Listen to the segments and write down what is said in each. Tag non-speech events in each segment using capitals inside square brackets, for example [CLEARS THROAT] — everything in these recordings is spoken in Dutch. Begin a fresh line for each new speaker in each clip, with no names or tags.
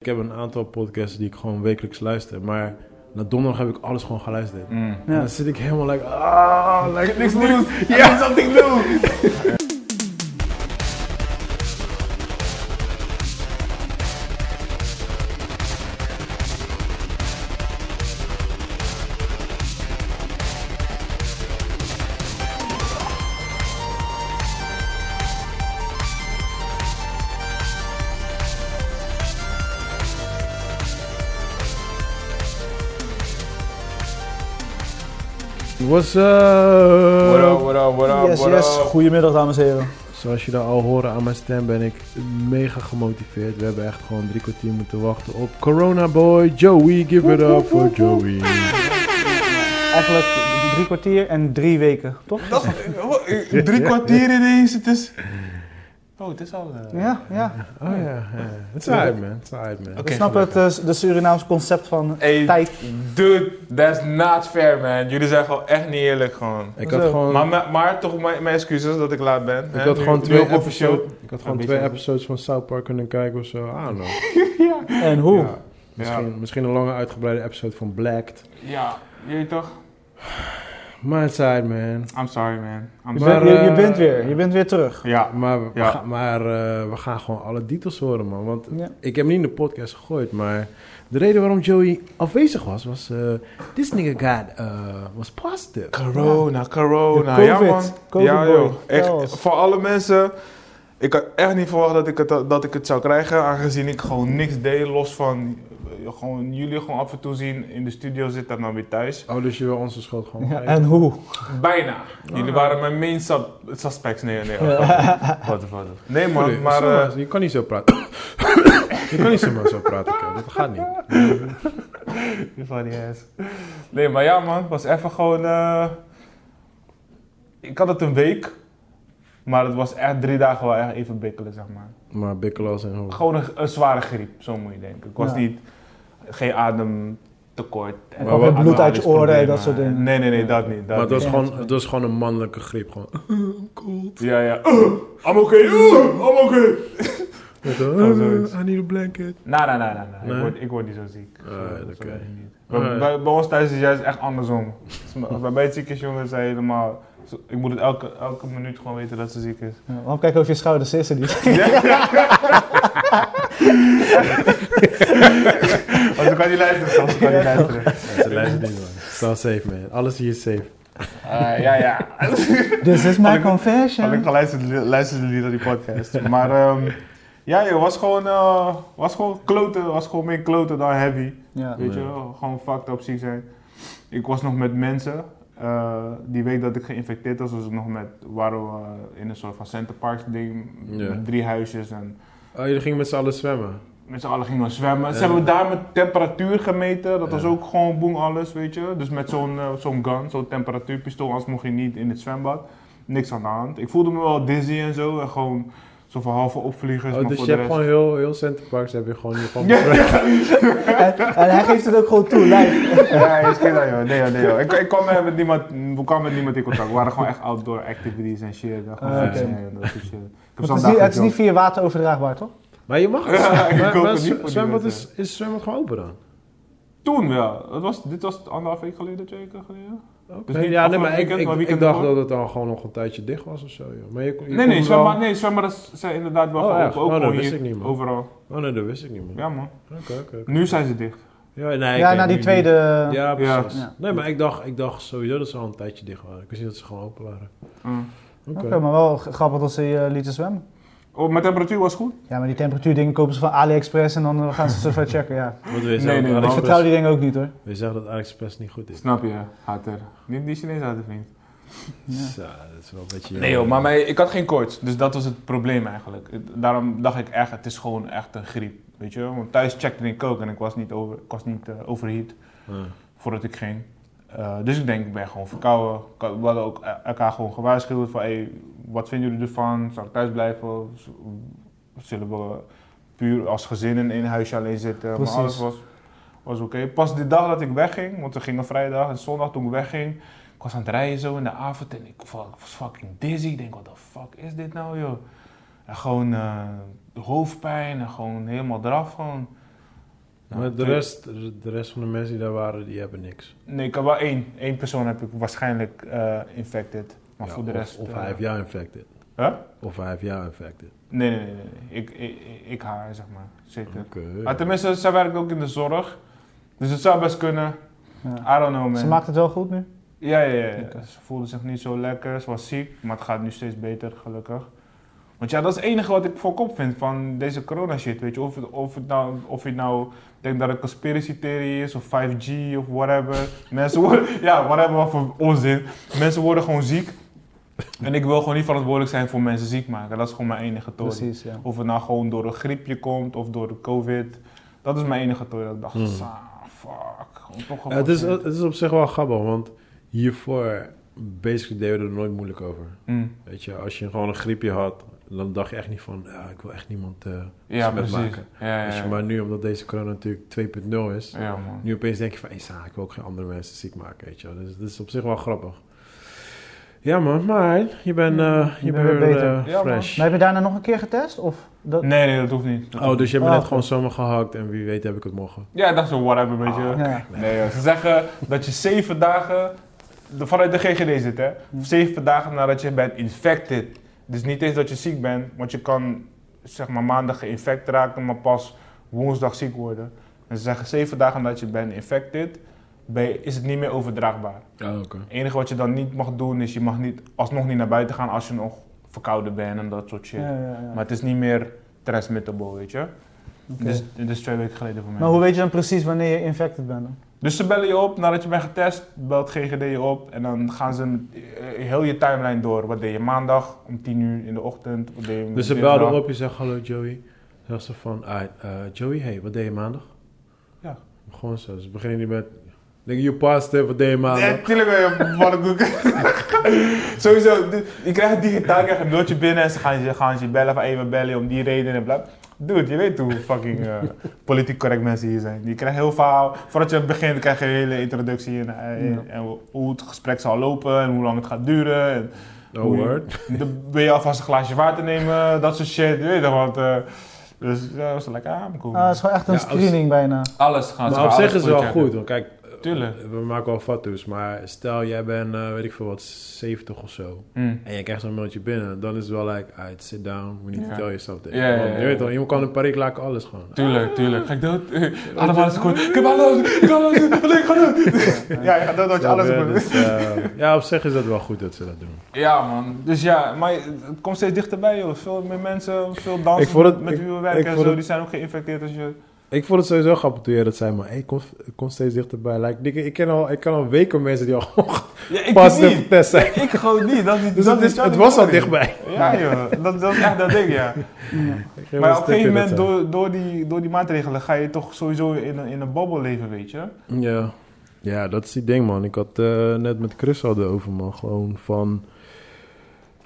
Ik heb een aantal podcasts die ik gewoon wekelijks luister, maar na donderdag heb ik alles gewoon geluisterd. En dan zit ik helemaal like, ah, like niks nieuws. Ja, something new. What's up?
What up, what up, what up,
Yes,
what
yes.
up?
Goedemiddag, dames en heren.
Zoals jullie al horen aan mijn stem ben ik mega gemotiveerd. We hebben echt gewoon drie kwartier moeten wachten op Corona Boy Joey. Give it up for Joey.
Eigenlijk drie kwartier en drie weken, toch?
Dat is- oh, eh, drie kwartier ineens, het is... Oh, het is al... eh,
Ja, ja.
Oh ja, het is uit man, het is uit man.
Ik snap het, eh, de Surinaams concept van
Hey,
tijd.
dude, that's not fair, man. Jullie zijn gewoon echt niet eerlijk, gewoon.
Ik had
Zo.
gewoon,
Maar, maar, maar toch mijn, mijn excuses dat ik laat ben.
ik had gewoon twee episodes,
officieel.
ik had gewoon
Een
twee
beetje-
episodes van South Park kunnen kijken of zo. I don't know.
En hoe?
Ja.
Misschien,
Ja.
misschien een lange uitgebreide episode van Blacked.
ja, je toch?
Maar het zei het, man.
I'm sorry, man. I'm
Je,
Maar,
sorry.
bent, je, je
eh,
bent weer, je bent weer terug.
Ja,
Maar, we,
Ja.
gaan, maar eh, we gaan gewoon alle titels horen, man. Want
Ja.
ik heb hem niet in de podcast gegooid, maar de reden waarom Joey afwezig was, was... eh this nigga got, eh, was positive.
Corona, corona.
De
ja,
COVID.
man.
COVID
ja,
boy.
joh. Echt,
Vertel eens.
voor alle mensen. Ik had echt niet verwacht dat ik het, dat ik het zou krijgen. Aangezien ik gewoon niks deed. Los van eh, gewoon, jullie gewoon af en toe zien in de studio zitten en dan weer thuis.
Oh, dus je wil onze schuld gewoon
Ja,
geven.
en hoe?
Bijna. Jullie waren mijn main sub- suspects. Nee, nee. Wat
[LAUGHS]
Wat wat Nee,
Sorry,
man. Maar,
zomaar,
eh,
je kan niet zo praten. [COUGHS] je kan niet zomaar zo praten, kerel. Dat gaat niet.
nee, maar ja, man. Het was even gewoon. eh, ik had het een week. Maar het was echt drie dagen wel echt even bikkelen, zeg maar.
Maar Bikkelas en hoe.
Gewoon een, een zware griep, zo moet je denken. Ik was
Ja.
niet, geen ademtekort. En
Maar wat- bloed
uit je oren en
ademhalingsproblemen.
dat soort dingen.
Nee, nee, nee, dat niet. Dat
Maar het was,
niet.
gewoon, het was gewoon een mannelijke griep.
[LAUGHS]
Gewoon.
Ja, [CLEARS THROAT] ja. I'm okay, [CLEARS THROAT] I'm okay.
Oh,
zoiets.
I need a blanket.
Nee, nee, nee, nee. nee.
Nee?
Ik, word, ik word niet zo ziek.
Ah,
Zo- zo
oké.
ben ik niet.
Ah, ja.
Bij, bij, bij ons thuis is het juist echt andersom. Dus bij- bij mij ziek is, jongens, zijn helemaal... zo- Ik moet het elke, elke minuut gewoon weten dat ze ziek is.
Ja, Waarom kijken over je schouder, ze is er niet.
Want dan kan je luisteren, soms kan
[LAUGHS]
je luisteren.
Dat is een ding, man. Stel safe, man. Alles hier is safe.
Ah, ja, ja.
This is
Had ik-
my
Had ik
confession.
geluisterd, luisterde jullie naar die podcast. [LAUGHS] Maar ehm, ja, joh, was gewoon, eh, was gewoon kloten. Was gewoon meer kloten dan heavy.
Ja.
Weet je
Ja.
wel, gewoon fucked up ziek zijn. Ik was nog met mensen. eh, die week dat ik geïnfecteerd was, was ik nog met, waren we eh, in een soort van Centerparks ding.
Ja.
Met drie huisjes en
Oh, jullie gingen met z'n allen zwemmen.
met z'n allen gingen we zwemmen. Ze
Ja.
hebben daar met temperatuur gemeten. Dat was
Ja.
ook gewoon boem alles, weet je. Dus met zo'n eh, zo'n gun, zo'n temperatuurpistool, anders mocht je niet in het zwembad. Niks aan de hand. Ik voelde me wel dizzy en zo. En gewoon zo van halve opvliegers.
Oh,
maar
dus
voor
je
de
hebt
rest... [LAUGHS]
gewoon heel, heel Center Parks heb je gewoon hier van.
En, en hij geeft het ook gewoon toe, live.
Ja, is geen dat, joh. Nee, joh, nee, joh. Ik, ik kwam eh, met niemand, we kwamen met niemand in contact. We waren gewoon echt outdoor activities en shit. En gewoon
Ah,
fietsen
oké.
en dat soort shit. Ik heb
Het
zo'n
is,
dag
niet, het is
gejogd.
niet via water overdraagbaar, toch?
Maar je mag
[LAUGHS]
dus-
Ja, ik
maar,
hoop
maar
het niet
z-
voor die
zwembad is,
mensen.
is zwembad gewoon open dan?
Toen wel. Het was, dit was anderhalf week geleden, twee weken geleden.
Oké.
Dus niet
ja, nee,
afgelopen
maar ik,
weekend,
ik,
maar
ik
weekend
dacht
ervoor?
dat het dan gewoon nog een tijdje dicht was of zo. Joh. Maar je, je kon
Nee, nee,
wel-
zwembad, nee, zwembad zijn inderdaad wel
Oh,
gewoon
echt?
open. Ook
Oh, dat
gewoon
wist
hier,
ik niet, man.
Overal.
Oh nee, dat wist ik niet meer.
Ja, man.
Oké, oké. oké.
Nu zijn ze dicht.
Ja, nee,
Ja,
oké,
na die
nu-
tweede...
Ja, precies.
Ja.
Nee, maar ik dacht, ik dacht sowieso dat ze al een tijdje dicht waren. Ik wist niet dat ze gewoon open waren.
Mm.
Oké.
Oké, maar wel g- grappig dat ze je lieten zwemmen.
Oh, mijn temperatuur was goed.
Ja, maar die temperatuur dingen kopen ze van AliExpress en dan eh, gaan ze ze even checken, ja.
Want we
Nee,
zeggen
nee,
dat
Ik
maar-
vertrouw
AliExpress-
die dingen ook niet, hoor.
we zeggen dat AliExpress niet goed is.
Snap je, hater. Niet die Chinees hater, vriend.
Ja.
Zo, dat is wel een beetje...
Nee joh, maar mij- ik had geen koorts, dus dat was het probleem eigenlijk. Het- Daarom dacht ik echt, het is gewoon echt een griep, weet je wel. Want thuis checkte ik ook en ik was niet, over, ik was niet eh, overheat
Ah.
voordat ik ging. Eh, dus ik denk, ik ben gewoon verkouden. Ik had- We hadden ook e- elkaar gewoon gewaarschuwd van, hey, wat vinden jullie ervan? Zou ik thuis blijven? Z- Zullen we puur als gezin in één huisje alleen zitten?
Precies.
Maar alles was, was oké. Pas de dag dat ik wegging, want we gingen vrijdag en zondag toen ik wegging, ik was aan het rijden zo in de avond en ik wa- was fucking dizzy. Ik denk, wat de fuck is dit nou, joh? En gewoon eh, hoofdpijn en gewoon helemaal eraf gewoon. Nou,
maar de
twee-
rest, de rest van de mensen die daar waren, die hebben niks.
Nee, ik heb wel één. Eén persoon heb ik waarschijnlijk eh, infected. Maar
Ja,
voor de
of-
rest...
Of
eh,
hij heeft jou infected.
Huh?
Of hij heeft jou infected.
Nee, nee, nee. nee, nee. Ik, ik, ik- ik haar, zeg maar. Zeker.
Oké.
Maar tenminste, zij werkt ook in de zorg. Dus het zou best kunnen.
Ja.
I don't know, man.
Ze maakt het wel goed nu?
Ja, ja, ja.
Oké.
Ze voelde zich niet zo lekker. Ze was ziek, maar het gaat nu steeds beter, gelukkig. Want ja, dat is het enige wat ik voor kop vind van deze corona shit, weet je. Of het, of het nou, of je nou denkt dat het een conspiracy theory is, of 5G, of whatever. Mensen worden, [LAUGHS] ja, whatever, wat voor onzin. Mensen worden gewoon ziek. En ik wil gewoon niet verantwoordelijk zijn voor mensen ziek maken. Dat is gewoon mijn enige toren.
Precies, ja.
Of het nou gewoon door een griepje komt, of door de covid. Dat is mijn enige toren. Dat ik dacht,
Hmm.
"Sa, fuck. Gewoon toch
Ja, het, is,
gevaccineerd."
het is op zich wel grappig, want hiervoor basically deden we er nooit moeilijk over.
Hmm.
Weet je, als je gewoon een griepje had, dan dacht je echt niet van, ja, ik wil echt niemand eh besmet
Ja, precies.
maken.
Ja, ja,
Als je
ja.
maar nu, omdat deze corona natuurlijk 2.0 is,
Ja, man.
nu opeens denk je van, hey, sa, ik wil ook geen andere mensen ziek maken, weet je. wel. Dus dat is op zich wel grappig. Ja man, maar je bent eh, je
Je
bent
bent
weer
beter.
eh,
Ja, man.
fresh.
Maar heb je daarna nog een keer getest? Of dat...
Nee, nee, dat hoeft niet. Dat
Oh,
hoeft
dus je hebt me
Ah,
net
oké.
gewoon zomaar gehakt en wie weet heb ik het morgen.
niet. Ja, dat is een whatever, weet je.
Ah, Ja.
Nee, joh. ze zeggen dat je zeven dagen de- vanuit de GGD zit, hè.
Hm.
Zeven dagen nadat je bent infected. Dus niet eens dat je ziek bent, want je kan zeg maar maandag geïnfect raken, maar pas woensdag ziek worden. En ze zeggen zeven dagen nadat je bent infected, ben je- is het niet meer overdraagbaar.
Oh, oké.
Het enige wat je dan niet mag doen, is je mag niet, alsnog niet naar buiten gaan als je nog verkouden bent en dat soort shit.
Ja, ja, ja.
Maar het is niet meer transmittable, weet je.
Oké.
Dus dit is twee weken geleden voor mij.
Maar hoe weet je dan precies wanneer je infected bent? dan?
Dus ze bellen je op nadat je bent getest, belt GGD je op en dan gaan ze met, eh, heel je timeline door. Wat deed je maandag om 10 uur in de ochtend? Wat deed je
Dus ze
dinsdag?
belden op, je zegt hallo Joey. Zegt ze van, ah, eh, Joey, hey, wat deed je maandag?
Ja.
Gewoon zo, ze beginnen niet met, denk je, you positive, wat deed je maandag?
Ja, tuurlijk eh, ben je warmkoek. [LAUGHS] Sowieso, dit- je krijgt het digitaal, je krijgt een mailtje binnen en ze gaan je, gaan je bellen van hey, we bellen je om die reden en bla. Dude, je weet hoe fucking eh, politiek correct mensen hier zijn. Je krijgt heel veel, voordat je begint krijg je een hele introductie en, eh,
Ja.
en hoe het gesprek zal lopen en hoe lang het gaat duren. En,
Oh,
Oei.
word.
Dan wil je alvast een glaasje water nemen, dat soort shit, je weet toch, want... eh, dus ja, was lekker aan, cool.
Ah, het is gewoon echt een
Ja, als-
screening bijna.
alles gaan
Maar op zich is het wel goed, want kijk, eh,
Tuurlijk.
we maken wel fatsoes, maar stel jij bent, eh, weet ik veel wat, 70 of zo. En je krijgt zo'n mailtje binnen, dan is het wel like, alright, sit down, we need
Ja.
to tell you something.
Ja, ja,
Want
ja,
Je weet
ja.
toch, iemand kan een parik laken, alles gewoon.
Tuurlijk, tuurlijk. Ga ik dood? [LAUGHS] Allemaal Ah. is goed. Ik heb alles, ik heb alles, [LAUGHS] ik ga dood. Ja, je gaat dood dat je
Snap
alles
je?
goed.
Dus, eh, ja, op zich is dat wel goed dat ze dat doen.
Ja man, dus ja, maar het komt steeds dichterbij joh. Veel meer mensen, veel
Ik
dansers
vond het-
met
ik-
wie we
ik
werken en
vond
zo,
het-
die zijn ook geïnfecteerd als je...
Ik vond het sowieso grappig toen jij dat zei, maar hey, kom, kom steeds dichterbij. Like, dikke, ik, ken al, ik ken al weken mensen die al [LAUGHS] gewoon
Ja, ik
pas
niet.
getest zijn.
Ik gewoon niet. Dat is, niet-
Dus
dat
het,
is
is,
jouw
het was al
ding.
dichtbij.
Ja joh, dat, dat is echt dat ding
[LAUGHS]
ja.
Ik ging wel
Maar op een
stuk
gegeven
in
moment,
het zijn.
door, door, die, door die maatregelen, ga je toch sowieso in een, in een babbel leven, weet je?
Ja. ja, dat is die ding, man. Ik had eh, net met Chris hadden over, man. Gewoon van...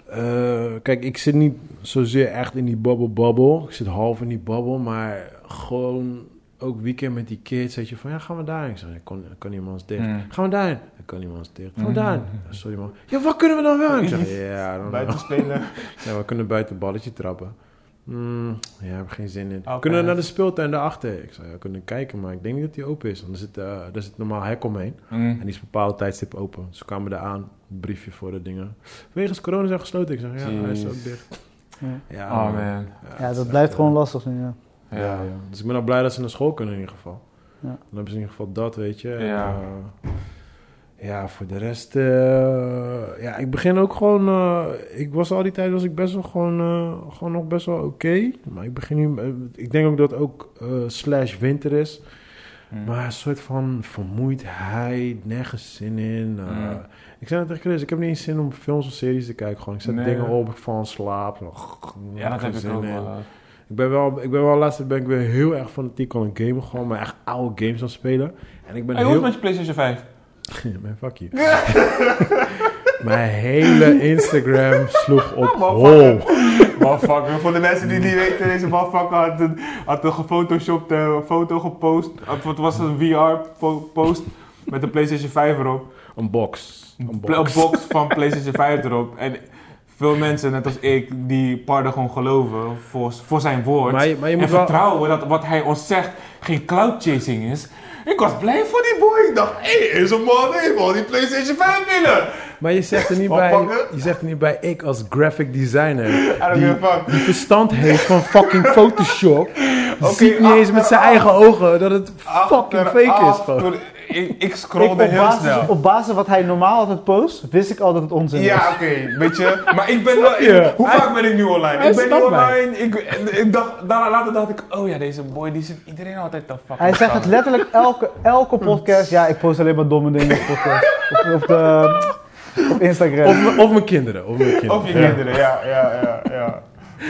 eh, kijk, ik zit niet zozeer echt in die babbel-babbel. Ik zit half in die babbel, maar gewoon... Ook weekend met die kids, weet je, van ja, gaan we daarheen? Ik zeg, ik kan, ik kan niemand eens dicht.
Mm.
Gaan we daarheen? Ik kan niemand eens dicht. Gaan we
Mm.
daarheen? Sorry, man. Ja, wat kunnen we dan wel? Ik zeg, ja, I don't know.
Buiten spelen.
Ja, we kunnen buiten balletje trappen. Mm, ja, heb ik geen zin in.
Oké.
Kunnen we naar de speeltuin daarachter? Ik zou ja, we kunnen kijken, maar ik denk niet dat die open is. Want er zit, eh, daar zit normaal hek omheen. En
Mm.
die is op een bepaalde tijdstip open. Dus we kwamen daar aan, een briefje voor de dingen. Wegens corona zijn gesloten. Ik zeg, ja, hij is
Jeez.
ook dicht.
Ja.
Ja,
Oh
Ah, man.
man.
Ja,
het is
dat
echt,
blijft
eh,
gewoon lastig nu, ja.
Ja. ja. Dus ik ben al blij dat ze naar school kunnen in ieder geval.
Ja.
Dan hebben ze in ieder geval dat, weet je. En,
Ja.
eh, ja, voor de rest... eh, ja, ik begin ook gewoon... eh, ik was al die tijd was ik best wel gewoon, eh, gewoon nog best wel oké. Maar ik begin nu... eh, ik denk ook dat het ook eh, slash winter is.
Hm.
Maar een soort van vermoeidheid, nergens zin in. eh.
Mm.
Ik zei het tegen Chris, ik heb niet eens zin om films of series te kijken. Gewoon. Ik zet
Nee.
dingen op, ik val in slaap. zo,
Ja, dat
geen
heb ik
zin
ook
in.
wel.
Ik ben wel, ik ben wel laatst ben ik weer heel erg fanatiek aan het gamen. Gewoon maar echt oude games aan het spelen. En ik ben
Hey, hoe is
heel... [LAUGHS]
het met je PlayStation 5?
Mijn fuck you. [LAUGHS] Mijn hele Instagram sloeg op
Oh,
hol.
Motherfucker. Motherfucker. Voor de mensen die niet weten, deze motherfucker had een, had een gefotoshopte foto gepost. Of Het was een VR-post met een PlayStation 5 erop.
Een box. Een
Pla- Een
box.
box van PlayStation 5 erop. En veel mensen, net als ik, die Pardo gewoon geloven voor, voor zijn woord.
Maar je, maar je
en
moet wel...
vertrouwen dat wat hij ons zegt geen cloud chasing is. Ik was blij voor die boy. Ik dacht, hé, is een man, hé, man, die PlayStation 5 willen.
Maar je zegt er niet
Wat
bij,
pakken?
je zegt er niet bij ik als graphic designer
I don't
die,
give a fuck.
die verstand heeft van
[LAUGHS]
fucking Photoshop.
Oké,
ziet niet eens met zijn
achteraf.
eigen ogen dat het fucking fake is.
Achteraf,
Gewoon.
toen- Ik, ik
Ik, op,
scrollde heel
basis,
snel.
op basis wat hij normaal altijd post, wist ik al dat het onzin was.
Ja, oké, weet je. Maar ik ben wel...
je?
Hoe vaak ben ik nu online?
hij
Ik ben nu
snapt mij.
online. Ik, en ik dacht, daarna later dacht ik, oh ja, deze boy, die zit iedereen altijd te fucking
Hij zegt het
schelden.
letterlijk elke, elke podcast. Ja, ik post alleen maar domme dingen op, podcast. op, op, de, op Instagram.
Of, m- of mijn kinderen. Of mijn kinderen.
Of je
Ja.
kinderen, ja, ja, ja. ja.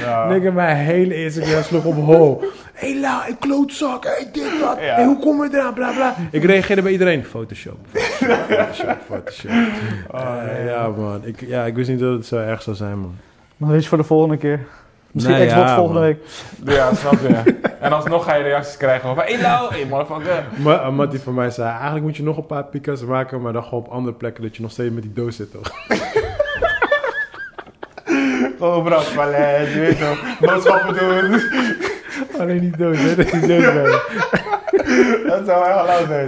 ja.
Nigga, mijn hele Instagram sloeg op hol. Hé, la, ik klootzak, hé, dit, dat.
Ja.
Hé, hoe kom je eraan, bla, bla. Ik reageerde bij iedereen. Photoshop, [LAUGHS] Photoshop, Photoshop, Photoshop. Eh, ja, man. Ik, ja, ik wist niet dat het zo erg zou zijn, man.
Dan weet je voor de volgende keer. Misschien
Nee,
Xbox
ja,
volgende
man.
week.
Ja, snap je. en alsnog ga je reacties krijgen van, hey Lau, hey motherfucker.
Maar eh, Mattie van mij zei, eigenlijk moet je nog een paar pika's maken, maar dan gewoon op andere plekken dat je nog steeds met die doos zit, toch?
Gewoon brandpalet, je weet toch. Boodschappen doen.
[LAUGHS] Alleen die doos, hè? Dat is die doos bij je.
Dat zou echt lauw zijn.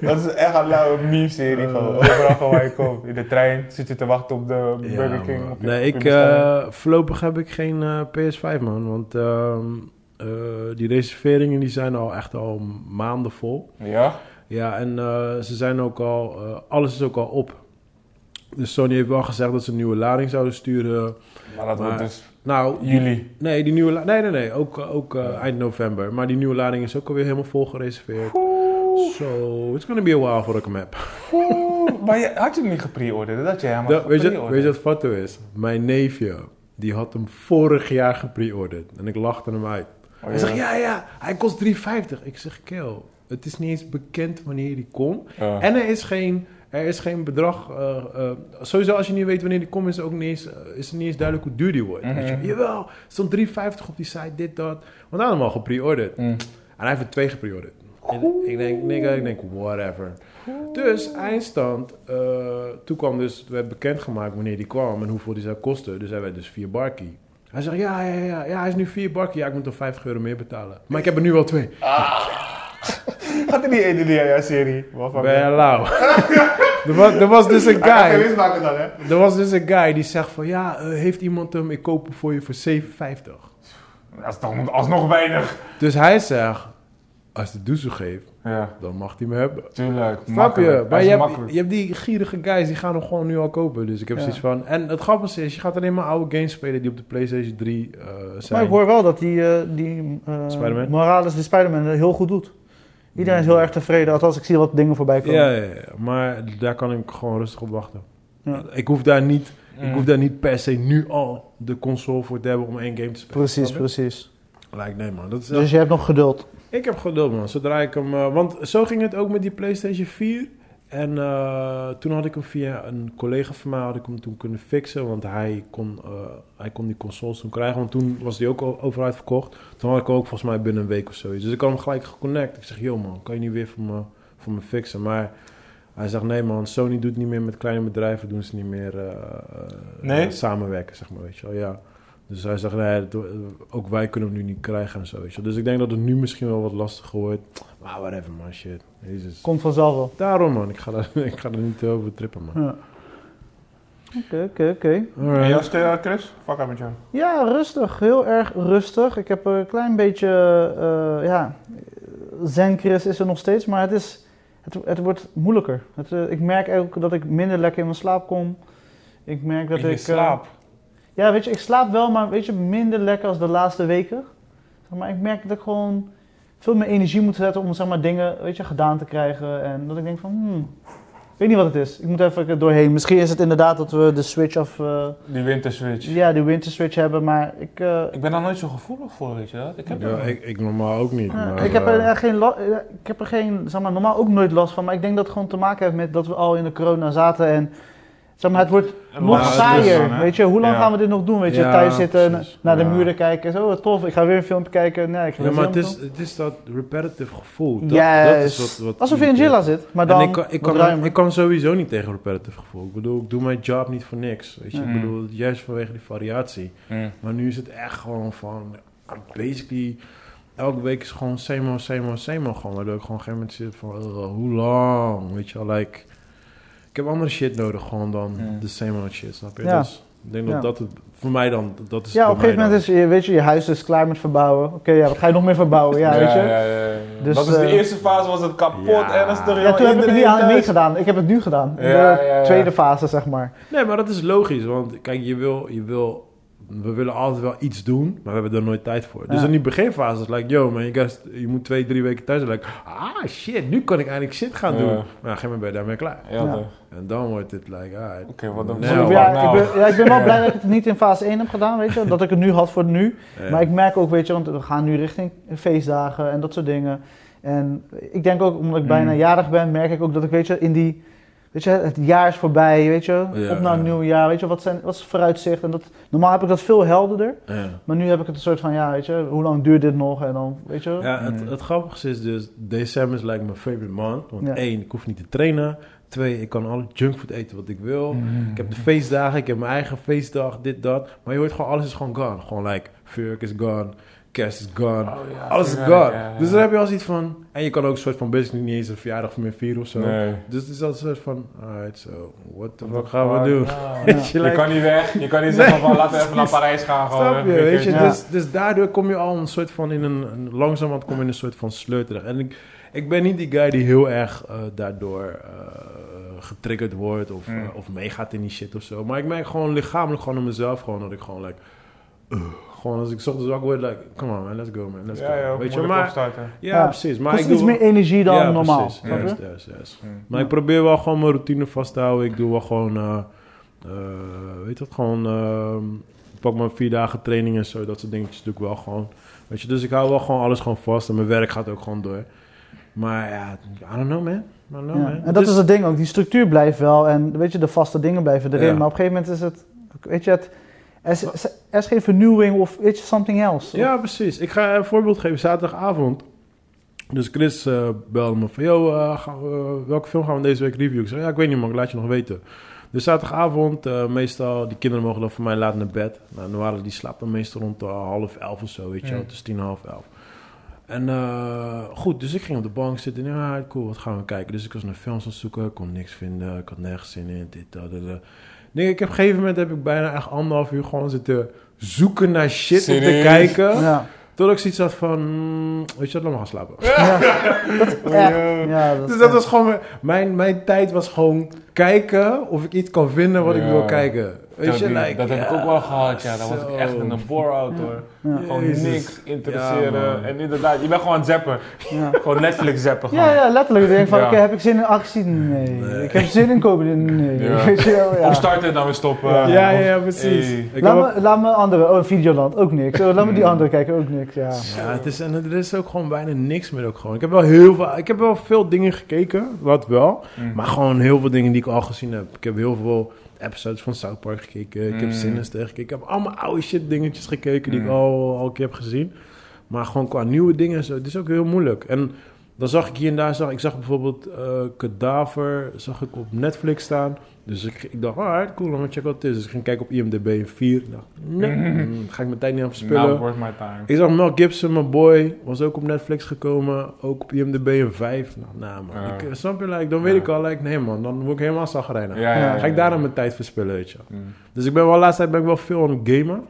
Dat is echt een lauwe meme-serie gewoon. Overal van waar je komt. In de trein zit je te wachten op de Burger
Oh. Ja,
King.
man.
op je-
nee,
op je
ik,
bestelling.
eh, voorlopig heb ik geen eh, PS5, man. Want ehm, eh, die reserveringen die zijn al echt al maanden vol.
Ja?
Ja, en eh, ze zijn ook al, eh, alles is ook al op. Dus Sony heeft wel gezegd dat ze een nieuwe lading zouden sturen.
Maar dat wordt dus
Nou,
juli.
nee, die nieuwe la- nee, nee, nee, ook, eh, ook eh, eind november. Maar die nieuwe lading is ook alweer helemaal vol gereserveerd. So, it's gonna be a while voordat ik hem heb.
Oeh, maar je, had je hem niet gepre-orderd? Dat je helemaal
Dat- weet, je,
gepre-orderd.
weet je wat fatto is? Mijn neefje, die had hem vorig jaar gepreorderd. En ik lachte hem uit.
Oh,
Hij zegt, ja, ja, hij kost 3,50. Ik zeg, kill, het is niet eens bekend wanneer die komt.
Ja.
En er is geen, er is geen bedrag. eh, eh, sowieso, als je niet weet wanneer die komt, is, het ook niet eens, eh, is het niet eens duidelijk hoe duur die wordt.
Mhm.
Weet je, jawel, stond 3,50 op die site, dit, dat. Want hij had hem al gepreorderd.
Mm.
En hij heeft er twee gepreorderd. En ik denk, nigga, ik denk, whatever. Dus eindstand, eh, toen kwam dus, werd bekendgemaakt wanneer die kwam en hoeveel die zou kosten. Dus hij werd dus 4 barkie. Hij zegt, ja, ja, ja, ja, hij is nu 4 barkie. Ja, ik moet er 50 euro meer betalen. Maar ik heb er nu al twee.
Gaat er niet één in die eh, serie? Waarvan-
Ben je lauw? [LAUGHS] er, was, er was dus een
Hij gaat geen
guy,
winst maken dan, hè?
er was dus een guy die zegt van, ja, eh, heeft iemand hem, ik koop hem voor je voor 7,50.
Dat is toch alsnog weinig.
Dus hij zegt, als de doezel geeft,
Ja,
dan mag hij me hebben.
tuurlijk.
Snap je?
Makkelijk. Hij
Maar
is
je hebt,
makkelijk.
je hebt die gierige guys, die gaan hem gewoon nu al kopen. Dus ik heb
Ja.
zoiets van... En het grappige is, je gaat alleen maar oude games spelen die op de PlayStation 3 eh, zijn.
Maar ik hoor wel dat die, eh, die eh,
Spider-Man?
Morales, de Spider-Man, eh, heel goed doet. Iedereen is heel erg tevreden, althans ik zie wat dingen voorbij komen.
ja, ja, ja, maar daar kan ik gewoon rustig op wachten.
Ja.
Ik, hoef daar niet, ik
Mm.
hoef daar niet per se nu al de console voor te hebben om één game te spelen.
Precies,
Snap je?
precies.
Lijkt nee man. Dat is
Dus je hebt nog geduld.
Ik heb geduld, man. Zodra ik hem... eh, want zo ging het ook met die PlayStation 4. En eh, toen had ik hem via een collega van mij had ik hem toen kunnen fixen. Want hij kon, eh, hij kon die consoles toen krijgen. Want toen was die ook al overal verkocht. Toen had ik hem ook volgens mij binnen een week of zoiets. Dus ik had hem gelijk geconnect. Ik zeg, joh man, kan je niet weer voor me, voor me fixen? Maar hij zegt, nee man, Sony doet niet meer met kleine bedrijven. Doen ze niet meer eh, eh,
Nee?
samenwerken, zeg maar, weet je wel. Ja. Dus hij zegt, nee, dat- ook wij kunnen hem nu niet krijgen en zo. Weet je. wel. Dus ik denk dat het nu misschien wel wat lastiger wordt. Maar whatever, man, shit. Jezus.
Komt vanzelf wel.
Daarom, man. Ik ga, daar, [LAUGHS] ik ga er niet over trippen, man.
Ja. Oké, oké, oké.
En jouw
Alright.
stil, eh, Chris? Fuck up met jou.
Ja, rustig. Heel erg rustig. Ik heb een klein beetje, eh ja, zen-Chris is er nog steeds, maar het, is, het, het wordt moeilijker. Het, eh, ik merk ook dat ik minder lekker in mijn slaap kom. Ik merk dat
In je
ik... eh,
slaap.
ja, weet je, ik slaap wel, maar weet je, minder lekker als de laatste weken. Zeg maar ik merk dat ik gewoon veel meer energie moet zetten om zeg maar, dingen weet je, gedaan te krijgen. En dat ik denk van, hmm, ik weet niet wat het is. Ik moet even er doorheen. Misschien is het inderdaad dat we de switch af... eh,
Die winterswitch.
ja, de winter switch hebben, maar ik, eh,
Ik ben daar nooit zo gevoelig voor, weet je dat? Ik heb
Ja,
dat-
ik, ik normaal ook niet.
ja,
maar,
Ah, ik heb er
eh,
echt geen, la- eh, ik heb er geen zeg maar, normaal ook nooit last van, maar ik denk dat het gewoon te maken heeft met dat we al in de corona zaten en Zeg maar, het wordt
En
nog
het is
saaier.
dan, hè?
weet je, hoe lang
Ja.
gaan we dit nog doen? Weet je,
Ja,
thuis zitten,
precies.
naar de
Ja.
muren kijken. Zo, wat tof, ik ga weer een filmpje kijken. Nee, ik ga
Ja,
weer
maar
een
het
filmpje.
is, het is dat repetitive gevoel. Dat, dat is wat,
Yes.
wat
Alsof je in Jilla zit, maar dan
en ik kan, ik,
wat
kan,
ruimer.
ik kan sowieso niet tegen repetitive gevoel. Ik bedoel, ik doe mijn job niet voor niks. Weet je?
Mm.
Ik bedoel, juist vanwege die variatie.
Mm.
Maar nu is het echt gewoon van... Basically, elke week is gewoon same old, same old, same old. Gewoon, waardoor ik gewoon op een gegeven moment zit van... "Ugh, hoe lang? Weet je wel, like... Ik heb andere shit nodig gewoon dan
Mm.
de same old shit, snap je?
Ja.
Dus ik denk dat
Ja.
dat het... Voor mij dan, dat is
Ja,
voor
op een gegeven
mij
moment is je, weet je, je huis is klaar met verbouwen. Oké, ja, wat ga je nog meer verbouwen? Ja, weet je.
ja, ja, ja.
Dus,
dat is de
eh,
eerste fase, was het kapot
Ja.
en dat is toch
Ja,
heel
toen heb ik het niet
iedereen
aan
thuis.
meegedaan. Ik heb het nu gedaan. In
Ja,
de
ja, ja.
tweede fase, zeg maar.
Nee, maar dat is logisch. Want kijk, je wil, je wil... We willen altijd wel iets doen, maar we hebben er nooit tijd voor. Dus
Ja.
in die beginfase is het like, yo man, je, guys, je moet twee, drie weken thuis zijn. Like, ah shit, nu kan ik eindelijk shit gaan
Ja.
doen. Maar op een gegeven moment ben je daarmee klaar.
Ja,
Ja.
toch.
En dan wordt het like, alright.
Oké, wat dan?
Nee,
Dus ik,
hoor.
ben- ja,
nou.
ik ben, ja, ik ben wel blij dat ik het niet in fase 1 heb gedaan, weet je. Dat ik het nu had voor nu.
Ja.
Maar ik merk ook, weet je, want we gaan nu richting feestdagen en dat soort dingen. En ik denk ook, omdat ik bijna
Mm.
jarig ben, merk ik ook dat ik, weet je, in die... Weet je, het jaar is voorbij, weet je.
Ja,
Op naar een
ja.
nieuw jaar, weet je. Wat, zijn, wat is het vooruitzicht? En dat, normaal heb ik dat veel helderder.
Ja.
Maar nu heb ik het een soort van, ja, weet je, hoe lang duurt dit nog? En dan, weet je...
Ja, het,
Mm.
het grappigste is dus, december is like mijn favorite month. Want
Ja.
één, ik hoef niet te trainen. Twee, ik kan alle junkfood eten wat ik wil.
Mm.
Ik heb de feestdagen, ik heb mijn eigen feestdag, dit, dat. Maar je hoort gewoon, alles is gewoon gone. Gewoon like, Furk is gone, kerst is gone,
Oh, ja,
alles is
ja,
gone.
ja, ja.
Dus dan heb je al zoiets van... En je kan ook een soort van basically niet eens een verjaardag meer vieren of zo.
Nee.
Dus het is al een soort van, alright, so, what the fuck gaan we doen?
Ja.
[LAUGHS] Weet je,
Je
like,
kan niet weg, je kan niet zeggen van laten we even naar Parijs gaan. Gewoon
Snap je,
even een
weet je?
keertje.
Ja.
Dus, dus daardoor kom je al een soort van in een, een langzamerhand kom je in een soort van sleur terecht. En ik, ik ben niet die guy die heel erg eh, daardoor eh, getriggerd wordt of,
Mm.
eh, of meegaat in die shit of zo. Maar ik merk gewoon lichamelijk gewoon aan mezelf gewoon dat ik gewoon like, ugh, gewoon als ik 's ochtends wakker word, like, come on man, let's go man, let's
Ja,
go.
ja,
weet je,
moeilijk
maar
opstarten.
ja,
Ja,
precies. Maar
Maar
ik
iets
doe
meer energie dan
ja,
normaal.
precies.
snap je?
Juist, juist, juist.
Mm.
Maar ik probeer wel gewoon mijn routine vast te houden. Ik doe wel gewoon, eh, eh, weet je dat, gewoon, ehm, ik pak mijn vier dagen training en zo, dat soort dingetjes doe ik wel gewoon. Weet je, dus ik hou wel gewoon alles gewoon vast en mijn werk gaat ook gewoon door. Maar ja, I don't know man, I don't know
Ja,
man. Dus
En dat is het ding ook, die structuur blijft wel en weet je, de vaste dingen blijven erin.
Ja.
Maar op een gegeven moment is het, weet je, het, er, is, er is geen vernieuwing of weet je, something else.
Ja, precies. Ik ga een voorbeeld geven, zaterdagavond. Dus Chris eh, belde me van, yo, eh, gaan we- welke film gaan we deze week reviewen? Ik zei, ja, ik weet niet man, ik laat je nog weten. Dus zaterdagavond, eh, meestal, die kinderen mogen dan voor mij laat naar bed. Nou, Noara die slaapt dan meestal rond eh, half elf of zo, weet je wel.
Mm.
Het is tien, half elf. En eh, goed, dus ik ging op de bank zitten. En, ja, cool, wat gaan we kijken? Dus ik was naar films aan het zoeken, kon niks vinden. Ik had nergens zin in, dit, dat, dat, dat. Nee, ik heb op een gegeven moment heb ik bijna echt anderhalf uur gewoon zitten zoeken naar shit om te
Serieus?
kijken.
Ja.
Tot ik zoiets had van, mm, weet je wat, laat maar gaan slapen.
Echt, ja, dat
Dus
is
dat
echt-
was gewoon, mijn- mijn, mijn tijd was gewoon kijken of ik iets kan vinden wat ik
Ja.
wil kijken. Weet je,
dat
like,
dat heb ik
ja,
ook wel gehad, ja. Dan was
zo.
ik echt in een bore-out hoor.
Ja.
Gewoon
Jezus.
niks
Ja,
interesseren.
man.
en inderdaad, je bent gewoon aan het zappen.
ja.
Gewoon Netflix zappen. Gewoon.
Ja, ja, letterlijk. Ik denk van,
Ja.
oké, heb ik zin in actie? Nee.
Nee.
Ik heb zin in kopen? Nee.
Ja.
[LAUGHS] Weet je wel, ja.
Opstarten en dan weer stoppen.
Ja.
Ja, ja, ja, precies.
Hey.
Ik heb ook-
Laat me, laat me andere, oh, Videoland, ook niks. Oh, laat me die andere kijken, ook niks, ja.
Ja, het is, en er is ook gewoon bijna niks meer ook gewoon. Ik heb wel heel veel, ik heb wel veel dingen gekeken, wat wel.
Mm.
Maar gewoon heel veel dingen die ik al gezien heb. Ik heb heel veel episodes van South Park gekeken. Ik heb
Mm.
Sinister gekeken. Ik heb allemaal oude shit dingetjes gekeken die
Mm.
ik al, al een keer heb gezien. Maar gewoon qua nieuwe dingen en zo. Het is ook heel moeilijk. En dan zag ik hier en daar... Zag, ik zag bijvoorbeeld eh Cadaver zag ik op Netflix staan. Dus ik, ik dacht, alright, cool, dan check wat het is. Dus ik ging kijken op IMDb in 4. Ik dacht, nee, mm, ga ik mijn tijd niet aan
Nou,
verspillen.
Now worth my time.
Ik zag Mel Gibson, mijn boy, was ook op Netflix gekomen. Ook op IMDb een 5. Nou, nou man.
Ja.
Ik, snap je? Like, dan weet
Ja.
ik al, like, nee man, dan word ik helemaal zagrijnig.
Ja, ja, ja,
Ga ik
ja.
daar dan mijn tijd verspillen, weet je.
Mm.
Dus ik ben wel, laatst tijd ben ik wel veel aan het gamen.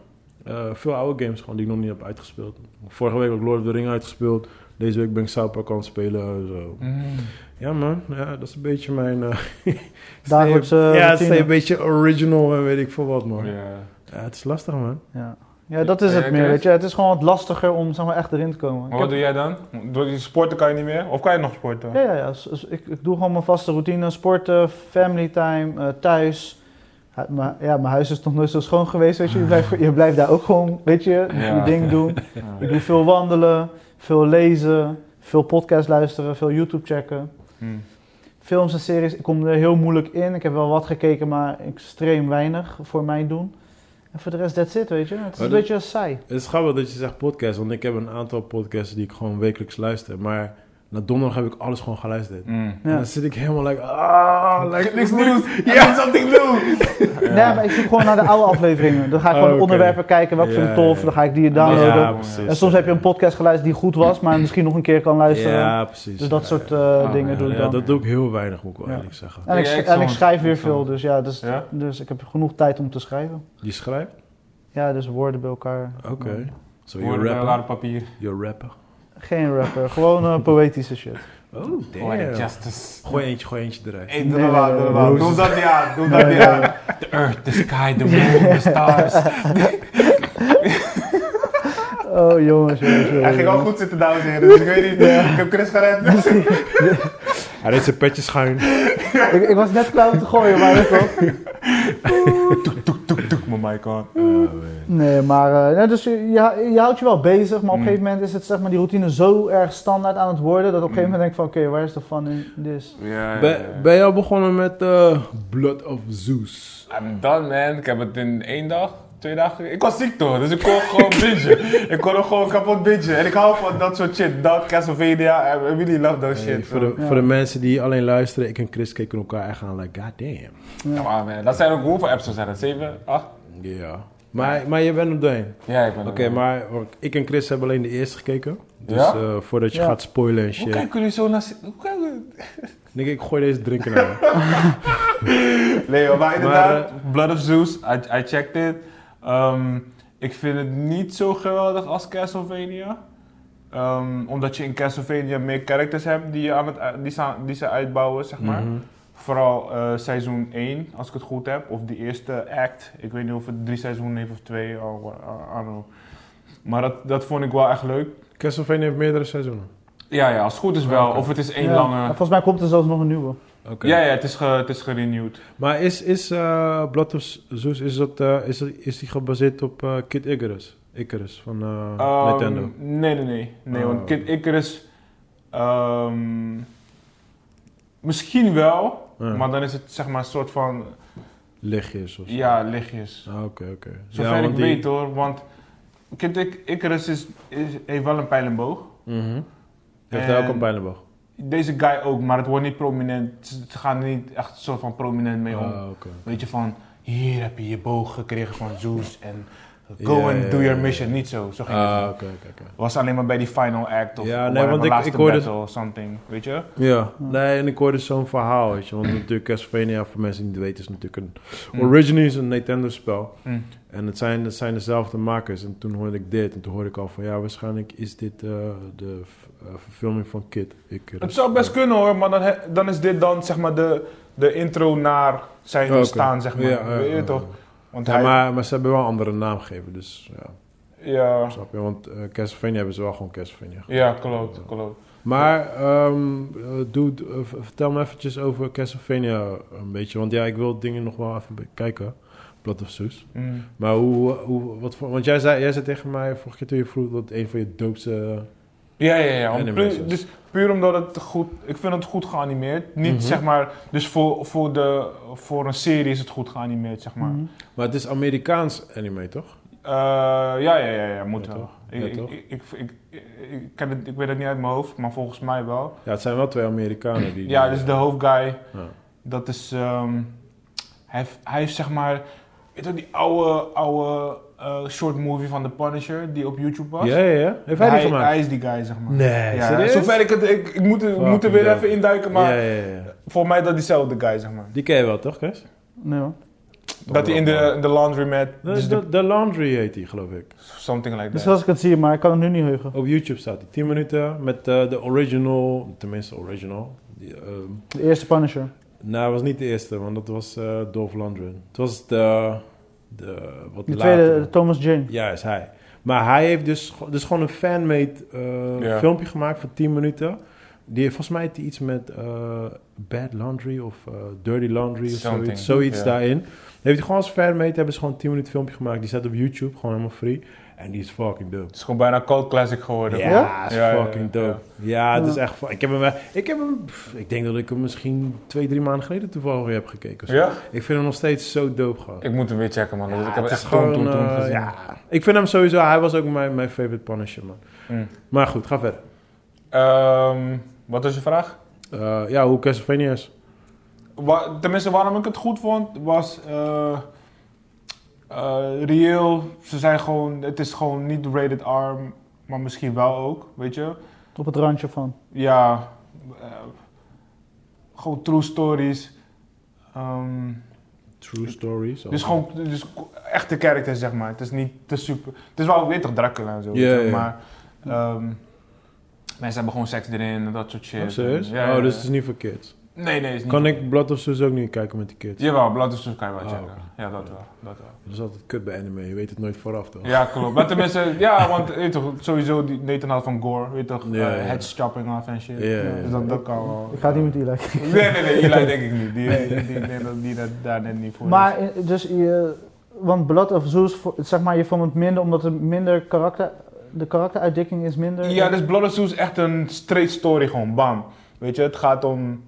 Eh, veel oude games gewoon, die ik nog niet heb uitgespeeld. Vorige week heb ik Lord of the Ring uitgespeeld. Deze week ben ik South Park aan het spelen. Zo.
Mm.
Ja man, ja, dat is een beetje mijn... eh,
Dagelijkse
Ja, het is
routine.
een beetje original en weet ik veel wat man. Ja.
Ja.
het is lastig man.
Ja. ja, dat is
Ja,
het meer,
Chris?
weet je. Het is gewoon wat lastiger om zeg maar, echt erin te komen.
Maar
Ik
wat
heb-
doe jij dan? Door die sporten kan je niet meer? Of kan je nog sporten?
ja, ja, ja. S- s- Ik, ik doe gewoon mijn vaste routine. Sporten, family time, eh, thuis. Ha- maar, ja, mijn huis is nog nooit zo schoon geweest, weet je. Je blijft, je blijft daar ook gewoon, weet je, je
Ja.
ding doen.
Ja.
Ik doe veel wandelen, veel lezen, veel podcast luisteren, veel YouTube checken.
Mm.
films en series, ik kom er heel moeilijk in. Ik heb wel wat gekeken, maar extreem weinig voor mijn doen. En voor de rest, that's it, weet je. Het is
Maar
een
Oh, dat-
beetje saai.
Het is grappig dat je zegt podcast, want ik heb een aantal podcasts die ik gewoon wekelijks luister. Maar na donderdag heb ik alles gewoon geluisterd.
Mm.
En
Ja.
dan zit ik helemaal like, ah, like,
Niks nieuws. Ja, something new.
Nee, maar ik zoek gewoon naar de oude afleveringen. Dan ga ik gewoon
Oh, oké.
onderwerpen kijken, welke vind ik
Ja,
tof,
ja.
dan ga ik die downloaden.
Ja, precies.
en soms heb je een podcast geluisterd die goed was, maar misschien nog een keer kan luisteren.
Ja, precies.
Dus dat
Ja,
soort
ja.
eh,
Ah,
dingen
Ja,
doe ik
ja,
dan.
dat doe ik heel weinig, moet ik wel
Ja.
eerlijk zeggen.
En, ik,
Ja,
sch-
ik
en ik
zal-
schrijf weer
ik zal-
veel, dus ja, dus,
Ja?
dus ik heb genoeg tijd om te schrijven.
Je schrijft?
Ja, dus woorden bij elkaar.
Oké. So
Woorden
you're
bij elkaar
rapper?
op papier.
You're rapper.
Geen rapper, gewoon eh,
[LAUGHS]
poëtische shit.
Oh,
Woorden,
damn.
justice.
Gooi eentje, gooi eentje eruit.
Hey,
Nee,
doe dat maar,
nee,
doe dat
nee,
maar.
nee.
Doe dat niet aan, doe dat
Nee,
niet
nee,
aan. The earth, the sky, the moon, the stars.
Oh jongens, jongens, jongens.
Hij ging al goed zitten, dames en heren. Dus ik weet niet, ik heb
[LAUGHS]
Chris gered.
Hij deed zijn petje schuin.
Ik, ik was net klaar om te gooien, maar dat toch?
Toek, toek, toek, toek, mijn mic aan.
Nee, maar eh, nee, dus je, je, je houdt je wel bezig, maar op
Mm.
een gegeven moment is het zeg maar die routine zo erg standaard aan het worden dat op
Mm.
een gegeven moment denk ik van oké, waar is de fun in this?
Ja,
Ben, ben je al begonnen met eh, Blood of Zeus?
I'm done, man. Ik heb het in één dag, twee dagen... Ik was ziek, toch? Dus ik kon
[LAUGHS]
gewoon bingen. Ik kon hem gewoon kapot bingen. En ik hou van dat soort shit. Dat, Castlevania. I really love that
Hey,
shit.
voor, de,
Ja.
voor de mensen die alleen luisteren, ik en Chris keken elkaar echt aan, like, god damn.
Ja, maar, man. Dat zijn ook hoeveel apps zijn dat? Zeven, acht?
Ja. Maar, maar je bent er doorheen.
Ja, ik ben er
Oké,
wel.
maar want ik en Chris hebben alleen de eerste gekeken. Dus
Ja?
eh, voordat je
Ja.
gaat spoilen en
Hoe
shit.
kijken jullie zo naar... Hoe kijken jullie-
Denk ik, ik gooi deze drinken naar
Nee, hoor, maar
Maar,
inderdaad, Blood of Zeus, I, I checked it. Ehm, ik vind het niet zo geweldig als Castlevania. Ehm, omdat je in Castlevania meer characters hebt die, je aan het, eh, die, ze, die ze uitbouwen, zeg [LAUGHS]
Mhm.
maar. Vooral eh, seizoen 1, als ik het goed heb, of die eerste act. Ik weet niet of het drie seizoenen heeft of twee, oh, I don't know. Maar dat, dat vond ik wel echt leuk.
Castlevania heeft meerdere seizoenen.
Ja, ja, als het goed is wel.
Oké.
Of het is één
Ja. En
lange...
Volgens mij komt er zelfs nog een nieuwe.
Oké.
Ja, ja, het is, ge, het is gerenewd.
Maar is, is eh, Blood of Zeus, is, dat, eh, is, dat- is die gebaseerd op eh, Kid Icarus? Icarus van eh,
Ehm,
Nintendo.
Nee, nee, nee. nee
Oh.
Want Kid Icarus... ehm, misschien wel,
Ja,
maar dan is het zeg maar een soort van...
Lichtjes of zo.
Ja, lichtjes.
Ah, Oké, oké.
Zover
Ja, want
ik
die-
weet hoor, want Kid Ic- Icarus is, is, heeft wel een pijl en boog.
Mhm. Heeft hij
En-
ook een pijlenboog?
Deze guy ook, maar het wordt niet prominent. Ze ze gaan er niet echt een soort van prominent mee om.
Ah, oké.
Weet je, van hier heb je je boog gekregen van Zeus en go
Ja,
and
ja,
do
ja,
your
ja.
mission. Niet zo, zo ging het.
Ah, oké, oké, oké.
Was alleen maar bij die final act of
Ja,
ja,
nee, want ik-
laatste
ik hoorde-
battle of something, weet je?
Ja, nee, en ik hoorde zo'n verhaal, weet
[CLEARS THROAT]
je. Want natuurlijk Castlevania, voor mensen die het weten, is natuurlijk een...
Mm.
Originally is een Nintendo-spel.
Mm.
En het zijn, het zijn dezelfde makers. En toen hoorde ik dit. En toen hoorde ik al van, ja, waarschijnlijk is dit eh, de v- eh, verfilming van Kid. Ik, eh,
Het zou best kunnen hoor, maar dan, he- dan is dit dan zeg maar de, de intro naar zijn
Oké.
bestaan, zeg maar.
Ja, ja,
weet je
ja,
toch?
ja.
Want
Ja,
hij,
maar, maar ze hebben wel een andere naam gegeven, dus ja,
ja,
snap je. Want eh Castlevania hebben ze wel gewoon Castlevania. gemaakt.
ja, klopt, klopt.
Maar, ehm, eh, dude, eh, v- vertel me eventjes over Castlevania een beetje. Want ja, ik wil dingen nog wel even bekijken. Blood of Zeus.
Mm.
Maar hoe, hoe wat voor, want jij zei, jij zei tegen mij vorige keer toen je vroeg dat een van je doopste.
Ja, ja, ja. om
Anime
puur-
is.
dus puur omdat het goed... Ik vind het goed geanimeerd. Niet
Mhm.
zeg maar... Dus voor, voor, de, voor een serie is het goed geanimeerd, zeg maar.
Mhm.
Maar het is Amerikaans anime, toch?
Eh, ja, ja, ja, ja, moet
Ja,
wel.
toch?
Ik,
Ja,
ik,
toch?
ik, ik, ik- ik ken het, ik weet het niet uit mijn hoofd, maar volgens mij wel.
Ja, het zijn wel twee Amerikanen die.
[CLEARS THROAT] Ja, dus de hoofdguy,
Ja.
dat is... ehm, hij, heeft, hij heeft zeg maar... Weet je wel, die oude, oude eh, short movie van The Punisher die op YouTube was?
Ja, ja, ja. Heeft hij, die gemaakt?
Hij is die guy, zeg maar.
Nee,
Ja,
serieus?
zover ik het... Ik, ik moet, er-
Fucking
moet er weer
dope.
even induiken, maar...
Ja, ja, ja.
Volgens mij dat diezelfde guy, zeg maar.
Die ken je wel, toch, Chris?
Nee hoor.
Oh,
Dat hij in de, in de laundromat...
De,
dus de-
de, de Laundry heet die, geloof ik.
something like
Dus
that.
als ik het zie, maar ik kan het nu niet heugen.
Op YouTube staat die. 10 minuten met eh, de original, tenminste original. Die, ehm,
De eerste Punisher.
nou, dat was niet de eerste, want dat was eh Dolph Lundgren. Het was de, de wat
De
later.
tweede, Thomas Jane.
Ja, is hij. Maar hij heeft dus, dus gewoon een fanmade eh,
Ja.
filmpje gemaakt van 10 minuten. Die, volgens mij heeft die iets met eh, Bad Laundry of eh, Dirty Laundry of
Something,
zoiets, zoiets
ja.
daarin. Dan heeft hij gewoon als fan mee. Hebben ze gewoon een 10 minuten filmpje gemaakt. Die staat op YouTube, gewoon helemaal free. En die is fucking dope.
Het is gewoon bijna een cult classic geworden.
Ja,
Ja?
is
Ja, ja,
fucking
ja, ja.
dope. Ja, het
Ja.
is echt... fu- Ik heb hem... wel- Ik, heb hem pff, ik denk dat ik hem misschien twee, drie maanden geleden toevallig weer heb gekeken. of zo.
Ja?
Ik vind hem nog steeds zo dope gewoon.
Ik moet hem weer checken, man. ik
Ja,
heb het
het
echt
is
gewoon toen,
gewoon,
toen
eh,
gezien.
ja. Ik vind hem sowieso... Hij was ook mijn, mijn favorite Punisher, man.
Mm.
Maar goed, ga verder.
Ehm, wat was je vraag?
Eh, ja, hoe Castlevania is.
Wa- tenminste, waarom ik het goed vond, was eh, eh, reëel. Ze zijn gewoon, het is gewoon niet rated R, maar misschien wel ook, weet je.
Op het randje van.
Ja, eh, gewoon true stories. Ehm,
True Stories. Oh,
dus gewoon dus echte characters, zeg maar. Het is niet te super. Het is wel, weet toch, Dracula en zo.
Ja,
weet je,
ja, ja.
Maar ehm, mensen hebben gewoon seks erin en dat soort shit.
Oh, serieus?
Ja, ja,
oh, dus
ja.
het is niet voor kids.
Nee, nee, is niet.
Kan ik Blood of Zeus ook niet kijken met die kids?
Jawel, Blood of Zeus kan je wel
Oh,
checken.
oké.
Ja, dat wel. Dat wel.
Dat is altijd kut bij anime. Je weet het nooit vooraf, toch?
Ja, klopt. Maar tenminste, ja, want weet je toch, sowieso die Nathan had van Gore, weet je toch,
Ja,
eh,
ja.
heads chopping af en shit.
Ja, ja,
Dus
ja.
dat, dat kan wel.
Ik ga het niet met die lekker.
Nee, nee, nee, Eli denk ik niet. Die, die, die, die, die, die dat daar net niet voor
Maar
is.
eh, dus je, want Blood of Zeus, vo- zeg maar, je vond het minder omdat er minder karakter, de karakteruitdikking is minder.
Ja, dus Blood of Zeus is echt een straight story gewoon, bam. Weet je, het gaat om...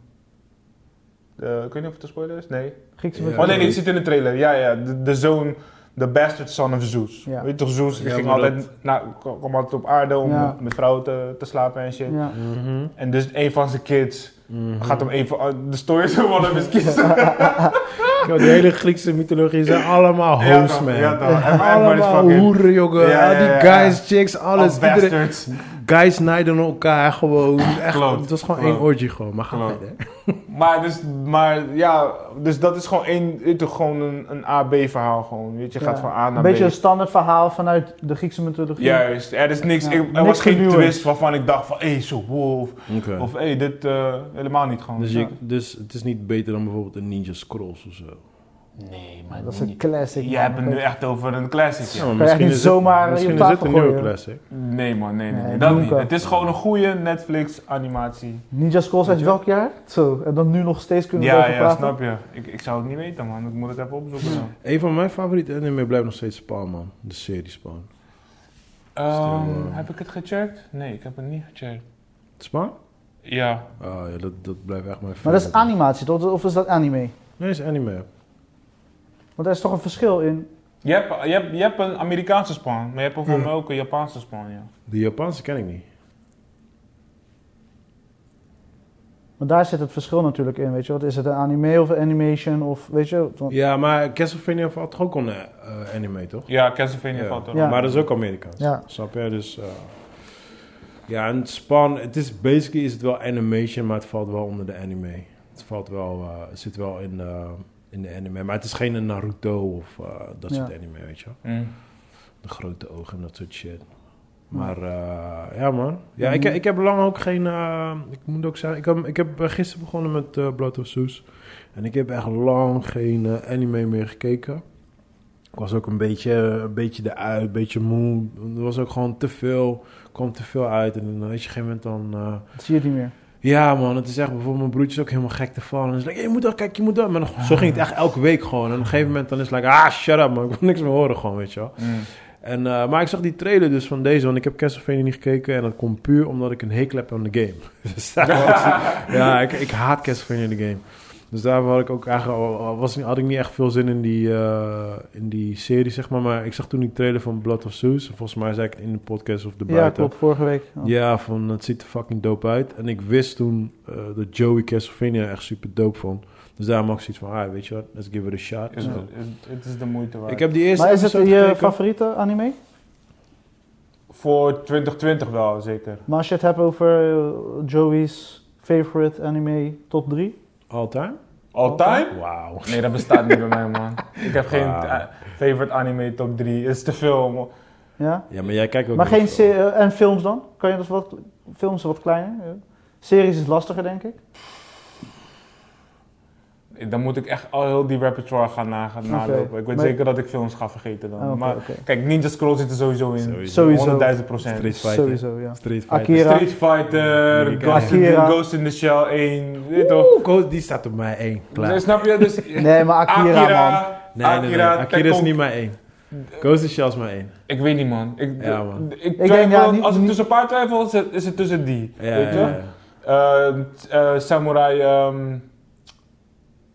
eh ik weet niet of het een spoiler is, nee.
Griekse
Ja.
mythologie.
Oh nee, nee, het zit in de trailer. Ja, ja, de, de zoon, de bastard son of Zeus.
Ja.
Weet je toch, Zeus die
Ja,
ging
maar dat-
altijd, nou, kwam altijd op aarde om
Ja.
met vrouwen te, te slapen en shit.
Ja.
Mhm,
En dus een van zijn kids
mhm.
gaat om een van de stories van
[LAUGHS]
One of His Kids.
Yo, die hele Griekse mythologie zijn allemaal hoes,
toch,
man.
ja, toch. En mijn man is
allemaal
fucking
hoeren, jongen.
Ja,
Al
ja, ja,
die
ja.
guys, chicks, alles.
al
Iedereen-
bastards.
guys nijden elkaar gewoon. Echt,
Klopt,
het was gewoon
klopt.
één orgie gewoon. Maar ga
Klopt.
verder.
Maar, dus, maar ja, dus dat is gewoon, één, weet je, gewoon een, een AB-verhaal. Gewoon. Weet je, je gaat
Ja.
van A
Een
naar B.
beetje een standaard verhaal vanuit de Griekse mythologie.
Juist, er is niks.
Ja.
ik- er
Niks
was geen
vernieuwends.
twist waarvan ik dacht van, hé, hey, zo wow. Of
Oké.
hé, hey, dit eh, helemaal niet gewoon.
Dus,
Ja.
ik, dus het is niet beter dan bijvoorbeeld een Ninja Scrolls of zo.
Nee, maar
Dat is een classic.
je
man.
hebt het nu echt over een classic. ja.
Ja, maar
je echt niet
is het-
zomaar je
misschien
op
is het
tafel
een nieuwe
gooien.
classic.
Nee man, nee, nee, nee,
Nee,
dat
doe ik
niet.
ook.
Het is gewoon een goede Netflix-animatie.
Ninja Scrolls uit
Weet je?
welk jaar? Zo, en dan nu nog steeds kunnen we
Ja,
over
ja,
praten.
snap je. Ik, ik zou het niet weten man, ik moet het even opzoeken dan.
Een van mijn favoriete anime blijft nog steeds Spawn, man. De serie Spawn.
Ehm,
Stil, eh.
heb ik het gecheckt? Nee, ik heb het niet gecheckt.
Spawn?
Ja.
Oh ja, dat, dat blijft echt mijn
Maar dat is
favoriete.
animatie, toch? Of is dat anime?
Nee, dat is anime.
Want er is toch een verschil in.
Je hebt, je, hebt, je hebt een Amerikaanse span, maar je hebt
Mm.
volgens mij ook een Japanse span, ja.
De Japanse ken ik niet.
Want daar zit het verschil natuurlijk in, weet je. Wat is het een anime of een animation of weet je? want-
Ja, maar Castlevania valt toch ook onder eh, anime, toch?
Ja, Castlevania
Ja.
valt erop.
Ja.
Maar dat is ook Amerikaans.
Ja.
Snap je? Dus eh, ja, en Spawn, het is basically is het wel animation, maar het valt wel onder de anime. Het valt wel, eh, het zit wel in, eh, in de anime, maar het is geen een Naruto of eh, dat
Ja.
soort anime, weet je? wel.
Mm.
De grote ogen en dat soort shit. Maar eh, ja man, ja, ik, ik heb lang ook geen, eh, ik moet ook zeggen, ik heb, ik heb eh, gisteren begonnen met eh Blood of Zeus. En ik heb echt lang geen eh, anime meer gekeken. Ik was ook een beetje, een beetje eruit, een beetje moe. Er was ook gewoon te veel, er kwam te veel uit. En dan weet je, op een gegeven moment dan... eh,
Dat zie je het niet meer.
ja man, het is echt bijvoorbeeld mijn broertje is ook helemaal gek te vallen. En is like, je moet dat, kijk, je moet dat. Maar dan- zo ging het echt elke week gewoon. En op een gegeven moment dan is het like, ah shut up man, ik wil niks meer horen gewoon, weet je wel.
Mm.
En, eh, maar ik zag die trailer dus van deze, want ik heb Castlevania niet gekeken. En dat komt puur omdat ik een hekel heb aan de game. [LAUGHS] Dus daarom had
[LAUGHS]
ik- ja, ik, ik haat Castlevania de game. Dus daarvoor had ik ook eigenlijk, al- al was, niet- had ik niet echt veel zin in die, eh, in die serie, zeg maar. Maar ik zag toen die trailer van Blood of Zeus. Volgens mij zei ik het in de podcast of de
Ja,
buiten.
klopt. Vorige week. Ja.
Ja, van het ziet er fucking dope uit. En ik wist toen eh, dat Joey Castlevania echt super dope vond. Dus daarom had ik zoiets van, ah, weet je wat, let's give it a shot.
Is,
Ja.
het- is- het is de moeite waard.
Ik heb die eerste
Maar is het
episode
je
gekeken.
favoriete anime?
Voor 2020 wel, zeker.
Maar als je het hebt over eh, Joey's favorite anime top 3.
All time?
All time?
Wauw.
Nee, dat bestaat niet bij mij, man. Ik heb geen
Wauw.
eh, favorite anime top 3. Het is te veel. man.
Ja?
Ja, maar jij kijkt ook
Maar
heel
geen
veel.
se- eh, en films dan? Kan je dat wat
Oh,
films wat kleiner? Ja. Series is lastiger, denk ik.
Dan moet ik echt al heel die repertoire gaan na- gaan
Oké.
nalopen. Ik weet
Maar-
zeker dat ik films ga vergeten dan.
Ah, oké,
maar
oké.
kijk, Ninja Scroll zit er sowieso in.
Sowieso.
100.000 procent.
Street Fighter.
Sowieso, ja.
Street Fighter.
Akira.
Street Fighter,
Amerika.
Ghost in,
Akira.
Ghost in the Shell 1. Weet je toch?
Oeh, Ghost, die staat op mijn 1. Klaar.
Nee, Snap je? Dus,
Nee, maar Akira, man.
nee, nee, nee. Akira, is
Tekken.
niet mijn 1. Ghost in the Shell is mijn 1.
Ik weet niet, man. Ik,
Ja, man.
ik
denk,
twijfel-
ja, niet-
als ik
niet-
tussen een paar twijfel, is het, is het tussen die.
Ja,
weet je?
ja, ja.
Eh, t- eh, samurai, ehm,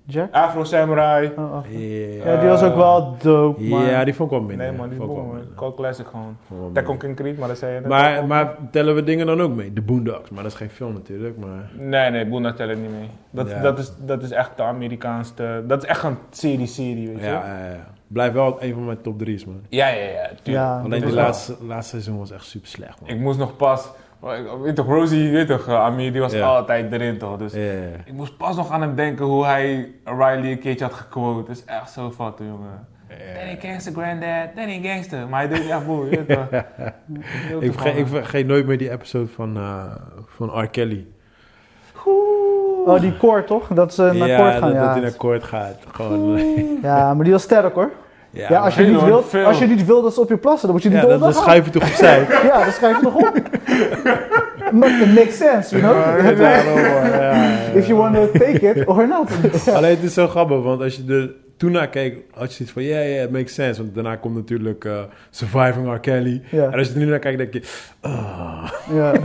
Jack?
Afro Samurai.
Oh, oh.
Ja.
Ja, die was ook wel dope, man.
Ja, die vond ik wel minder.
Nee, man, die is
Vond ik wel
bom, man.
minder.
Call Classic gewoon.
Vond ik wel
Tekken
minder.
King Creed, maar dat zei je net ook
Maar,
al.
maar tellen we dingen dan ook mee? De Boondocks, maar dat is geen film natuurlijk. Maar...
Nee, nee, Boona tellen niet mee. Dat,
Ja.
dat, is, dat is echt de Amerikaanse... Dat is echt een serie-serie, weet je.
Ja, ja, ja. Blijft wel een van mijn top 3's, man.
ja, ja, ja, tuurlijk.
Ja, dat
Alleen die
is
laatste, laatste seizoen was echt super slecht, man.
Ik moest nog pas... Weet toch, Rosie, weet toch, eh, Amir, die was
Ja.
altijd erin, toch? Dus
Ja, ja, ja.
Ik moest pas nog aan hem denken hoe hij Riley een keertje had gequote. Het is echt zo fout, jongen. Danny Gangster, granddad, Danny Gangster. Maar hij deed echt boel, je
[LAUGHS]
weet toch? Heel
Ik, vergeet, ik
toevallig.
vergeet nooit meer die episode van, eh, van R. Kelly.
Oh, die koord toch? Dat ze eh, naar koord
ja, dat,
gaan,
dat
ja.
hij naar koord gaat.
[LAUGHS]
Gewoon,
Ja, maar die was sterk hoor.
ja,
Ja,
maar-
als, je
veel,
niet
hoor,
wilt,
veel.
als je niet wilt dat ze op je plassen, dan moet je niet
ja, dat, dat schuif je toch
[LAUGHS]
opzij.
Ja, dat schrijf je nog op. It makes sense, you know?
Daarom, hoor, ja, ja, ja.
If you want to take it or not.
[LAUGHS] Alleen het is zo grappig, want als je er toen naar kijkt, had je zoiets van, ja, ja, it makes sense. Want daarna komt natuurlijk eh, Surviving R. Kelly. En
Ja,
als je er nu naar kijkt, denk je, ah.
ja, ja.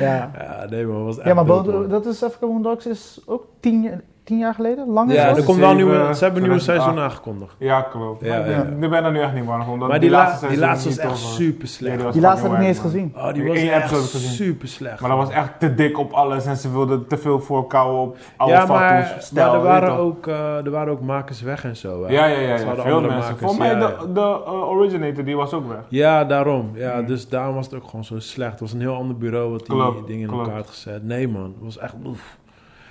ja.
Ja, nee man, was echt
Ja, maar
dood,
Bo-
man.
dat is Africa Moon Dogs is ook tien, jaar- tien jaar geleden? Langer
Ja,
zelfs?
er komt wel een nieuwe, ze
2007,
eh,
hebben een nieuwe seizoen
2008.
aangekondigd.
Ja, klopt.
Ja,
Maar ik
ja.
ben- Ik ben er nu echt niet warm omdat
Maar die, la- die
seizoen
laatste was
niet
echt
tof was.
super
Nee,
slecht.
was
Die laatste heb ik
fucking
niet eens
wack, man.
gezien.
Oh, die
Ik-
was
één
echt
episode gezien.
super slecht.
Maar dat was echt te dik op alles en ze wilden te veel voorkouwen op oude
ja,
ja,
maar,
stijl.
maar er,
weet
waren
je toch?
ook, eh, er waren ook makers weg en zo. hè.
Ja, ja, ja,
Ze
ja.
hadden
veel
andere
mensen.
makers,
Volgens mij
ja,
de, de eh, originator, die was ook weg.
Ja, daarom. Ja,
Mm.
Dus daarom was het ook gewoon zo slecht. Het was een heel ander bureau wat die
Klopt,
dingen in
klopt.
elkaar had gezet. Nee man, het was echt... oef.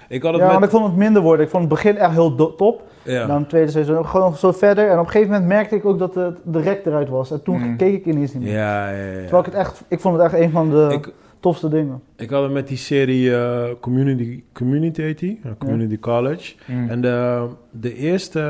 Ik had het
Ja, want
met...
ik vond het minder worden. Ik vond het begin echt heel do- top.
Ja.
Dan het tweede seizoen ook gewoon zo verder. En op een gegeven moment merkte ik ook dat het de rek eruit was. En toen
Mm.
keek ik ineens niet meer.
ja, ja, ja.
Terwijl ik het echt, ik vond het echt een van de
Ik-
tofste dingen.
Ik had het met die serie eh, Community, Community heet die? Ja, Community College.
Mm.
En de, de, eerste,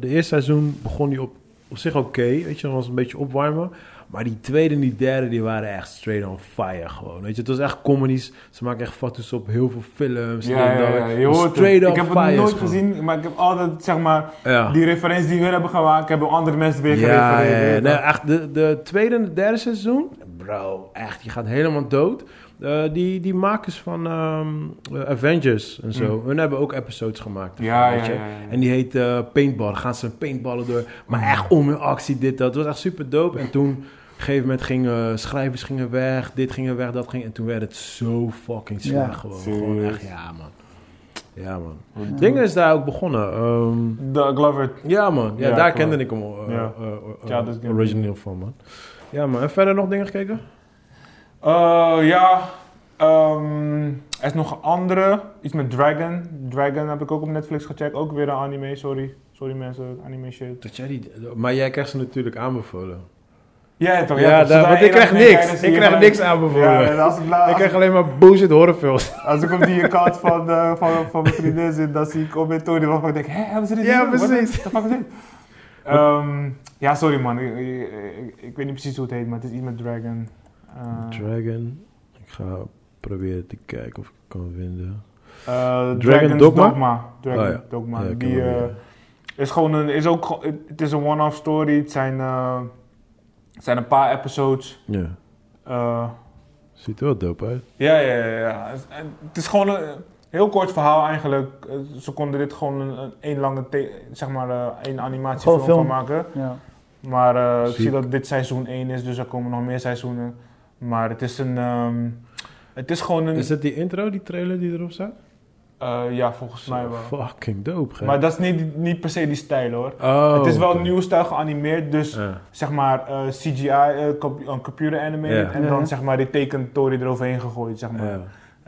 de eerste seizoen begon die op, op zich oké, weet je, dat was een beetje opwarmen. Maar die tweede en die derde, die waren echt straight on fire gewoon, weet je. Het was echt comedies, ze maken echt foto's op heel veel films.
Ja,
en
ja,
dan-
ja, je hoort het.
straight on
Ik heb het
fire
nooit
gewoon.
gezien, maar ik heb altijd, zeg maar,
Ja.
die referentie die we hebben gemaakt, hebben andere mensen weer
Ja, ja, ja.
gerefereerd.
Nee, echt, de, de tweede en de derde seizoen, bro, echt, je gaat helemaal dood. Eh, die, die makers van ehm, eh, Avengers en zo, hun hebben ook episodes gemaakt.
Mm. Ja,
weet
ja,
je.
ja, ja, Mm. ja.
En die heet eh, Paintball, Dan gaan ze paintballen door, maar echt om in actie, dit, dat. Het was echt super dope. En toen, op een gegeven moment, gingen eh, schrijvers gingen weg, dit gingen weg, dat ging. En toen werd het zo fucking
Ja.
slecht gewoon. Gewoon
Serieus?
echt, ja man. Ja man. Dingen is daar ook begonnen. ehm,
De Glover.
ja, man. Ja,
Ja,
daar
klopt.
kende ik hem eh,
Ja.
eh, eh,
Ja, dat is
eh, origineel van, man. Ja, man. En verder nog dingen gekeken?
Eh, ja, ehm, er is nog een andere. Iets met Dragon. Dragon heb ik ook op Netflix gecheckt. Ook weer een anime, sorry. Sorry mensen, anime shit.
Dat jij die... Maar jij krijgt ze natuurlijk aanbevolen.
Ja, toch?
ja,
toch,
daar,
zodra
want ik
één
krijg
aflevering kijkt,
niks.
dan zie
Ik
je
krijg
gelijk-
niks aanbevolen.
Ja, en als, het la-
ik
als,
krijg alleen maar bullshit
[LAUGHS]
horrorfilms.
als ik op die account van, eh, van, van mijn vriendin zit, dan zie ik op mijn toon waarvan ik denk, hè, hebben ze dit
Ja,
niet gedaan? What the-
precies.
what the fuck is dit? Ehm, ja, sorry man. Ik, ik- ik- ik weet niet precies hoe het heet, maar het is iets met Dragon. Eh,
Dragon. Ik ga proberen te kijken of ik het kan vinden.
Eh,
Dragon
Dragon's
Dogma?
Dogma. Dragon
Oh ja.
Dogma.
Ja, ik
die
heb hem,
eh,
ja.
is gewoon een, is ook, ge- het- het is een one-off story. Het zijn, eh, het zijn een paar episodes.
Ja.
Eh,
Ziet er wel dope uit.
ja, ja, ja, ja. Het- Het is gewoon een heel kort verhaal eigenlijk. Eh, Ze konden dit gewoon een, een, één lange, the- zeg maar, eh, één animatiefilm
Gewoon
van
film.
maken.
Ja.
Maar eh, ik
Ziek.
zie dat dit seizoen 1 is, dus er komen nog meer seizoenen. Maar het is een, ehm, het is gewoon een,
Is dat die intro, die trailer die erop staat?
eh, ja, volgens mij wel.
Fucking dope, gek.
Maar dat is niet, niet per se die stijl hoor.
Oh,
het is wel
oké.
nieuw stijl geanimeerd, dus
Ja.
zeg maar eh, CGI, eh, comp- een computer animated
Ja.
en
Ja,
dan
ja.
zeg maar die tekentory eroverheen gegooid, zeg maar.
Ja.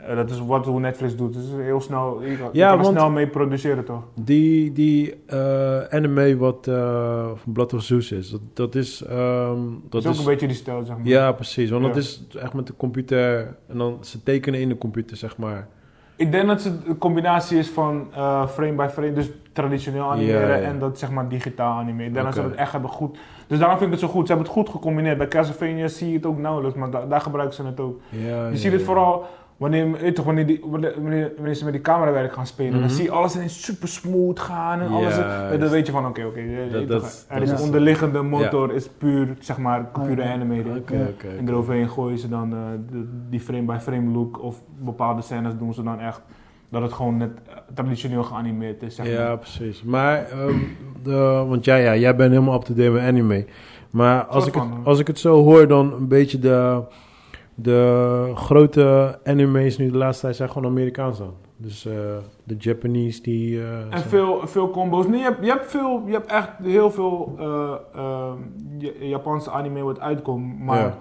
Eh, dat is wat hoe Netflix doet, dus heel snel, je, kan- je
Ja,
kan er
want-
snel mee produceren toch?
Die, die eh, anime wat eh, van Blood of Zeus is, dat, dat is... ehm,
Dat
dat
is ook
is
een beetje die stijl, zeg maar.
ja, precies. Want
Ja.
dat is echt met de computer... En dan ze tekenen in de computer, zeg maar.
Ik denk dat het een combinatie is van eh, frame by frame, dus traditioneel animeren
Ja, ja.
en dat zeg maar digitaal animeren. Ik denk dat ze
Oké.
dat echt hebben goed. Dus daarom vind ik het zo goed. Ze hebben het goed gecombineerd. Bij Castlevania zie je het ook nauwelijks, maar da- daar gebruiken ze het ook.
Ja,
Je ziet het vooral wanneer, weet je toch, wanneer, die, wanneer, wanneer- wanneer ze met die camerawerk gaan spelen.
Mhm.
Dan zie je alles ineens super smooth gaan en
Ja,
alles. en dan
juist.
weet je van oké, oké. eh,
Dat-
je
dat
toch,
is-
er
dat
is
is-
onderliggende motor, is puur, zeg maar, pure
Ah, ja.
Oké,
animated.
oké,
En
oké.
eroverheen gooien ze dan eh, de- die frame-by-frame look of bepaalde scènes doen ze dan echt dat het gewoon net eh, traditioneel geanimeerd is. Zeg maar.
Ja, precies. Maar, ehm, de- want ja, ja, jij bent helemaal up-to-date met anime. Maar als ik,
Soort
het,
van,
als ik het zo hoor, dan een beetje de, de grote anime's nu de laatste tijd zijn gewoon Amerikaans dan. Dus eh, de Japanese die... eh,
En
zijn-
veel, veel combo's. Nee, je hebt, je hebt veel, je hebt echt heel veel eh, ehm, Ja- Japanse anime wat uitkomt. Maar
Ja.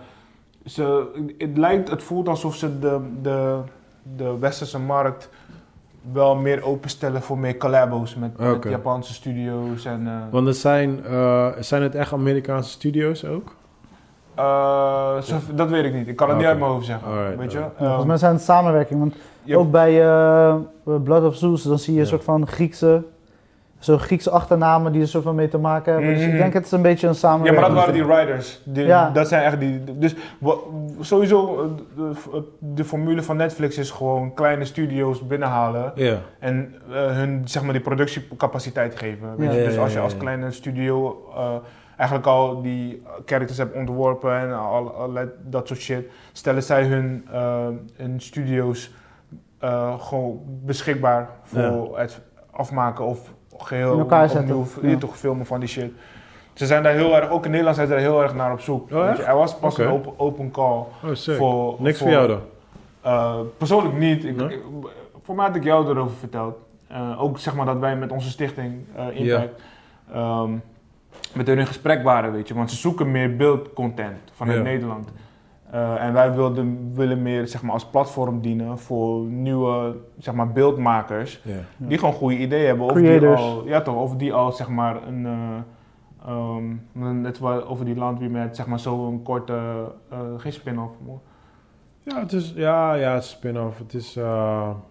ze, het lijkt, het voelt alsof ze de, de, de westerse markt wel meer openstellen voor meer collabos met, met
Oké.
Japanse studio's. En, eh,
Want het zijn, eh, zijn het echt Amerikaanse studio's ook?
eh, zo- dat weet ik niet. Ik kan het
Oké.
niet uit mijn hoofd zeggen.
Alright,
weet je?
alright.
Ehm,
Volgens mij zijn het samenwerking. Want
je hebt-
ook bij eh, Blood of Zeus, dan zie je een
Ja.
soort van Griekse, zo'n Griekse achternamen die er soort van mee te maken hebben. Dus
Mhm.
ik denk het is een beetje een
Ja,
samenwerking.
maar dat waren die riders. Die,
Ja.
Dat zijn echt die. Dus wa- sowieso, eh, de, de formule van Netflix is gewoon kleine studio's binnenhalen
Ja.
en eh, hun zeg maar die productiecapaciteit geven. Weet
Ja.
je?
Ja,
Dus
ja,
als je
ja,
als
ja.
kleine studio eh, eigenlijk al die characters hebt ontworpen en al, allerlei dat soort shit, stellen zij hun, eh, hun studio's eh, gewoon beschikbaar voor het afmaken of geheel
In elkaar zetten,
opnieuw
ja.
je toch filmen van die shit. Ze zijn daar heel erg, ook in Nederland zijn ze daar heel erg naar op zoek.
Oh,
Weet je, er was pas
Oké.
een open, open call
Oh, sick.
voor...
Niks voor jou dan?
Eh, persoonlijk niet. Ik,
Nee?
ik- voor mij had ik jou erover verteld. Eh, ook zeg maar dat wij met onze stichting eh, Impact ehm, met hun in gesprek waren, weet je. Want ze zoeken meer beeldcontent vanuit
Ja.
Nederland. Eh, en wij wilden, willen meer zeg maar, als platform dienen voor nieuwe zeg maar, beeldmakers.
Ja.
Die gewoon goede ideeën hebben. Of
Creators.
Die al, ja toch, of die al zeg maar een... eh, ehm, net wa- over die landweer met zeg maar zo'n korte... eh geen spin-off.
Ja, het is, ja, ja, het is spin-off. Het is eh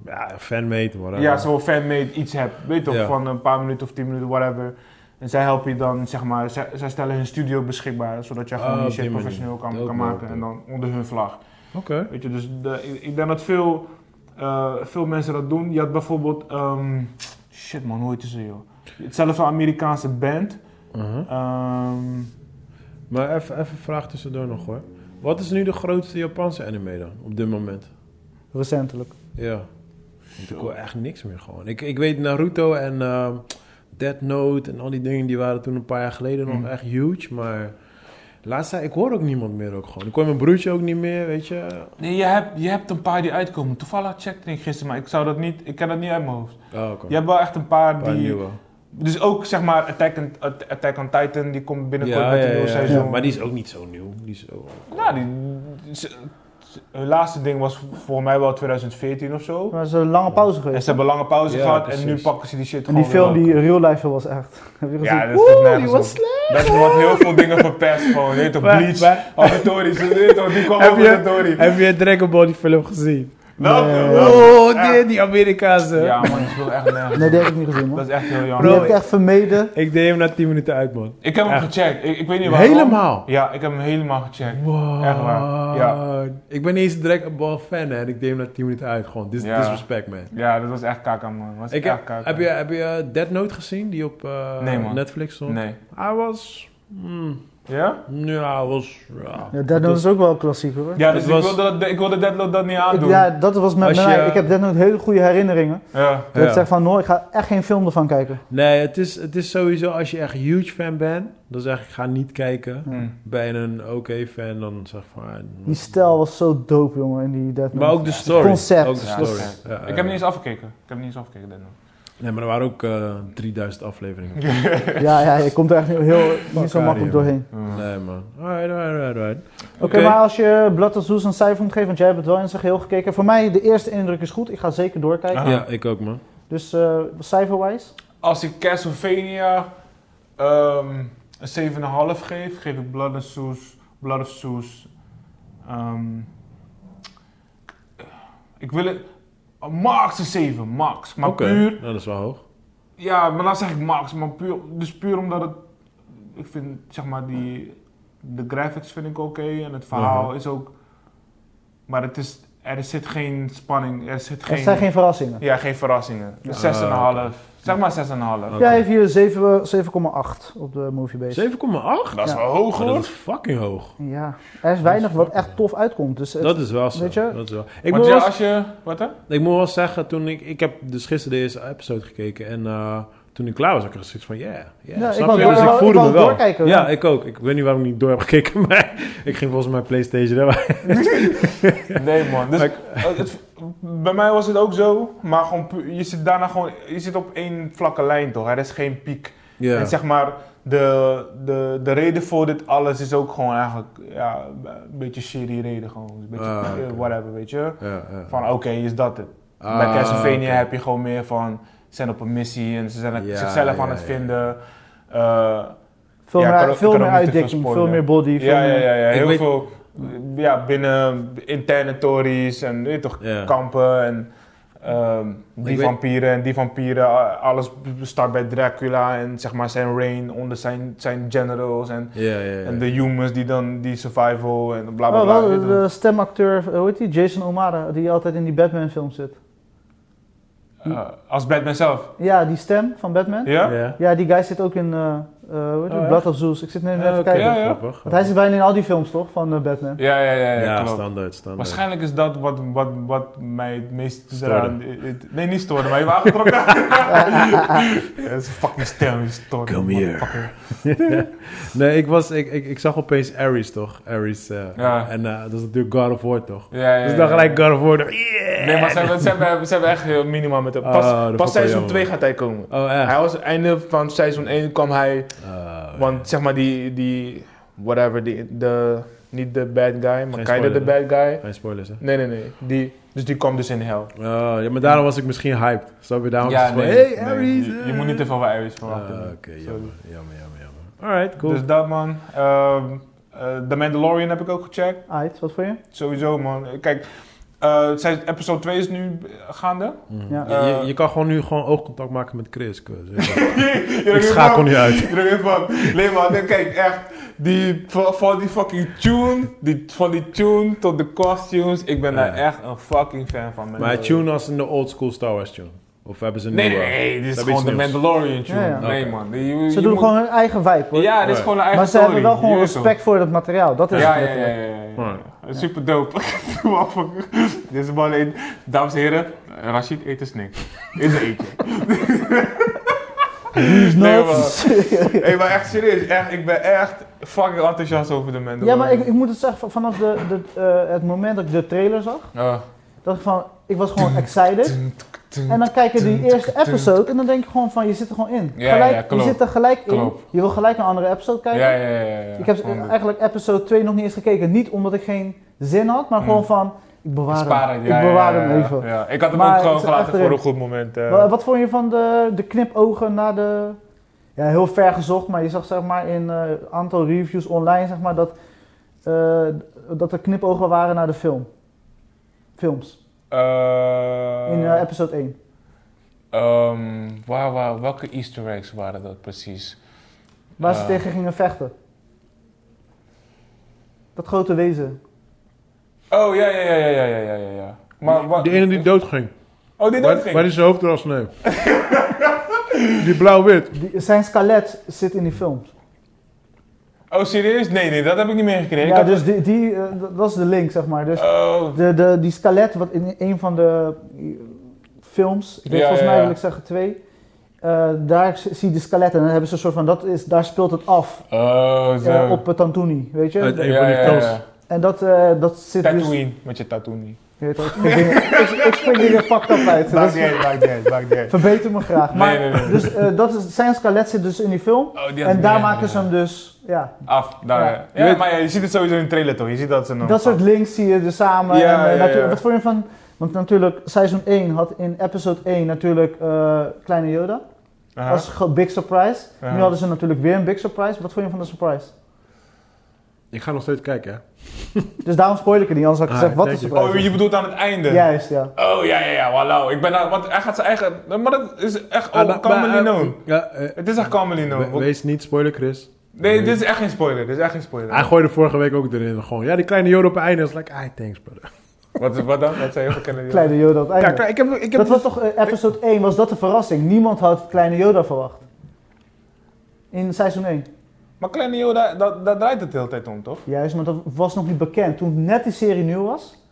ja, fanmade, whatever.
Ja, zo'n fanmade iets hebt, weet je toch,
Ja.
van een paar minuten of tien minuten, whatever. En zij helpen je dan, zeg maar, zij, zij stellen hun studio beschikbaar, zodat jij gewoon
Ah,
die
op
shit
die manier.
professioneel kan,
Dat
kan
wel,
maken
ja.
en dan onder hun vlag.
Oké.
Weet je, dus de- ik, ik denk dat veel, eh, veel mensen dat doen. Je had bijvoorbeeld, ehm, shit man, hoe heet ze joh? Hetzelfde Amerikaanse band.
Mhm.
ehm,
Maar even, even een vraag tussendoor nog hoor. Wat is nu de grootste Japanse anime dan, op dit moment?
Recentelijk.
Ja. Want Ik hoor echt niks meer gewoon. Ik, ik weet Naruto en ehm, Death Note en al die dingen, die waren toen een paar jaar geleden
Mm.
nog echt huge, maar... Laatst ik hoor ook niemand meer ook gewoon. Ik hoor mijn broertje ook niet meer, weet je.
nee, je hebt, je hebt een paar die uitkomen. Toevallig checkte ik gisteren, maar ik zou dat niet, ik ken dat niet uit mijn hoofd.
Oh, oké.
Je hebt wel echt een paar
Een paar
die...
nieuwe.
Dus ook zeg maar Attack on, Attack on Titan, die komt binnenkort
Ja,
met een
ja,
nieuw
ja, ja.
seizoen.
Maar die is ook niet zo nieuw. Die is ook...
Nou, die, ze- ze- hun laatste ding was voor mij wel 2014 of zo.
Maar het is een lange pauze
En
geweest.
ze hebben lange pauze
Ja,
gehad
precies.
en nu pakken ze die shit
En die
gewoon
film,
weer
die real life was echt. [LAUGHS] Heb je
op.
gezien?
Ja, dat is nergens
die
op.
was slecht.
Dat wordt heel veel dingen verpest gewoon. Je weet toch,
Maar-
Bleach,
maar-
Auditorie, ze weet toch, die kwam
Heb
over
je-
de Tory.
Heb je Dragon Ball die film gezien?
Welke?
Nee.
Welke?
Oh, die, die Amerikaanse.
Ja man, die speelt echt nergens
Nee,
op.
die heb ik niet gezien, man.
Dat is echt heel
Die
jammer.
Bro,
heb ik echt vermeden.
Ik deed hem na 10 minuten uit, man.
Ik heb hem
echt.
gecheckt, ik, ik weet niet waarom.
Helemaal?
Ja, ik heb hem helemaal gecheckt.
Wow.
Echt waar,
Ik ben niet eens een Dragon Ball fan, hè. en Ik deed hem na 10 minuten uit, gewoon. Dis
Ja.
Disrespect, man.
Ja, dat was echt kaka man. Was
Ik
echt
heb,
kaka.
heb je, heb je eh, Dead Note gezien, die op eh,
Nee, man.
Netflix stond?
Nee.
Hij was... mm,
Ja?
ja, hij was... Ja.
Ja, Dead Note is ook wel een klassieker hoor.
Ja,
Het
dus
was-
ik, wilde, dat- ik wilde Deadlock dat niet
Ik-
aandoen.
ja,
Ja.
dat was met
Als
mij.
je-
Ik heb Dead Note hele goede herinneringen. Dat
Ja.
ik zeg van, no, ik ga echt geen film ervan kijken.
Nee, het is, het is sowieso als je echt huge fan bent, dan zeg ik ga niet kijken.
Hm.
Bij een oké fan, dan zeg ik van... ah,
Die stijl was zo dope, jongen, in die Dead Note.
Maar ook de story.
concept.
Ook de
Ja,
story.
dat is-
Ja,
Ik heb
ja.
niet eens afgekeken. Ik heb niet eens afgekeken, Deadlock.
[LAUGHS] Nee, maar er waren ook eh, 3000 afleveringen.
Ja, ja, je komt er echt heel, niet zo
Fuck
makkelijk
out of
doorheen.
Nee, man. Alright, alright, alright.
Oké, maar als je Blood of Zeus een cijfer moet geven, want jij hebt het wel in zijn geheel gekeken. Voor mij, de eerste indruk is goed. Ik ga zeker doorkijken.
Aha.
Ja, ik ook, man.
Dus eh cijferwijs?
Als ik Castlevania ehm, een 7,5 geef, geef ik Blood, and Soos, Blood of Soos. ehm, ik wil het. max een 7, max. Maar
Oké,
puur,
nou, dat is wel hoog.
ja, maar dan zeg ik max, maar puur, dus puur omdat het, ik vind zeg maar die, de graphics vind ik oké en het verhaal
Mhm.
is ook, maar het is, er zit geen spanning, er zit
Er
geen,
zijn geen verrassingen.
ja, geen verrassingen. Dus 6,5, zeg maar 6,5.
Oké.
Jij heeft hier 7, 7,8 op de Moviebase.
7,8?
Dat is
Ja.
wel hoog
Oh, dat
hoor.
is fucking hoog.
Ja, er is weinig wat echt tof uitkomt. Dus het-
Dat is wel zo.
weet je?
Dat is wel. Ik,
Want
moet
ja,
wel,
als je, wat hè?
ik moet wel zeggen, toen ik, ik heb dus gisteren de eerste episode gekeken en eh, toen ik klaar was, had ik er zoiets van, yeah, yeah,
Ja, ik
snap
wou-
je?
ik
Dus ik
wou-
voelde
ik
me
wou
wel.
doorkijken,
ja,
ja.
ik ook. Ik weet niet waarom ik niet door heb gekeken, [LAUGHS] maar ik ging volgens mij PlayStation. hè.
Nee man, dus,
Maar ik-
eh, het- bij mij was het ook zo, maar gewoon pu- je zit daarna gewoon, je zit op één vlakke lijn toch, er is geen piek.
Ja.
En zeg maar, de, de, de reden voor dit alles is ook gewoon eigenlijk, ja, een beetje shitty reden gewoon, een beetje
Ah,
eh,
oké.
whatever, weet je.
Ja, ja.
Van oké, is dat het. Bij
Ah,
Castlevania
oké.
heb je gewoon meer van, ze zijn op een missie en ze zijn het
Ja,
zichzelf
ja,
aan het
ja.
vinden. Eh,
Veel,
Ja, ik kan
meer,
ook-
veel
ik kan
meer
ook niet te veel
uitdikking, veel
spoileren.
meer body. Veel
ja, ja,
meer-
ja, ja,
Ik
heel
weet-
veel ja, binnen interne tories en weet je toch,
Ja.
kampen en ehm, die
weet-
vampieren en die vampieren. a- Alles start bij Dracula en zeg maar zijn reign onder zijn, zijn generals en,
Ja, ja, ja.
en de humans die dan die survival en bla bla
Oh,
bla.
wel,
weet
de,
je toch.
de stemacteur, eh, hoe heet die? Jason O'Mara, die altijd in die Batman-film zit.
Eh, als Batman zelf.
Ja, die stem van Batman. Ja,
Ja?
Ja.
die guy zit ook in eh eh, hoe heet het?
Oh,
Blood of Zeus. Ik zit net even
Oké,
kijken.
Ah, Ja, ja.
grappig.
Want hij zit bijna in al die films, toch? Van eh, Batman.
Ja, ja, ja, ja,
Ja,
klopt.
standaard, standaard.
Waarschijnlijk is dat wat, wat, wat mij het meest
Stoorde.
eraan- eh, het- Nee, niet storen, maar je wagen
[LAUGHS]
ja, dat is een fucking stem, je stoort.
Come here.
motherfucker.
[LAUGHS] Nee, ik, was, ik, ik, ik zag opeens Ares, toch? Ares. eh,
Ja.
En eh, dat is natuurlijk God of War, toch?
Ja, ja, ja,
Dus dan
ja.
gelijk God of War. dacht ik, Yeah!
Nee, maar ze hebben, ze hebben, ze hebben echt heel minimaal met hem. Pas,
Ah, dat vond ik wel
pas seizoen
jammer.
2 gaat hij komen.
Oh, echt?
Hij was einde van seizoen 1 kwam hij.
Ah,
Want zeg maar die, die whatever, die, de, niet de bad guy, maar
Geen
kinda de
spoiler,
bad guy.
Geen spoilers, hè?
Nee, nee, nee. Die, dus die kwam dus in hel.
Oh, ja, maar daarom was ik misschien hyped. Snap je? Daarom was ik van, hey, Aries!
[LAUGHS] je,
eh.
moet niet te veel van Aries verwachten.
Ah, Oké,
Sorry.
jammer, jammer, jammer, jammer. Alright, cool.
Dus dat man. Ehm, eh, The Mandalorian heb ik ook gecheckt.
Aight, wat voor je?
Sowieso man. Kijk, eh, zijn- episode 2 is nu eh, gaande.
Mhm.
Ja.
Je- je,
Eh,
je kan gewoon nu gewoon oogcontact maken met Chris.
[LAUGHS]
kus.
ik
ik schakel nu uit.
Ik denk van, nee man, nee, kijk echt, die, van, van die fucking tune, die, van die tune tot de costumes, ik ben daar
Ja.
echt een fucking fan van. man.
Maar tune als in de old school Star Wars tune. Of hebben ze een
Nee, nee,
nieuwe?
nee, dit is
Dat
gewoon
iets
de
nieuws.
Mandalorian tune.
Ja, ja.
Nee
Oké.
man, die- je-
Ze
je
doen
moet-
gewoon hun eigen vibe, hoor.
Ja, dit is
Right.
gewoon een eigen
maar ze hebben
story.
wel gewoon
Je weet toch?
respect voor dat materiaal. Dat is
Ja,
het
ja, ja,
letterlijk.
ja, ja, ja.
Right.
Super [LAUGHS] dope. Motherfucker. Dit is man, een- dames en heren, Rashid eet een snik. Is een
[LAUGHS]
eetje.
Who's
Nee,
nuts?
Hé, maar echt serieus, echt, ik ben echt fucking enthousiast over de Mandalorian.
[LAUGHS] ja, maar ik, ik moet het zeggen, van- vanaf de, de, eh, het moment dat ik de trailer zag,
Ah.
dat ik van, ik was gewoon excited. En dan kijk je die eerste episode en dan denk je gewoon van, je zit er gewoon in.
Ja,
Gelijk,
ja, klopt.
je zit er gelijk in.
Klopt.
Je wil gelijk een andere episode kijken.
Ja, ja, ja, ja, ja.
Ik heb eh,
Gewoon de-
eigenlijk episode 2 nog niet eens gekeken. Niet omdat ik geen zin had, maar
Mm.
gewoon van, ik bewaar
Sparen,
hem.
ja,
ik
ja,
bewaar
ja,
hem
ja,
even.
ja. Ik had hem
Maar
ook gewoon
het is
gelaten
echt
voor een
erin.
goed moment. eh.
Wa- Wat vond je van de, de knipogen naar de... Ja, heel ver gezocht, maar je zag zeg maar in eh, een aantal reviews online zeg maar dat, eh, dat er knipogen waren naar de film. Films.
Eh,
In eh, episode 1.
ehm, waar, waar, welke easter eggs waren dat precies?
Waar ze
Eh.
tegen gingen vechten. Dat grote wezen.
Oh, ja, ja, ja, ja, ja, ja, ja, ja, ja. Maar wat...
Die ene die doodging.
Oh, die
Waar,
doodging?
waar is zijn hoofd eraf nee. [LAUGHS] die blauw-wit.
Die, zijn skelet zit in die film.
Oh, serieus? Nee, nee, dat heb ik niet meegekregen. Ik
Ja,
had-
dus die, die, eh, dat- dat is de link, zeg maar. Dus
Oh,
de, de, die skelet, wat in een van de eh, films, ik weet
Ja,
volgens
ja,
mij
ja.
wil ik zeggen twee, eh, daar z- zie je de skeletten en dan hebben ze een soort van, dat is, daar speelt het af
oh,
eh,
zo.
op het Tantuni, weet je?
Uit-
ja, ja,
van die
ja,
films.
ja.
En dat, eh, dat zit dus...
Eh, Tatooine, met je Tatooine.
Je weet wel, ik spring dingen- ik- Ik spring dingen fucked up uit. Dat
[LAUGHS] Maakt
is-
niet uit, maakt niet uit, maakt
[LAUGHS]
niet uit.
verbeter me graag. Maar,
Nee, nee, nee.
Dus eh, dat is, zijn skelet zit dus in die film
Oh, die had
en
ik-
daar
ja,
maken
ja,
ze
ja.
hem dus, ja.
Af, daar.
Ja.
Ja, maar ja, je ziet het sowieso in de trailer toch? Je ziet dat ze nog.
Dat soort links zie je dus samen.
Oh, Ja,
en, eh,
ja,
natu-
ja.
Wat vond je van... Want natuurlijk, seizoen 1 had in episode 1 natuurlijk eh, Kleine Yoda.
Aha.
Als ge- big surprise.
Ja.
Nu hadden ze natuurlijk weer een big surprise. Wat vond je van de surprise?
Ik ga nog steeds kijken, hè.
Dus daarom spoil ik het niet, anders had ik
Ah,
gezegd, wat
thank
is de
you.
prijs?
Oh, je bedoelt aan het einde?
Juist, ja.
Oh, ja, ja, ja, wauw. Ik ben nou, want hij gaat zijn eigen... Maar dat is echt... Oh,
Ah, maar,
Carmelino.
eh, ja, eh,
het is echt Carmelino.
we- wees niet spoiler, Chris.
nee, dit is echt geen spoiler. Dit is echt geen spoiler.
Hij gooide vorige week ook erin. Gewoon, ja, die kleine Joden op het einde. is like, ah, thanks, brother.
Wat, is- wat dan? Dat zijn heel veel kennen. die-
Kleine Yoda op het
Ja,
einde.
kijk, ik heb... Ik heb
dat was
dus-
toch, eh, episode 1 was dat de verrassing. Niemand had Kleine Yoda verwacht. In seizoen 1.
Maar Kleine Yoda, dat, daar draait het de hele tijd om, toch?
Juist, maar dat was nog niet bekend. Toen net die serie nieuw was,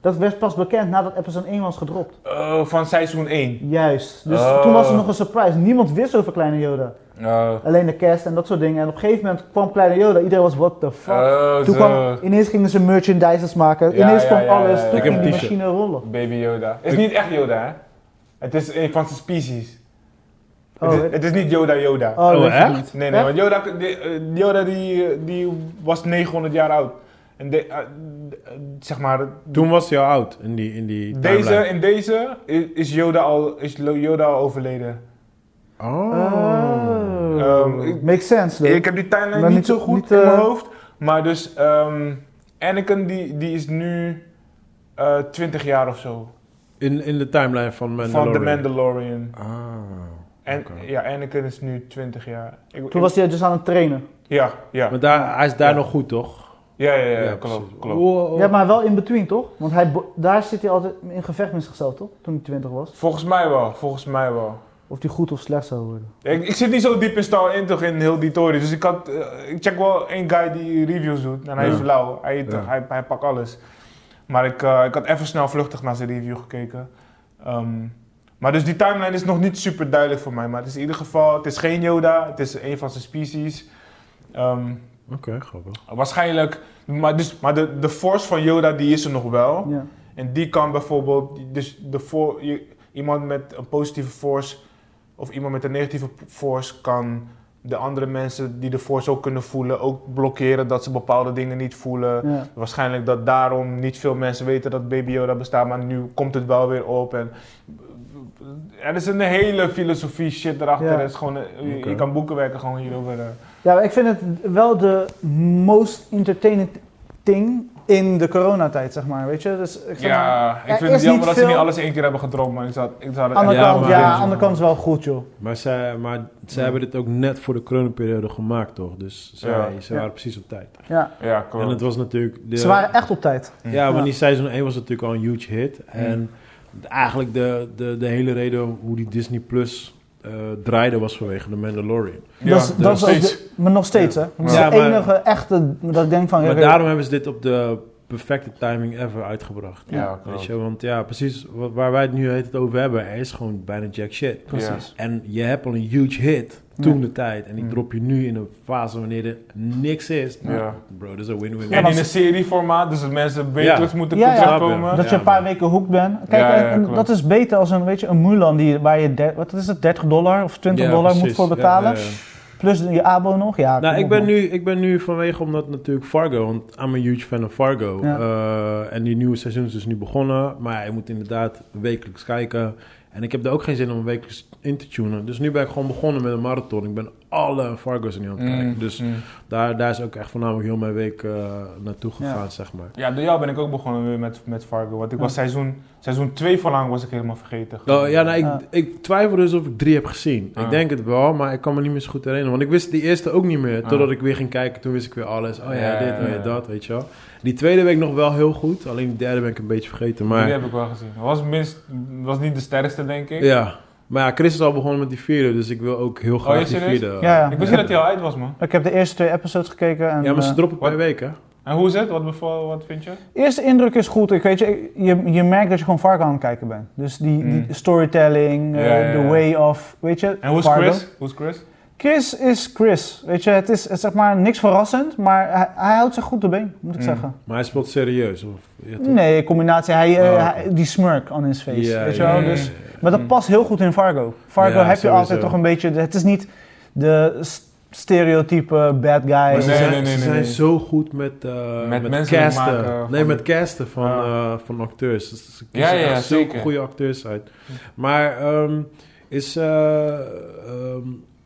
dat werd pas bekend nadat episode 1 was gedropt.
Eh, van seizoen 1.
Juist. Dus
Oh.
toen was er nog een surprise. Niemand wist over Kleine Yoda.
Eh,
Alleen de cast en dat soort dingen. En op een gegeven moment kwam Kleine Yoda. Iedereen was, what the fuck.
eh,
toen
zo.
kwam, ineens gingen ze merchandisers maken.
Ja,
Ineens
ja,
kwam
ja, ja,
alles.
ja.
Toen
Ik heb
ging
een
die
t-shirt.
machine rollen.
Baby Yoda. Het is niet echt Yoda, hè? Het is een van zijn species.
Oh,
het, is, het is niet Yoda Yoda.
Oh, dat is
echt?
niet.
Nee, nee,
Echt?
want Yoda, die, eh, Yoda die, eh, die was 900 jaar oud. En de, eh, de- eh, zeg maar,
Toen was hij al oud in die, in die
deze,
timeline.
in deze i- is Yoda al, is Lo- Yoda al overleden.
Oh.
Oh.
Ehm, ik-
Makes sense, though.
Ik heb die timeline
Maar
niet,
niet-
zo goed
niet,
in mijn
eh,
hoofd. Maar dus, ehm, Anakin die, die is nu eh 20 jaar of zo.
In, in de timeline van
Van The
Mandalorian.
Mandalorian.
Ah.
En
Oké.
ja, Anakin is nu 20 jaar. Ik- ik-
Toen was hij dus aan het trainen.
Ja, ja.
Maar daar, hij is daar
Ja.
nog goed, toch?
Ja, ja, ja,
Ja,
klopt,
precies.
klopt.
Wow, wow.
Ja, maar wel in between, toch? Want hij, bo- daar zit hij altijd in gevecht met zichzelf, toch? Toen hij 20 was.
Volgens mij wel, volgens mij wel.
Of hij goed of slecht zou worden.
Ik, ik zit niet zo diep in Star in, toch, in heel die tory. Dus ik, had, eh, ik check wel één guy die reviews doet. En hij
Ja.
is lauw, hij, eet-
Ja.
hij, hij pakt alles. Maar ik, eh, ik had even snel vluchtig naar zijn review gekeken. Ehm, maar dus die timeline is nog niet super duidelijk voor mij. Maar het is in ieder geval, het is geen Yoda, het is een van zijn species. Ehm,
Oké, grappig.
waarschijnlijk, maar, dus, maar de, de force van Yoda die is er nog wel.
Ja.
En die kan bijvoorbeeld, dus de voor, je- iemand met een positieve force of iemand met een negatieve p- force kan de andere mensen die de force ook kunnen voelen ook blokkeren dat ze bepaalde dingen niet voelen.
ja.
Waarschijnlijk dat daarom niet veel mensen weten dat Baby Yoda bestaat, maar nu komt het wel weer op. En er is een hele filosofie shit erachter.
Ja.
Er is gewoon, eh, je,
Oké.
je kan boeken werken gewoon hierover. eh.
Ja, maar ik vind het wel de most entertaining thing in de coronatijd, zeg maar. Weet je? Dus ik zeg maar,
Ja, ik
Er
vind
is
het jammer
niet
dat ze
veel-
niet alles in één keer hebben gedropt, maar ik zou, ik zou het
aan de
echt-
Ja,
kant,
maar-
ja, aan de kant is wel goed, joh.
Maar zij, maar zij hebben dit ook net voor de coronaperiode gemaakt, toch? Dus zij,
Ja.
ze
Ja.
waren precies op tijd.
Ja.
Ja, klopt.
En het was natuurlijk... De,
Ze waren echt op tijd.
Ja, want
Ja.
die seizoen 1 was natuurlijk al een huge hit. En eigenlijk de, de, de hele reden hoe die Disney Plus eh, draaide was vanwege de Mandalorian.
Ja,
dat is, dat
nog
is ook de-
steeds.
maar nog steeds, hè? Dat is
Ja,
de
maar-
enige echte dat ik denk van...
Maar
oké,
daarom hebben ze dit op de perfecte timing ever uitgebracht.
Ja,
Weet
klopt.
je, want ja, precies wa- waar wij het nu heet het over hebben, er is gewoon bijna jack shit.
Precies.
En je hebt al een huge hit toen
Ja.
de tijd. En die
Mm.
drop je nu in een fase wanneer er niks is. Nou,
Ja.
Bro, dat is een win-win.
Ja,
en
maar
in een serieformaat, dus dat mensen wekelijks moeten
Ja, ja.
terugkomen.
Dat je
Ja,
een paar
man.
weken hoekt bent. Kijk,
Ja, ja,
en- en
klopt.
dat is beter als een, weet je, een Mulan die, waar je der- wat is het, 30 dollar of 20
Ja,
dollar moet
precies.
voor
Ja,
betalen.
ja, ja.
Plus je abo nog. Ja, kom
Nou, ik
op,
ben,
man.
nu, ik ben nu vanwege omdat natuurlijk Fargo, want I'm a huge fan of Fargo.
Ja.
Eh, en die nieuwe seizoen is dus nu begonnen. Maar je moet inderdaad wekelijks kijken. En ik heb er ook geen zin om wekelijks in te tunen. Dus nu ben ik gewoon begonnen met een marathon. Ik ben alle Fargo's nu aan het kijken.
Mm,
Dus
mm.
daar, daar is ook echt voornamelijk heel mijn week eh, naartoe gegaan, zeg maar.
Ja, door jou ben ik ook begonnen weer met, met Fargo. Want ik was seizoen, seizoen 2 van lang was ik helemaal vergeten.
Oh, ja, nou, ik,
eh, Ja.
ik twijfel dus of ik drie heb gezien.
Ah.
Ik denk het wel, maar ik kan me niet meer zo goed herinneren. Want ik wist die eerste ook niet meer. Totdat
Ah.
ik weer ging kijken, toen wist ik weer alles. Oh ja,
Ja,
dit, oh
ja,
ja,
ja.
dat, weet je wel. Die tweede week nog wel heel goed. Alleen die derde ben ik een beetje vergeten.
Die
Maar
heb ik wel gezien. Was, minst, was niet Oh, de sterkste, denk ik.
ja. Maar ja, Chris is al begonnen met die vierde, dus ik wil ook heel graag
je
die
serieus?
vierde.
Ja,
dus? Ik
ja.
wist niet dat hij al uit was, man.
Ik heb de eerste twee episodes gekeken. En,
Ja, maar ze
eh,
droppen per
Wat?
week, hè?
En hoe is het? Wat, beval, wat vind je?
eerste indruk is goed. Ik weet je, je, je merkt dat je gewoon Fargo aan het kijken bent. Dus die,
Mm.
die storytelling, eh,
Ja, ja, ja.
the way of, weet je,
En hoe is
Fargo.
Chris? Hoe is Chris?
Chris is Chris. Weet je, het is, het is zeg maar niks verrassend, maar hij, hij houdt zich goed de been, moet ik
Mm.
zeggen.
Maar hij speelt serieus. Of, ja, toch?
Nee, combinatie. Hij, eh,
Oh, oké.
hij- die smirk aan his face.
Ja,
weet je
ja,
wel?
ja,
Dus,
ja,
maar
Mm.
dat past heel goed in Fargo. Fargo
Ja,
heb je
sowieso.
altijd toch een beetje. Het is niet de s- stereotype bad
Maar
guy.
ze
Nee,
zijn,
nee, nee,
ze
nee,
zijn
nee.
zo goed met, eh
Met
met,
mensen
casten.
maken
nee,
van-
met casten van,
Ja.
eh, van acteurs. Dus ze
Ja,
kiezen
ja,
echt zulke
zeker.
goede acteurs uit. Maar ehm, is eh, ehm,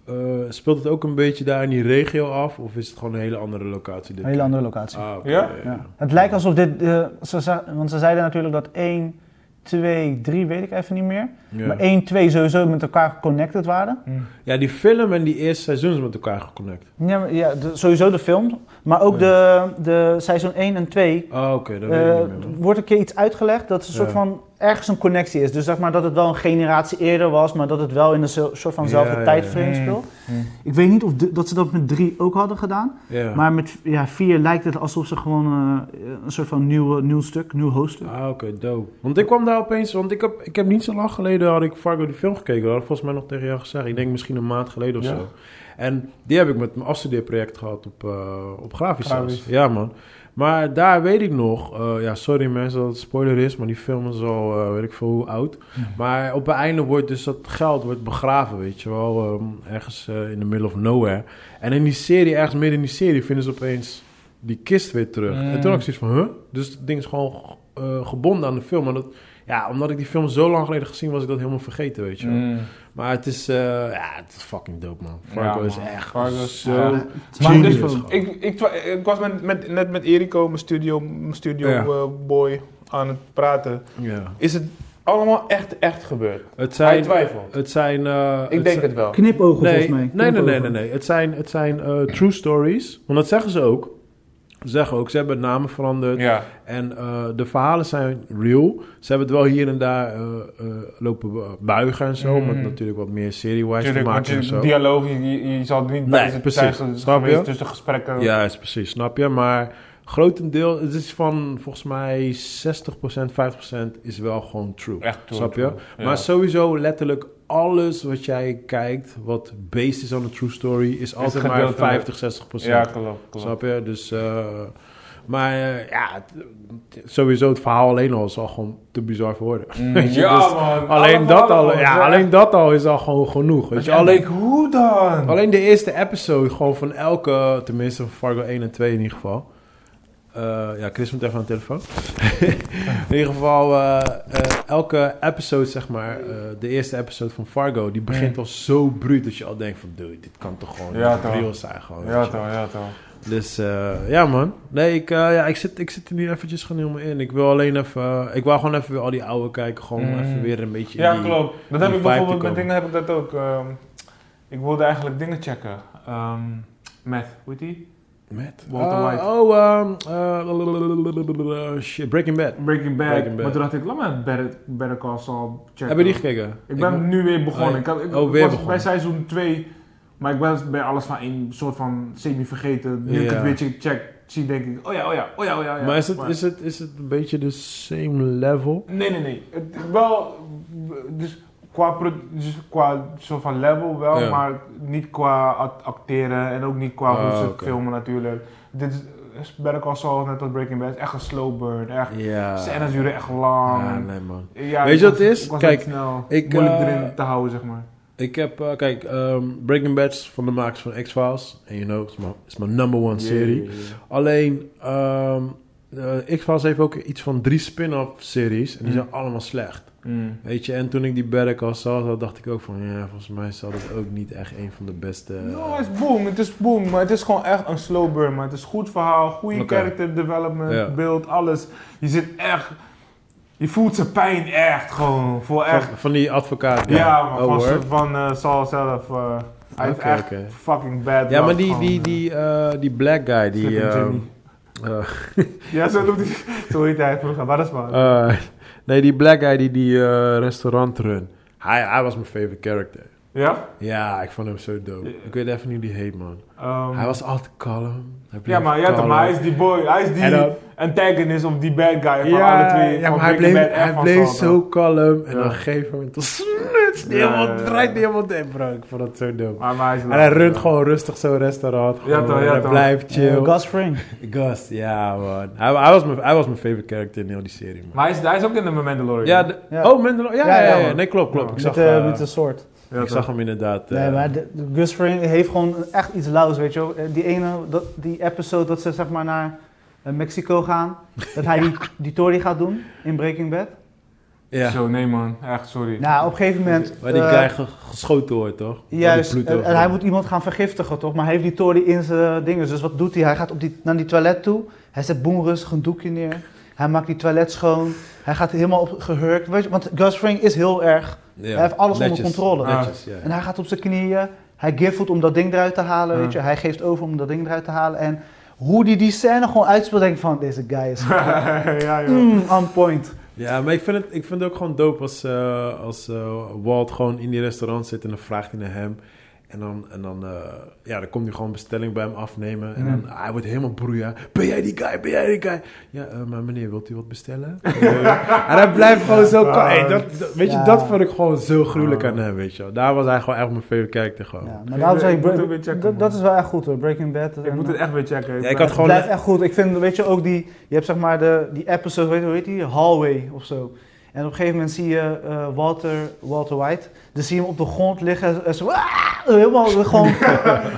eh, speelt het ook een beetje daar in die regio af? Of is het gewoon een hele andere locatie? dit
Een hele
keer?
andere locatie.
Ah, oké,
Ja?
Ja. Eh, Het lijkt alsof dit, eh, ze ze- want ze zeiden natuurlijk dat 1, 2, 3 weet ik even niet meer.
Ja.
Maar 1, 2 sowieso met elkaar connected waren.
Ja, die film en die eerste seizoen is met elkaar geconnect.
Ja, maar- ja de- sowieso de film. Maar ook
Oh
de, de seizoen 1 en 2
Ah, oké, dat weet ik
eh,
niet meer. man.
wordt een keer iets uitgelegd dat er een soort
Ja.
van ergens een connectie is. Dus zeg maar dat het wel een generatie eerder was, maar dat het wel in een zo- soort vanzelfde
Ja, Hm, ja,
tijdframe
ja.
speelt.
Hmm.
Ik weet niet of de- dat ze dat met 3 ook hadden gedaan.
Ja.
Maar met ja, vier lijkt het alsof ze gewoon eh, een soort van nieuw, nieuw stuk, nieuw hoofdstuk.
Ah, oké, dope. Want ik kwam daar opeens, want ik heb, ik heb niet zo lang geleden had ik Fargo die film gekeken. Dat had ik volgens mij nog tegen jou gezegd. Ik denk misschien een maand geleden of
Ja.
zo. En die heb ik met mijn afstudeerproject gehad op, eh, op grafisch.
Grafisch.
zelfs. Ja, man. Maar daar weet ik nog, eh, ja, sorry mensen dat het spoiler is, maar die film is al, eh, weet ik veel hoe oud. Maar op het einde wordt dus dat geld wordt begraven, weet je wel, ehm, ergens eh, in the middle of nowhere. En in die serie, ergens midden in die serie, vinden ze opeens die kist weer terug.
Mm.
En toen had ik zoiets van, huh? Dus het ding is gewoon eh, gebonden aan de film. En dat, ja, omdat ik die film zo lang geleden gezien was, ik dat helemaal vergeten, weet je wel.
Mm.
Maar het is, eh, ja, het is fucking dope, man.
Ja,
Fargo is
man.
echt
Fargo is-
zo...
ja.
Maar
Maar
dit-
dus,
Genius.
ik, ik, twa- ik was met, met, net met Erico, mijn studio, mijn studio
Ja.
eh, boy, aan het praten.
Ja.
Is het allemaal echt, echt gebeurd?
Het
Hij
zijn...
twijfelt.
Het zijn eh,
Ik denk het wel.
Knipogen
Nee,
volgens mij.
nee, nee, nee,
Knipogen.
nee, nee. Het zijn, het zijn eh, true stories. Want dat zeggen ze ook. Ze zeggen ook, ze hebben namen veranderd.
Ja.
En eh, de verhalen zijn real. Ze hebben het wel hier en daar eh, eh, lopen buigen en zo.
Mm.
Om het natuurlijk wat meer serie-wise te
Tuurlijk, want
maken en
je
zo.
dialoog, je, je, je zal niet bij
Nee,
zijn
precies.
zijn ge-
Snap je?
geweest tussen gesprekken.
Juist, precies. Snap je? Maar grotendeel, het is van volgens mij 60%, 50% is wel gewoon true.
Echt true,
Snap je?
true. Ja.
Maar sowieso letterlijk alles wat jij kijkt, wat based is on a true story, is altijd maar
gedeeltelijk.
50, 60
Ja, klopt. klopt.
Snap je? Dus, eh, maar eh, ja, het- het- sowieso het verhaal alleen al is al gewoon te bizar voor woorden.
Mm,
[LAUGHS] Weet je,
ja,
dus
man.
Alleen, dat al,
allemaal,
ja,
zeg.
alleen dat al is al gewoon genoeg. Weet
Dat
je?
je al
Alleen,
denkt, hoe dan?
alleen de eerste episode gewoon van elke, tenminste van Fargo 1 en 2 in ieder geval. Eh, ja, Chris moet even aan de telefoon. [LAUGHS] in ieder geval, eh, eh, elke episode, zeg maar, eh, de eerste episode van Fargo, die begint al zo bruut dat je al denkt van, dude, dit kan toch gewoon
Mm. Ja,
niet
toch.
real zijn gewoon. weet
Ja
je.
toch, ja toch.
Dus eh, ja, man. Nee, ik, eh, ja, ik, zit, ik zit er nu eventjes gewoon helemaal in. Ik wil alleen even... eh, ik wou gewoon even weer al die oude kijken. Gewoon
Mm.
even weer een beetje... in
Ja,
die-
klopt. Dat
die
heb ik
vibe
bijvoorbeeld
te komen.
met dingen heb ik dat ook. ehm, ik wilde eigenlijk dingen checken. Ehm, met, hoe heet die?
Met?
Walter
Ah,
White.
Oh, ehm, eh, lalalala, shit, Breaking Bad.
Breaking Bad.
Breaking Bad.
Maar toen dacht ik, laat maar Better, Better Call Saul checken.
Hebben die gekeken?
Ik ben nu weer begonnen.
Oh,
ik had, ik
oh, weer
was
begonnen.
bij seizoen 2, maar ik was bij alles van één soort van semi vergeten. Nu ik
Ja.
het weer check, zie denk ik, oh ja, oh ja, oh ja, oh ja. oh ja.
Maar is het, is, het, is het een beetje de same level?
Nee, nee, nee. Het, wel, dus qua, pro- dus qua soort van level wel,
Ja.
maar niet qua act- acteren en ook niet qua hoe
Ah,
ze
oké.
filmen natuurlijk. Dit is- is Better Call Saul, net als Breaking Bad, echt een slow burn. Echt,
Ja.
scènes duren echt lang.
Ah, nee, man.
Ja,
Weet
ik
je wat het
was-
is?
Ik was
Kijk,
niet snel.
ik,
moeilijk
eh,
erin te houden, zeg maar.
Ik heb, eh, kijk, ehm, Breaking Bad is van de makers van X-Files. En you know, het is mijn- is mijn number one serie. Alleen, ehm eh, X-Files heeft ook iets van drie spin-off series. En die
Mm.
zijn allemaal slecht.
Mm.
Weet je, en toen ik die Better Call Saul zag, dacht ik ook van... Ja, volgens mij zal dat ook niet echt een van de beste... eh,
No, het is boom, het is boom, maar het is gewoon echt een slow burn. Maar het is goed verhaal, goede
Oké.
character development,
Ja.
beeld, alles. Je zit echt, je voelt zijn pijn echt gewoon, voor echt.
van, van die advocaat.
Ja, maar
oh,
van,
hoor.
van eh, Saul zelf. eh, hij heeft
Oké,
echt
oké.
fucking bad
Ja,
luck
maar die,
gewoon,
die,
eh.
die, eh, die black guy, die...
Flipping
eh,
Jimmy.
eh,
Ja, zo noemt hij, zo heet hij vroeger, maar dat is waar.
eh, [LAUGHS] nee, die black guy die die eh, restaurant run. Hij, hij was mijn favorite character.
ja?
Ja, ik vond hem zo dope. Ik weet even niet hoe die heet, man.
Ehm,
Hij was altijd kalm. Hij bleef
ja, maar, ja, toch,
kalm.
maar hij is die boy, hij is die
En dan-
antagonist of die bad guy van
ja,
alle twee.
ja,
van
maar hij
Breaking
bleef,
Bad en
hij
van
bleef
Saul
zo kalm. En
Ja.
dan op een gegeven moment dan snuts die
Ja,
helemaal,
ja, ja.
draait die helemaal de bro. Ik vond dat zo dope.
Maar, maar hij is
En hij
laag,
runt
ja.
gewoon rustig zo'n restaurant. Gewoon,
toch, ja,
en hij
toch.
blijft
Eh,
chill.
Gus Fring.
Gast, ja man. Hij, hij was mijn, hij was mijn favorite character in heel die serie, man.
Maar hij is, hij is ook in de Mandalorian.
Ja, de-
Ja.
oh Mandalorian. Ja,
Ja,
ja,
ja,
ja,
man.
Nee, klopt, klopt.
Ja.
Ik
Met,
zag,
eh,
eh,
met de soort.
Ja,
ik zag hem inderdaad. eh,
nee, maar de, de Gus Fring heeft gewoon echt iets lauws, weet je wel. Eh, Die ene, dat, die episode dat ze zeg maar
[LAUGHS]
naar eh, Mexico gaan. Dat hij die, die Tory gaat doen in Breaking Bad.
Ja.
Zo, nee man, echt sorry.
Nou, op een gegeven moment...
Waar die
eh,
krijgen geschoten wordt, toch? Waar die
Juist,
bloed
en, en hij
overkomt.
moet iemand gaan vergiftigen, toch? Maar hij heeft die tory in zijn dingen. Dus wat doet hij? Hij gaat op die, naar die toilet toe. Hij zet boem rustig een doekje neer. Hij maakt die toilet schoon. Hij gaat helemaal op gehurkt. Weet je, want Gus Fring is heel erg.
Ja.
Hij heeft alles onder controle.
Netjes, ja.
En hij gaat op zijn knieën. Hij givevoet om dat ding eruit te halen,
Ja.
weet je. Hij geeft over om dat ding eruit te halen. En hoe die die scène gewoon uitspeelt, denk ik van... Deze guy is
[LAUGHS] ja, joh.
mm, on point.
Ja, maar ik vind, het, ik vind het ook gewoon dope als, eh, als eh, Walt gewoon in die restaurant zit en dan vraagt hij naar hem. En dan, en dan, eh, ja, dan komt hij gewoon bestelling bij hem afnemen. En dan, hij wordt helemaal broeia. Ben jij die guy? Ben jij die guy? Ja, eh, maar meneer, wilt u wat [LAUGHS] bestellen? Eh, en hij blijft gewoon zo... ka- hey, dat, dat- weet je,
Ja.
dat vond ik gewoon zo gruwelijk aan hem, weet je wel. Daar was hij gewoon echt mijn favorite character gewoon.
Ja,
Ja,
maar daarom zeg ik,
Ik moet
Bre-
ook weer checken,
dat,
man.
dat is wel echt goed hoor, Breaking Bad. eh,
Ik moet het echt weer checken.
ik had
Het
gewoon...
blijft echt goed. Ik vind, weet je, ook die... Je hebt zeg maar de, die episode, weet je, hoe heet die? Hallway of zo. En op een gegeven moment zie je eh, Walter, Walter White. Dan zie je hem op de grond liggen. En zo, "Ah!" helemaal
[LAUGHS]
gewoon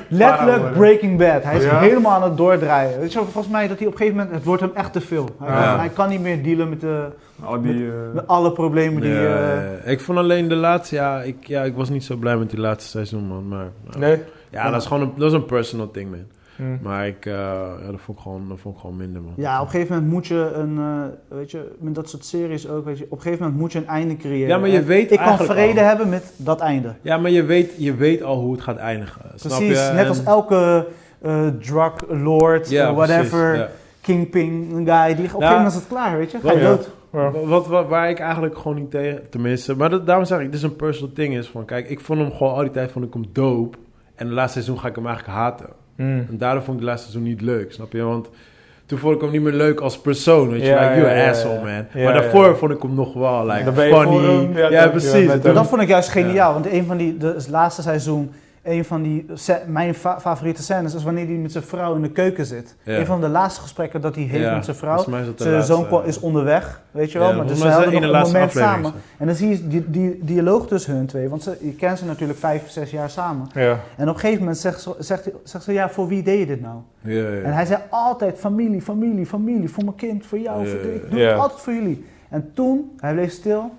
letterlijk
worden.
Breaking Bad. Hij is
Ja.
helemaal aan het doordraaien. Weet je, wel, volgens mij dat hij op een gegeven moment... Het wordt hem echt te veel. Hij,
Ja.
hij kan niet meer dealen met, de,
Al die... eh,
met alle problemen die...
Ja,
eh,
ja, ja. ik vond alleen de laatste, ja ik, ja, ik was niet zo blij met die laatste seizoen, man. Maar, nou,
Nee?
ja, dat is gewoon een, dat is een personal thing, man.
Hm.
Maar ik, eh, ja, dat, vond ik gewoon, dat vond ik gewoon minder, man.
ja, op een gegeven moment moet je een, eh, weet je, met dat soort series ook, weet je, op een gegeven moment moet je een einde creëren.
Ja, maar je
En
weet
Ik kan
eigenlijk
vrede
al.
hebben met dat einde.
Ja, maar je weet, je weet al hoe het gaat eindigen. snap
Precies,
je?
net als
En-
elke eh, drug lord,
Ja,
eh, whatever,
precies,
kingpin guy, die, op een gegeven moment is het klaar, weet je. Ga je
Wat-
dood.
ja. Wat, wat, waar ik eigenlijk gewoon niet tegen, tenminste. Maar dat, daarom zeg ik, dit is een personal thing. Is van, kijk, ik vond hem gewoon al die tijd vond ik hem dope. En de laatste seizoen ga ik hem eigenlijk haten.
Hm.
En daardoor vond ik de laatste seizoen niet leuk, snap je? Want toen vond ik hem niet meer leuk als persoon. Weet je,
Ja,
like, you're
ja,
an
ja,
asshole,
ja.
man.
Ja,
maar
ja,
daarvoor
ja.
vond ik hem nog wel, like,
Dan ben je voor
funny.
hem,
Ja,
ja, toch,
precies.
je bent
Toen-
Dat vond ik juist geniaal, want een van die, de laatste seizoen, een van die, se- mijn fa- favoriete scènes is wanneer hij met zijn vrouw in de keuken zit.
Ja.
Een van de laatste gesprekken dat hij heeft
Ja,
met zijn vrouw.
volgens mij is dat de
Zijn
laatste.
zoon ko- is onderweg, weet je wel,
Ja,
maar dus
volgens
ze
mij is
hebben
dat
nog
in de
een
laatste
moment
aflevering,
samen. En dan zie je die, die dialoog tussen hun twee, want ze, je kent ze natuurlijk vijf, zes jaar samen.
Ja.
En op een gegeven moment zegt, ze- zegt, hij- zegt ze, ja, voor wie deed je dit nou?
Ja, ja, ja.
En hij zei altijd, familie, familie, familie, voor mijn kind, voor jou, voor
Ja.
dit. ik doe
Ja.
het altijd voor jullie. En toen, hij bleef stil,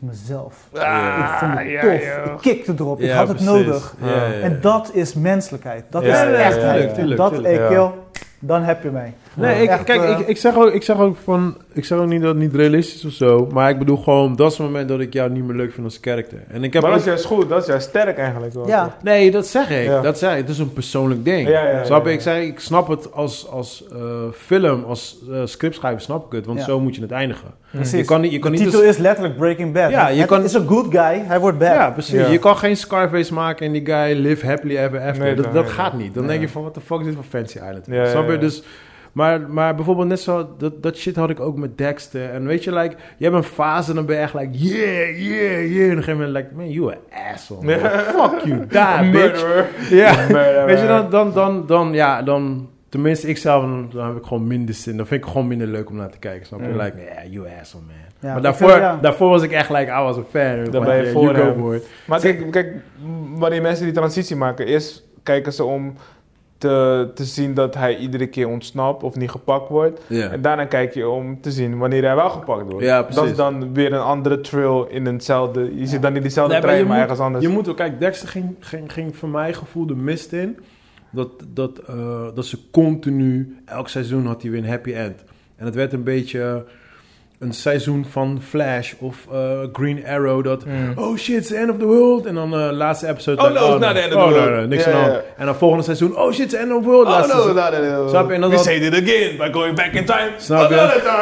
voor mezelf.
Ah, Ja.
ik vond het
ja,
tof,
joh.
ik kikte erop, ik
Ja,
had het
precies.
nodig.
Ja, ja, ja.
En dat is menselijkheid, dat
Ja,
is
ja, ja,
echtheid.
tuurlijk,
En
tuurlijk,
dat,
tuurlijk.
ik,
Ja.
joh, dan heb je mij.
Nee, ik,
Echt,
kijk,
eh,
ik, ik, zeg ook, ik zeg ook van, ik zeg ook niet dat het niet realistisch is of zo, maar ik bedoel gewoon, dat is het moment dat ik jou niet meer leuk vind als karakter. En ik heb
Maar dat
ook-
is juist goed, dat is juist sterk eigenlijk. wel.
ja,
nee, dat zeg ik,
Ja.
dat zeg ik, het is een persoonlijk ding.
Ja, ja, ja,
snap je?
ja.
Ik, zeg, ik snap het als, als eh, film, als eh, scriptschrijver snap ik het, want
Ja.
zo moet je het eindigen.
precies.
Je kan niet, je kan
de
niet
titel
als-
is letterlijk Breaking Bad.
Ja, je
het
kan-
is een good guy, hij wordt bad.
ja, precies.
Ja.
Je kan geen Scarface maken en die guy live happily ever after.
Nee,
dat
dan-
dat
nee,
gaat
dan-
niet. Dan
ja.
denk je van, what the fuck is dit voor Fancy Island?
Ja,
Snap je?
ja, ja.
Dus, maar, maar bijvoorbeeld net zo, dat, dat shit had ik ook met Dexter. En weet je, like, je hebt een fase en dan ben je echt like, yeah, yeah, yeah. En op een gegeven moment like, man, you an asshole. man. Fuck you,
[LAUGHS]
daar, bitch.
Murderer.
Ja.
Murderer.
[LAUGHS] Weet je, dan, dan, dan, dan, ja, dan... Tenminste, ik zelf, dan, dan heb ik gewoon minder zin. Dan vind ik gewoon minder leuk om naar te kijken, snap je?
Mm.
Like, yeah, you asshole, man.
Ja,
maar
ik
daarvoor,
vind- ja.
daarvoor was ik echt like, I was a fan.
Dan
Like,
ben je
yeah,
voor
you go,
hem.
boy.
Maar kijk, kijk, m- wanneer mensen die transitie maken, eerst kijken ze om te, te zien dat hij iedere keer ontsnapt of niet gepakt wordt.
Ja.
En daarna kijk je om te zien wanneer hij wel gepakt wordt.
Ja,
Dat
precies.
is dan weer een andere trail in eenzelfde. Je zit dan in diezelfde
Nee, maar
trein,
je
maar,
moet-
ergens anders.
Je moet ook, kijk, Dexter ging, ging, ging voor mij gevoel de mist in. Dat, dat, eh, dat ze continu, elk seizoen had hij weer een happy end. En het werd een beetje een seizoen van Flash of eh, Green Arrow. Dat,
Mm.
oh shit, it's the end of the world. En dan eh laatste episode.
Oh
like,
no, it's not the end of the
oh, no,
world.
no, niks
Ja,
aan de
ja,
hand. En dan volgende seizoen, oh shit, it's the end of the world.
Oh
Laatste
no,
seizoen.
no, no, no.
Snap je? En dan
We
dat-
saved it again by going back in time. Oh,
Snap je?
Another
[LAUGHS]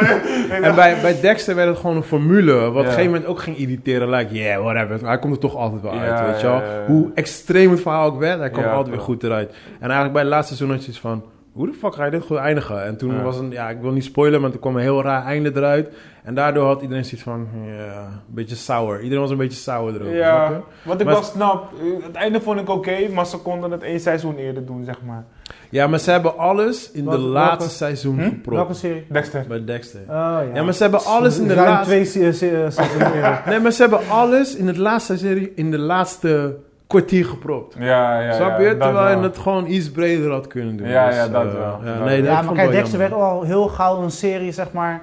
time.
En bij, bij Dexter werd het gewoon een formule, wat op een
Ja.
gegeven moment ook ging irriteren. Like, yeah, whatever. Hij komt er toch altijd wel uit,
Ja,
weet je wel.
ja, ja, ja.
Hoe extreem het verhaal ook werd, hij kwam
Ja,
altijd weer
klopt.
goed eruit. En eigenlijk bij het laatste seizoen had je iets van... Hoe de fuck ga je dit goed eindigen? En toen
Ja.
was een... Ja, ik wil niet spoilen, maar toen kwam een heel raar einde eruit. En daardoor had iedereen zoiets van... Ja, een beetje sour. Iedereen was een beetje sour erover, snap
Ja,
je?
wat ik
Maar-
wel snap. eh, Het einde vond ik oké, maar ze konden het één seizoen eerder doen, zeg maar.
Ja, maar ze hebben alles in
Wat-
de
welke-
laatste seizoen
Hm?
gepropt.
Welke serie?
Dexter.
Bij Dexter.
Oh, ja.
Ja, maar ze hebben alles in de
Ruim
laatste...
twee se- se- seizoenen eerder.
Nee, maar ze hebben alles in, het laatste serie, in de laatste kwartier gepropt.
Ja, ja.
Snap
ja,
je?
dat
Terwijl je
wel.
het gewoon iets breder had kunnen doen.
Ja, ja,
eh,
dat wel.
ja,
Dat
nee, dat
wel.
Ja,
vond
maar
ik
kijk,
wel
Dexter
jammer.
werd al heel gauw een serie, zeg maar,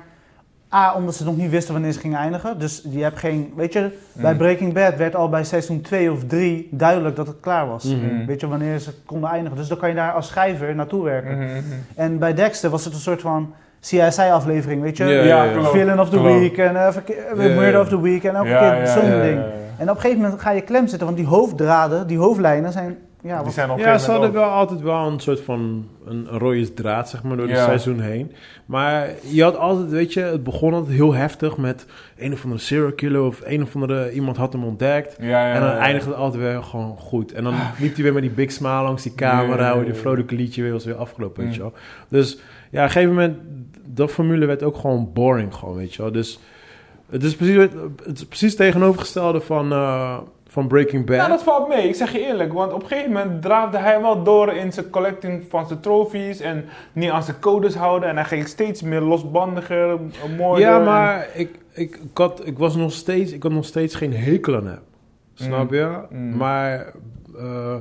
A, omdat ze nog niet wisten wanneer ze gingen eindigen. Dus je hebt geen. Weet je,
Mm.
bij Breaking Bad werd al bij seizoen 2 of 3 duidelijk dat het klaar was.
Mm.
Mhm.
Weet je, wanneer ze konden eindigen. Dus dan kan je daar als schrijver naartoe werken.
Mm.
Mhm.
En bij Dexter was het een soort van CSI-aflevering, weet je?
Ja,
ja, klopt.
Villain of the
Klopt.
Week en eh, verke- eh,
Ja, ja,
Murder
ja.
of the Week en elke
Ja,
keer
ja,
zo'n
ja,
ding.
ja, ja.
En op een gegeven moment ga je klem zitten, want die hoofddraden, die hoofdlijnen zijn... Ja,
Die
wat,
zijn op een
Ja, ze
gegeven
hadden
moment
wel altijd wel een soort van een, een rode draad, zeg maar, door het
Ja.
seizoen heen. Maar je had altijd, weet je, het begon altijd heel heftig met een of andere serial killer of een of andere iemand had hem ontdekt.
ook- Ja, ja,
En dan
ja.
eindigde het altijd weer gewoon goed. En dan liep hij weer met die big smile langs die camera,
Ja.
hoorde die vrolijke liedje weer, was weer afgelopen, weet
Mm.
je wel. Dus ja, op een gegeven moment, dat formule werd ook gewoon boring, gewoon, weet je wel. Dus het is precies, het is precies het tegenovergestelde van, eh, van Breaking Bad.
Nou, dat valt mee. Ik zeg je eerlijk. Want op een gegeven moment draafde hij wel door in zijn collecting van zijn trofies. En niet aan zijn codes houden. En hij ging steeds meer losbandiger, eh, moorden.
Ja,
en-
maar ik, ik, ik, had, ik, was nog steeds, ik had nog steeds geen hekel aan hem. Snap
Mm.
je?
Mm.
Maar eh,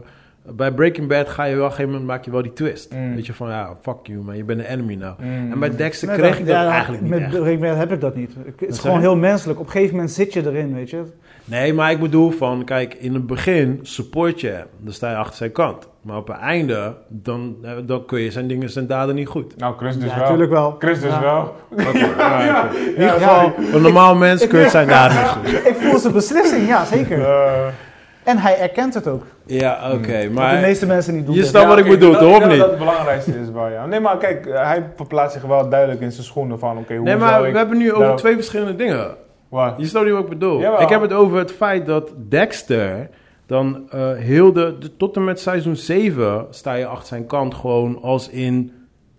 bij Breaking Bad ga je wel, op een gegeven moment maak je wel die twist.
Mm.
Weet je, van ja, fuck you, man, je bent een enemy nou.
Mm.
En bij Dexter
Met-
kreeg ik dat
ja,
eigenlijk niet
Met
echt.
Breaking Bad heb ik dat niet. Ik- het
Wat
is
zei
gewoon
je?
heel menselijk. Op een gegeven moment zit je erin, weet je.
Nee, maar ik bedoel van, kijk, in het begin support je hem. Dan sta je achter zijn kant. Maar op het einde, dan, eh, dan kun je zijn dingen, zijn daden niet goed.
Nou, Chris dus
ja,
wel.
natuurlijk wel.
Chris dus
Ja.
wel. nou,
Ja,
[LAUGHS] Ja,
In ieder geval, een normaal mens
ik-
kun je zijn daden niet
[LAUGHS]
goed.
Ik voel zijn beslissing, ja, zeker.
Eh,
En hij erkent het ook.
Ja, oké,
Mm.
Wat de
maar...
meeste mensen niet doen.
Je
dit.
snapt- wat ik
oké,
bedoel,
dat-
toch,
ik
of
denk
niet?
Dat het belangrijkste is wel, ja. Nee, maar kijk, eh, hij verplaatst zich wel duidelijk in zijn schoenen van, oké, hoe
Nee,
zou
maar
ik...
we hebben nu over
Nou.
twee verschillende dingen.
Wat?
Je snapt niet wat ik bedoel.
Jawel.
Ik heb het over het feit dat Dexter dan eh, heel de, de- Tot en met seizoen 7 sta je achter zijn kant gewoon als in...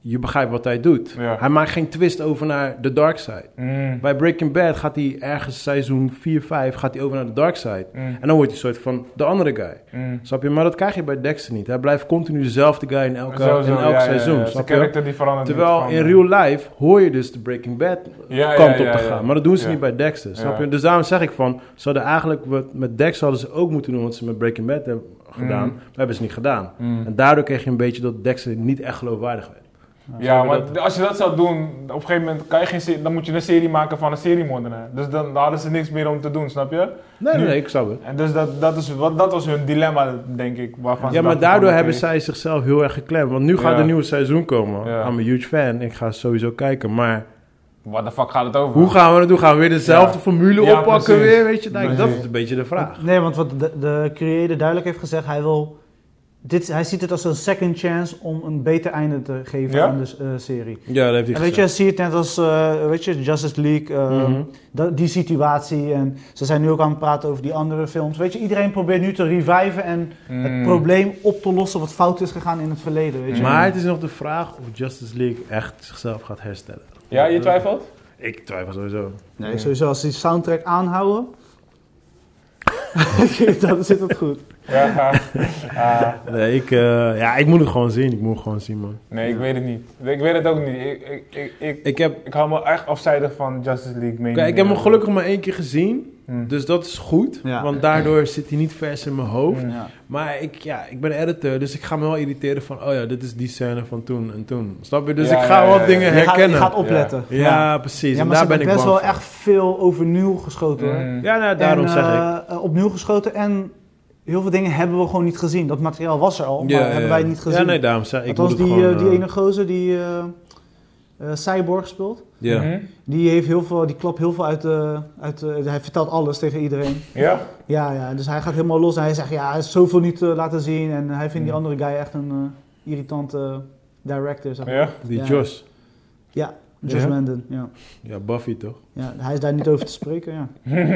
Je begrijpt wat hij doet.
Ja.
Hij maakt geen twist over naar de dark side.
Mm,
Bij Breaking Bad gaat hij ergens seizoen 4, 5 gaat hij over naar de dark side.
mm,
En dan wordt hij een soort van de andere guy.
mm.
Snap je? Maar dat krijg je bij Dexter niet. Hij blijft continu dezelfde guy in, elke,
Sowieso,
in elk
ja, ja, ja.
seizoen.
Zijn
Snap je?
karakter die verandert
Terwijl
niet
in
van-
eh,
real life hoor je dus de Breaking Bad
Ja, ja,
kant
ja,
op te
ja.
gaan. Maar dat doen ze
Ja.
niet bij Dexter. Snap
Ja.
je? Dus daarom zeg ik van, ze hadden eigenlijk wat met Dexter hadden ze ook moeten doen wat ze met Breaking Bad hebben gedaan.
Mm.
Maar hebben ze niet gedaan.
Mm.
En daardoor kreeg je een beetje dat Dexter niet echt geloofwaardig werd.
Ja,
Snap je
maar als je dat zou doen, op een gegeven moment kan je geen serie, dan moet je een serie maken van een seriemoordenaar. Dus dan, dan hadden ze niks meer om te doen, snap je?
Nee, nee,
Nu-
nee, ik snap het.
En dus dat, dat, is, wat, dat was hun dilemma, denk ik. Waarvan ze
Ja, maar
dachten van,
daardoor
oké.
hebben zij zichzelf heel erg geklemd. Want nu gaat
Ja.
een nieuw seizoen komen.
Ja.
I'm a huge fan. Ik ga sowieso kijken. Maar
What the fuck gaat het over?
hoe gaan we dat doen? Gaan we weer dezelfde
Ja.
formule
Ja,
oppakken
precies.
weer? Weet je, nou, dat
Precies.
is een beetje de vraag.
Nee, want wat de, de creator duidelijk heeft gezegd, hij wil... Dit, hij ziet het als een second chance om een beter einde te geven
Ja?
aan de eh, serie.
Ja, dat heeft hij
En weet je, zie je het net als eh, weet je, Justice League, eh,
Mhm.
da- die situatie. En ze zijn nu ook aan het praten over die andere films. Weet je, iedereen probeert nu te reviven en het
Mhm.
Mm.
probleem op te lossen wat fout is gegaan in het verleden. Weet je.
Maar het is nog de vraag of Justice League echt zichzelf gaat herstellen.
Ja, je twijfelt?
Ik twijfel sowieso.
Nee, sowieso als ze die soundtrack [LAUGHS] aanhouden, dan zit het goed.
Ja, ga. Ah,
Nee, ik, eh, ja, ik moet het gewoon zien. Ik moet het gewoon zien, man.
nee, ik weet het niet. Ik weet het ook niet. Ik, ik, ik, ik,
Ik heb,
ik hou me echt afzijdig van Justice League mee.
kijk, ik heb hem gelukkig maar één keer gezien.
Hmm.
Dus dat is goed.
Mm. Ja. Mm.
Want daardoor zit hij niet vers in mijn hoofd.
Hmm.
Ja.
Maar ik, ja, ik ben editor, dus ik ga me wel irriteren van... Oh ja, dit is die scène van toen en toen. Snap je? Dus
Ja,
ik ga
ja,
wel
ja, ja.
dingen
Je gaat, je
herkennen.
gaat opletten.
ja, precies.
Ja,
en
maar ze
daar ben
hebben
ik
best
bang
wel
voor.
echt veel overnieuw geschoten. hoor.
Mm.
Ja, nou, daarom
en,
zeg ik.
eh, eh, opnieuw geschoten en heel veel dingen hebben we gewoon niet gezien. Dat materiaal was er al, maar hebben wij niet gezien.
Ja, nee, daarom zeg ik. ik.
Althans,
moet het
die,
gewoon,
eh, die
eh,
ene gozer die eh, eh, Cyborg speelt,
Ja.
Mhm.
die, heeft heel veel, die klapt heel veel uit de... Uit de- hij vertelt alles tegen iedereen.
Ja?
Ja, ja, dus hij gaat helemaal los en hij zegt, ja, hij heeft zoveel niet eh, laten zien. En hij vindt die
Hmm.
andere guy echt een eh, irritante director, zeg maar.
Ja?
Die
Ja.
Josh.
Josh
Ja?
Manden, ja.
Ja, Buffy toch?
ja. Hij is daar niet over te spreken, ja.
Ja.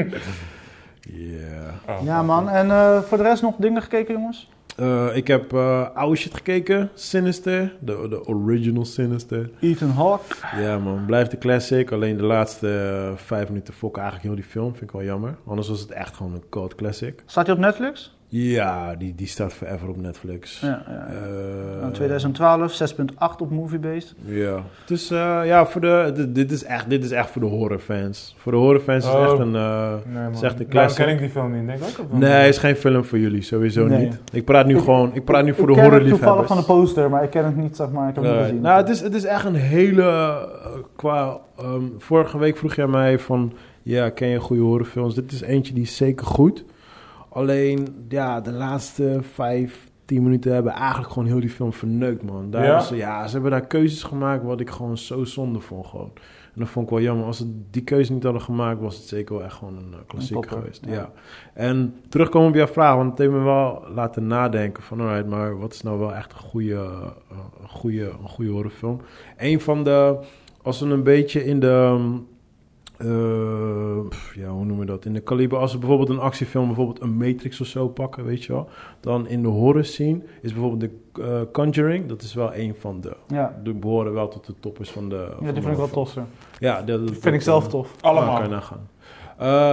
Oh.
Ja, man. En eh, voor de rest nog dingen gekeken, jongens?
Eh, ik heb eh oude shit gekeken. Sinister. De, de original Sinister.
Ethan Hawke.
Ja man, blijft de classic. Alleen de laatste eh, vijf minuten fokken eigenlijk heel die film. Vind ik wel jammer. Anders was het echt gewoon een cold classic.
Staat hij op Netflix?
Ja, die, die staat forever op Netflix.
Ja, ja.
Eh,
Nou, 2012, 6.8 op Moviebase.
Ja. Dus eh, ja, voor de, dit, dit is echt, dit is echt voor de horrorfans. Voor de horrorfans is
Oh.
het echt een... eh,
Nee, man.
is echt een
Daarom
classic.
ken ik die film niet. Denk ik ook op een
nee, is geen film voor jullie, sowieso
Nee.
niet. Ik praat nu
Ik-
gewoon, ik praat nu voor
ik
de
ken het toevallig
horrorliefhebbers.
van de poster, maar ik ken het niet, zeg maar. Ik heb het niet
Nee.
gezien.
Nou, het is, het is echt een hele... eh, qua, ehm, vorige week vroeg jij mij van... Ja, ken je goede horrorfilms? Dit is eentje die is zeker goed. Alleen, ja, de laatste vijf, tien minuten hebben eigenlijk gewoon heel die film verneukt, man. Daar
Ja?
Is, ja, ze hebben daar keuzes gemaakt wat ik gewoon zo zonde vond, gewoon. En dat vond ik wel jammer. Als ze die keuze niet hadden gemaakt, was het zeker wel echt gewoon een eh, klassieker
topper,
geweest.
ja.
Ja. En terugkomen op jouw vraag, want het heeft me wel laten nadenken van... alright, maar wat is nou wel echt een goede, eh, een goede, een goede horrorfilm? Een van de... Als we een beetje in de... ehm, eh, pff, ja, hoe noemen we dat? In de kaliber. Als we bijvoorbeeld een actiefilm, bijvoorbeeld een Matrix of zo pakken, weet je wel. Dan in de horror scene is bijvoorbeeld de eh, Conjuring. Dat is wel een van de...
ja.
Die behoren wel tot de toppers van de... van de
ja, die vind ik wel
horrorfilm.
tofser.
Ja, dat, dat-
Die vind ik zelf tof.
manier. Allemaal.
Ja, Oh, kan je nagaan.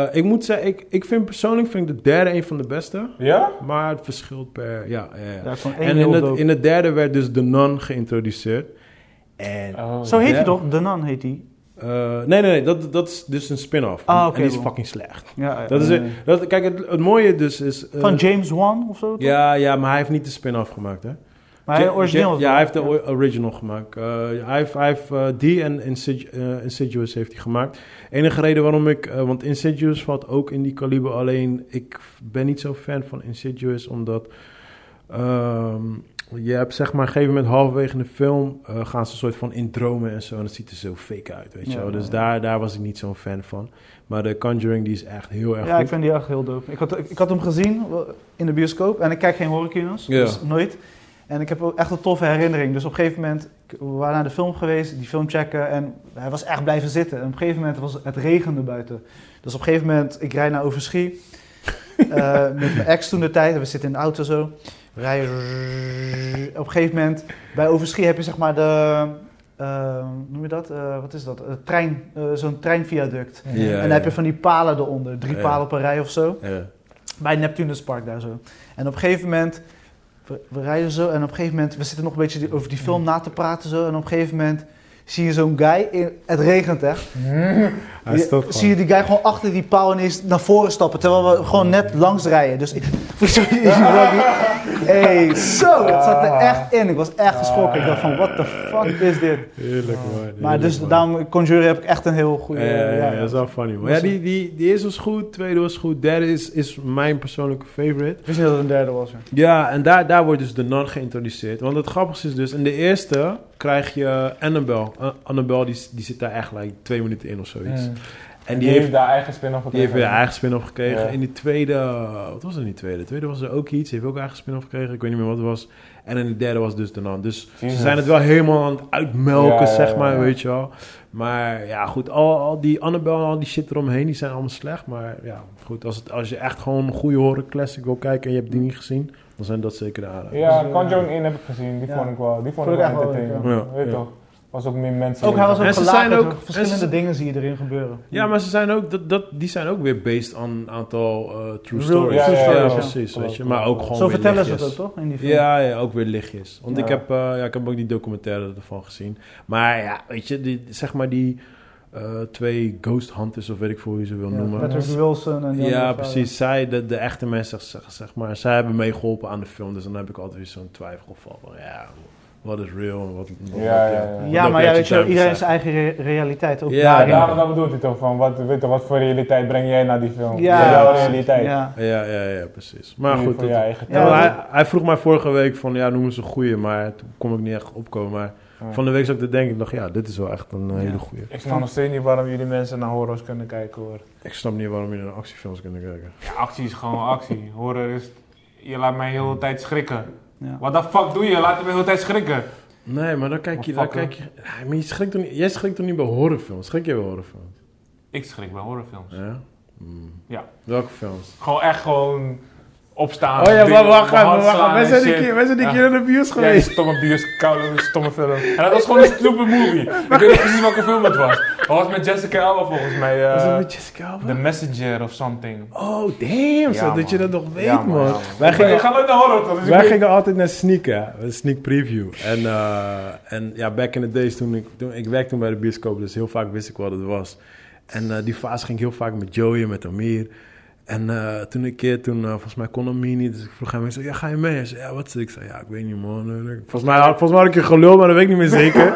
Eh, ik moet zeggen, ik, ik vind persoonlijk vind ik de derde een van de beste.
Ja?
Maar het verschilt per... Ja, ja, ja.
Ja, gewoon één
En
heel
in
dope.
het, in het derde werd dus de non geïntroduceerd. En...
Oh,
Zo heet
Ja.
hij toch? De Nun heet hij.
eh, nee, nee, nee, dat, dat is dus een spin-off.
Ah,
En-
oké,
en die is
bro.
fucking slecht.
Ja, ja.
Dat is,
Eh.
dat, kijk, het, het mooie dus is... eh,
Van James Wan of zo? toch?
ja, ja, maar hij heeft niet de spin-off gemaakt, hè?
Maar hij
Ja,
origineel.
Ja, hij heeft de o- original gemaakt. Eh, hij heeft, hij heeft eh, die en Insid- eh, Insidious heeft hij gemaakt. Enige reden waarom ik... eh, want Insidious valt ook in die kaliber. Alleen, ik ben niet zo fan van Insidious, omdat... ehm, je hebt zeg maar, op een gegeven moment halverwege in de film eh, gaan ze een soort van in dromen en zo. En het ziet er zo fake uit, weet je
Ja,
wel. Dus
ja.
daar, daar was ik niet zo'n fan van. Maar de Conjuring, die is echt heel erg
Ja,
goed.
ik vind die echt heel dope. Ik had, ik had hem gezien wel, in de bioscoop en ik kijk geen horrorkino's,
Ja.
dus nooit. En ik heb ook echt een toffe herinnering. Dus op een gegeven moment, ik- we waren naar de film geweest, die film checken en hij was echt blijven zitten. En op een gegeven moment was het regende buiten. Dus op een gegeven moment, ik rijd naar Overschie [LAUGHS] eh, met mijn ex toen de tijd en we zitten in de auto zo. We rijden. Op een gegeven moment, bij Overschie heb je zeg maar de, eh, hoe noem je dat? Eh, wat is dat? Eh, trein, eh, zo'n treinviaduct.
Ja,
En
ja.
dan heb je van die palen eronder, drie
Ja.
palen op een rij of zo.
Ja.
Bij Neptunus Park daar zo. En op een gegeven moment, we, we rijden zo en op een gegeven moment, we zitten nog een beetje die- over die
Mm.
film na te praten zo. En op een gegeven moment zie je zo'n guy, in, het regent echt.
Hmm.
[LAUGHS] Hij
Je-
stopt gewoon.
zie je die guy gewoon achter die paal ineens naar voren stappen, terwijl we gewoon net langs rijden. Dus ik, [LAUGHS]
[LAUGHS]
sorry, hey, zo, het zat
Ah.
er echt in. Ik was echt geschrokken. Ik dacht van, what the fuck is dit?
Heerlijk, man.
Maar
Heerlijk,
dus
man.
daarom, Conjuring heb ik echt een heel goede...
Ja, ja, ja,
ja.
Eh, dat is wel funny. man. ja, die, die, die eerste was goed, tweede was goed, derde is, is mijn persoonlijke favorite.
Ik wist niet dat het een derde was. ja.
Ja, en daar, daar wordt dus de non geïntroduceerd. Want het grappigste is dus, in de eerste krijg je Annabelle. Eh, Annabelle die, die zit daar echt like twee minuten in of zoiets. En die heeft,
daar eigen spin-off
die heeft weer
gekregen.
haar eigen spin-off gekregen.
Ja.
In die tweede, oh, wat was er in die tweede? De tweede was er ook iets, die heeft ook haar eigen spin-off gekregen. Ik weet niet meer wat het was. En in de derde was dus de non. Dus
Jezus.
ze zijn het wel helemaal aan het uitmelken,
Ja, ja,
zeg
ja,
maar,
ja.
weet je wel. Maar ja, goed, al, al die Annabelle en al die shit eromheen, die zijn allemaal slecht. Maar ja, goed, als, het, als je echt gewoon een goede horror classic wil kijken en je hebt die niet gezien, dan zijn dat zeker de aanrader.
Ja, Conjuring 1 heb ik gezien. Die
Ja.
vond ik wel, die vond
Vond
ik
ik
wel
echt wel leuk,
entertaining.
ja.
Weet
Ja.
toch? Was ook meer mensen.
Ook hij was ook
En ze
gelaagd.
zijn ook-
hoor. verschillende
en ze-
dingen zie je erin gebeuren.
Ja, maar ze zijn ook, dat, dat, die zijn ook weer based on een aantal eh, true
Real
stories.
true stories, ja.
precies,
Klopt,
weet je.
klopt,
Maar ook
klopt.
gewoon
Zo
weer
vertellen ze het
lichtjes.
ook toch in die film?
Ja, ja, ook weer lichtjes. Want
Ja.
ik, heb, eh, ja, ik heb ook die documentaire ervan gezien. Maar ja, weet je, die, zeg maar die eh, twee ghost hunters, of weet ik veel hoe je ze wil
Ja,
noemen.
Patrick Wilson en eh, die
Ja,
andere
precies. Zij, de, de echte mensen, zeg, zeg maar, zij hebben meegeholpen aan de film. Dus dan heb ik altijd weer zo'n twijfelgeval van, ja, wat is real en wat... wat
Ja, ja, ja.
vrouw.
Ja,
Ja,
dat
maar
laat
ja,
je
weet je, wel,
duimpjes
iedereen zijn
zijn.
eigen re- realiteit ook
Ja,
daarin.
Ja, maar dat bedoelt hij toch? Van wat, weet toch, wat voor realiteit breng jij naar die film?
Ja.
Jouw realiteit.
Ja.
Ja, ja, ja, precies. Maar
Niet
goed,
voor
dat-
je eigen
Ja,
ja,
tijd.
maar
dat-
hij, hij vroeg mij vorige week van, ja, noem eens een goeie, maar toen kon ik niet echt opkomen. Maar
Ja.
van de week zat ik te denken, ik dacht, ja, dit is wel echt een eh,
Ja.
hele goeie.
Ik snap nog steeds niet waarom jullie mensen naar horrors kunnen kijken hoor.
Ik snap niet waarom je naar actiefilms kunnen kijken.
Ja, actie is gewoon actie. Horror is. Je laat mij de hele tijd schrikken.
Ja.
Wat de fuck doe je? Laat je me de hele tijd schrikken.
Nee, maar dan kijk je...
Maar
Dan
fuck,
kijk je Ja, maar je schrikt toch niet, jij schrikt toch niet bij horrorfilms? Schrik je bij horrorfilms?
Ik schrik bij horrorfilms.
Ja? Hmm.
Ja.
Welke films?
Gewoon echt gewoon opstaan.
Oh ja,
dingen
maar
op
wacht
mijn
even,
hand
wacht even.
slaan
Wij
en
zijn die
shit.
keer, wij zijn die
Ja.
keer in de bios
Ja, die
geweest.
stomme bios, koude, stomme film. En dat was gewoon een stupid movie. Ik weet niet precies welke film het was. Dat was met Jessica Alba volgens mij. eh,
Was dat met Jessica Alba?
The Messenger of something.
Oh, damn,
Ja,
zo, dat je
man.
dat nog weet,
Ja, man,
man.
ja, man.
Wij,
Ik ben-
gingen,
ik ga nooit naar horror, toch? Dus ik
wij
weet-
gingen altijd naar Sneak, hè. een Sneak Preview. En, eh, en ja, back in the days, toen ik, toen, ik werkte toen bij de bioscoop, dus heel vaak wist ik wat het was. En eh, die fase ging ik heel vaak met Joey en met Amir. En eh, toen een keer, toen, eh, volgens mij kon Amir niet, dus ik vroeg hem, ik zei, ja, ga je mee? Hij zei, ja, wat? Ik zei, ja, ik weet niet, man. Volgens mij, had- volgens mij had ik je gelul, maar dat weet ik niet meer zeker.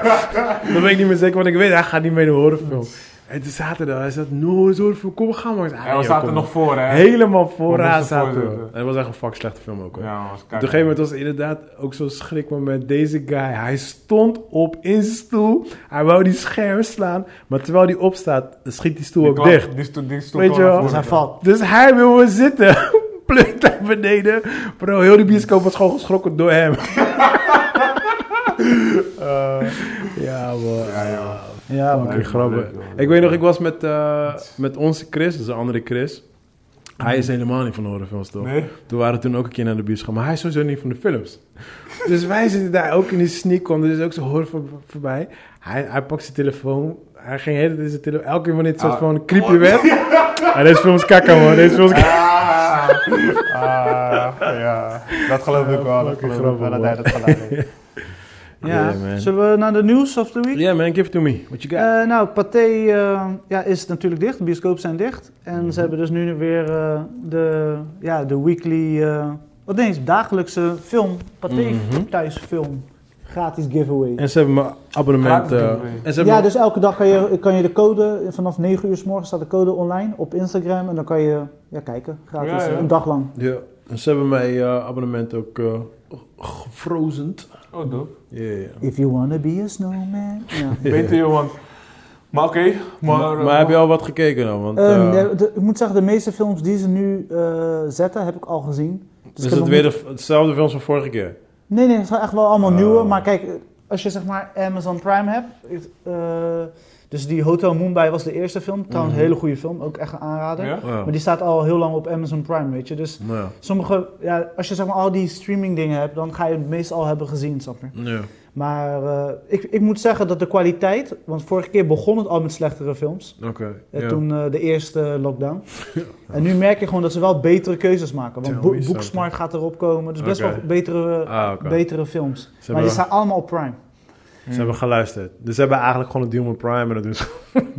Dat weet ik niet meer zeker, want ik weet, hij gaat niet mee naar een horrorfilm. En toen zaten we daar, hij zei, no, is horrorfilm, kom, we gaan maar. Ik zei, "Ah,
Ja, we
joh,
zaten
kom,
er nog voor, hè?
Helemaal vooraan
Honderd voor
zaten we.
zitten.
En het was echt een fucking slechte film ook hoor.
Ja, man, was
Op
kijk.
een gegeven moment was het inderdaad ook zo'n schrikmoment. Deze guy, hij stond op in zijn stoel. Hij wou die scherm slaan. Maar terwijl hij opstaat, schiet die stoel
Die
ook
klap-
dicht.
Die stoel, die stoel
Weet
kwam
je
naar
wel.
Dat
voren.
zijn valt.
Dus hij wil weer zitten. [LAUGHS] Plukt naar beneden. Bro, heel de bioscoop was gewoon geschrokken door hem. [LAUGHS] Eh, ja, man.
Ja, ja.
Ja,
Fucking
maar.
Leuk,
grappig.
leuk, joh.
ik weet nog, ik was met, eh, met onze Chris, dus de andere Chris. Hij is helemaal niet van de horrorfilms, toch?
Nee?
Toen waren we toen ook een keer naar de bioscoop, maar hij is sowieso niet van de films. [LAUGHS] dus wij zitten daar ook in die sneak, kwam er dus ook zo'n horror voor- voorbij. Hij, hij pakt zijn telefoon, hij ging heel in zijn telefoon. Elke keer wanneer het soort
Ah.
van creepy werd. Ja, deze film is kakka, man. Deze film is kakka.
Ah,
Ah, ja. Dat geloof ik wel. Dat
fucking
geloof ik wel
grappig,
dat hij dat gedaan heeft. Ja,
Yeah, man.
zullen we naar de nieuws of the week?
Yeah man, give it to me. What you got?
Eh, nou, Pathé eh, ja, is natuurlijk dicht. De bioscopen zijn dicht. En
Mhm.
ze hebben dus nu weer eh, de, ja, de weekly... eh, wat nee, eens, dagelijkse film. Pathé
Mhm.
thuisfilm. Gratis giveaway.
En ze hebben mijn abonnement...
Gratis
eh,
giveaway.
en ze hebben
Ja, dus elke dag kan je, kan je de code, vanaf 9 uur s morgens staat de code online op Instagram en dan kan je ja, kijken, gratis,
Ja, ja.
een dag lang.
Ja, en ze hebben mijn eh, abonnement ook eh gefrozen.
Oh, doe.
Ja, ja.
If you wanna be a snowman. Ja.
[LAUGHS]
Beter, jongen. Maar oké. maar,
Maar, maar heb je al wat gekeken dan? Want,
Ehm,
eh,
de- de- ik moet zeggen, de meeste films die ze nu eh, zetten, heb ik al gezien. Dus ik
is
heb
het
nog
weer
niet-
de, hetzelfde films van vorige keer?
Nee, nee, het zijn echt wel allemaal
Oh.
nieuwe. Maar kijk, als je zeg maar Amazon Prime hebt. het, eh, dus die Hotel Mumbai was de eerste film. Trouwens,
Mhm.
een hele goede film. Ook echt een aanrader.
Ja?
Ja.
Maar die staat al heel lang op Amazon Prime, weet je. Dus
Nou,
sommige, ja, als je zeg maar al die streaming dingen hebt, dan ga je het meestal hebben gezien, snap je.
ja.
Maar eh, ik, ik moet zeggen dat de kwaliteit, want vorige keer begon het al met slechtere films.
Oké.
Eh,
ja.
Toen eh, de eerste
[LAUGHS]
lockdown. En nu merk je gewoon dat ze wel betere keuzes maken. Want
Tell
Bo-
me something.
Booksmart gaat erop komen. Dus best
Oké.
wel betere,
Ah, oké.
betere films.
Ze,
maar
hebben,
die staan allemaal op Prime.
ze hebben geluisterd. Dus ze hebben eigenlijk gewoon een deal met Prime. En dat doen ze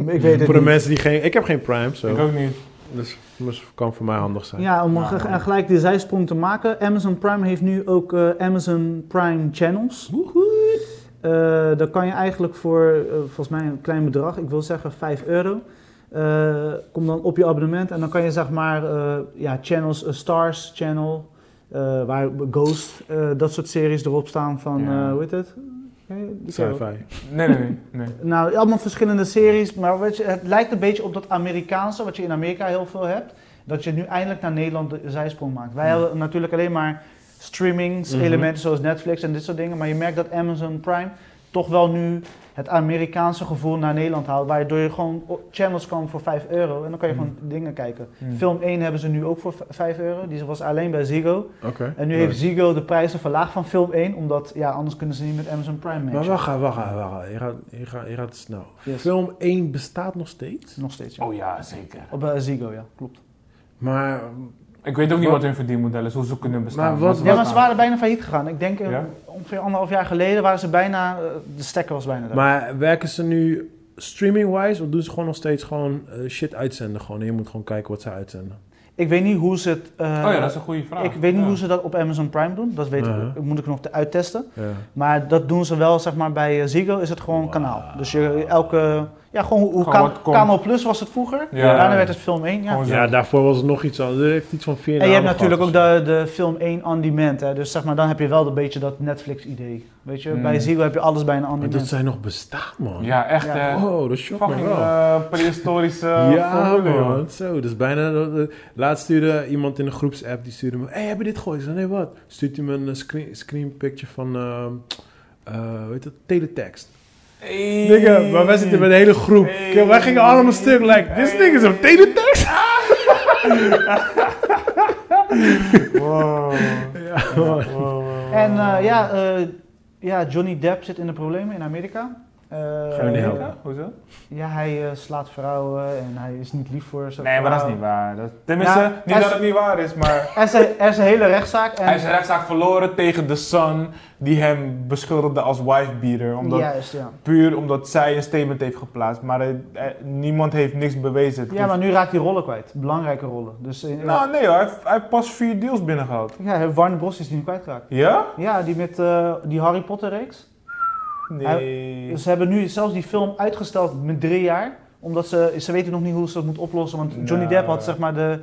Ik weet het
voor de
niet.
mensen die geen... Ik heb geen Prime, zo.
Ik ook niet.
Dus dat kan voor mij handig zijn.
Ja, om
Ja.
ge- en gelijk die zijsprong te maken. Amazon Prime heeft nu ook eh, Amazon Prime Channels. Eh daar kan je eigenlijk voor, eh, volgens mij een klein bedrag, ik wil zeggen 5 euro. eh, kom dan op je abonnement en dan kan je zeg maar eh, ja, channels, eh, Stars Channel, eh, waar Ghost, eh, dat soort series erop staan van,
Ja.
eh, hoe heet het? Ken je- die ken je wel.
Sci-fi.
Nee, nee, nee. nee.
Nou, allemaal verschillende series, maar weet je, het lijkt een beetje op dat Amerikaanse, wat je in Amerika heel veel hebt, dat je nu eindelijk naar Nederland de zijsprong maakt. Wij
Ja.
hebben natuurlijk alleen maar
Mhm.
streamingselementen zoals Netflix en dit soort dingen, maar je merkt dat Amazon Prime toch wel nu het Amerikaanse gevoel naar Nederland haalt, waardoor je gewoon op channels kan voor 5 euro en dan kan
Mhm.
je gewoon dingen kijken.
Hmm.
Film 1 hebben ze nu ook voor v- 5 euro, die was alleen bij Ziggo.
Oké.
En nu heeft Ziggo de prijzen verlaagd van film 1, omdat ja, anders kunnen ze niet met Amazon Prime matchen.
Maar wacht, wacht, wacht. wacht. Je, gaat, je, gaat, je gaat snel.
Yes.
Film 1 bestaat nog steeds.
Nog steeds, ja.
Oh ja, zeker.
Op eh, Ziggo, ja, klopt.
Maar,
Ik weet ook niet
Wat-
wat hun verdienmodel is, hoe ze kunnen bestaan.
Maar wat-
Ja, maar ze waren bijna failliet gegaan. Ik denk eh,
Ja?
ongeveer anderhalf jaar geleden waren ze bijna, eh, de stekker was bijna daar.
maar werken ze nu streaming-wise? Of doen ze gewoon nog steeds gewoon eh, shit uitzenden? Gewoon, en je moet gewoon kijken wat ze uitzenden.
ik weet niet hoe ze het, eh,
Oh ja, dat is een goede vraag.
ik weet niet
Ja.
hoe ze dat op Amazon Prime doen. Dat weet
Uh-huh.
ik, moet ik nog te uittesten.
Ja.
Maar dat doen ze wel, zeg maar, bij eh, Ziggo is het gewoon
Wauw.
kanaal. Dus je elke, ja, gewoon hoe, hoe
Gewoon
Ka-
wat komt.
Kanaal Plus was het vroeger.
Ja.
Daarna werd het film 1, ja.
Gewoon zo.
Ja, daarvoor was het nog iets anders. Er heeft iets van vier
En je hebt
namen
natuurlijk ook
gehad.
de,
dus.
de film 1 on demand, hè. Dus zeg maar, dan heb je wel een beetje dat Netflix-idee. Weet je, bij
Hmm.
Ziggo heb je alles bijna on
Maar
demand.
dat zijn nog bestaan, man.
Ja, echt.
Ja.
eh,
Oh, dat shock me
fucking
wel.
eh, prehistorische eh,
ja,
formule, joh.
man. Zo, dat is bijna... eh, Laatst stuurde iemand in de groepsapp, die stuurde me... Hé, hey, heb je dit gehoord? Ik zei, nee, wat? Stuurt hij me een eh, screen, screen picture van... ehm eh weet dat? Teletext.
Hey.
Nigga, maar wij zitten met de hele groep.
Hey.
Kijk, wij gingen allemaal stuk, like... This
Hey.
nigga is op teletext?
Wow.
Ja, man.
Wow, wow, wow.
eh, En eh, ja, eh, ja, Johnny Depp zit in de problemen in Amerika. Eh,
Gaan we niet helpen?
Hoezo?
Ja, hij eh, slaat vrouwen en hij is niet lief voor ze.
Nee, maar dat is
vrouw.
niet waar. Dat, tenminste,
Ja,
niet
Nou, hij is-
dat het niet waar is, maar...
Er is, een, er is een hele rechtszaak. En
Hij is een rechtszaak verloren tegen de Sun, die hem beschuldigde als wifebeater. Omdat,
Juist, ja.
Puur omdat zij een statement heeft geplaatst. Maar eh, eh, niemand heeft niks bewezen. Het
Ja, maar
is-
nu raakt hij rollen kwijt. Belangrijke rollen. Dus eh,
Nou, nee hoor, hij heeft, hij heeft pas vier deals binnengehaald.
ja, Warner Bros is die nu kwijtgeraakt.
Ja?
Ja, die met eh, die Harry Potter reeks. Dus
Nee.
Ze hebben nu zelfs die film uitgesteld met drie jaar. Omdat ze, ze weten nog niet hoe ze dat moet oplossen. Want Johnny
Nou.
Depp had zeg maar de,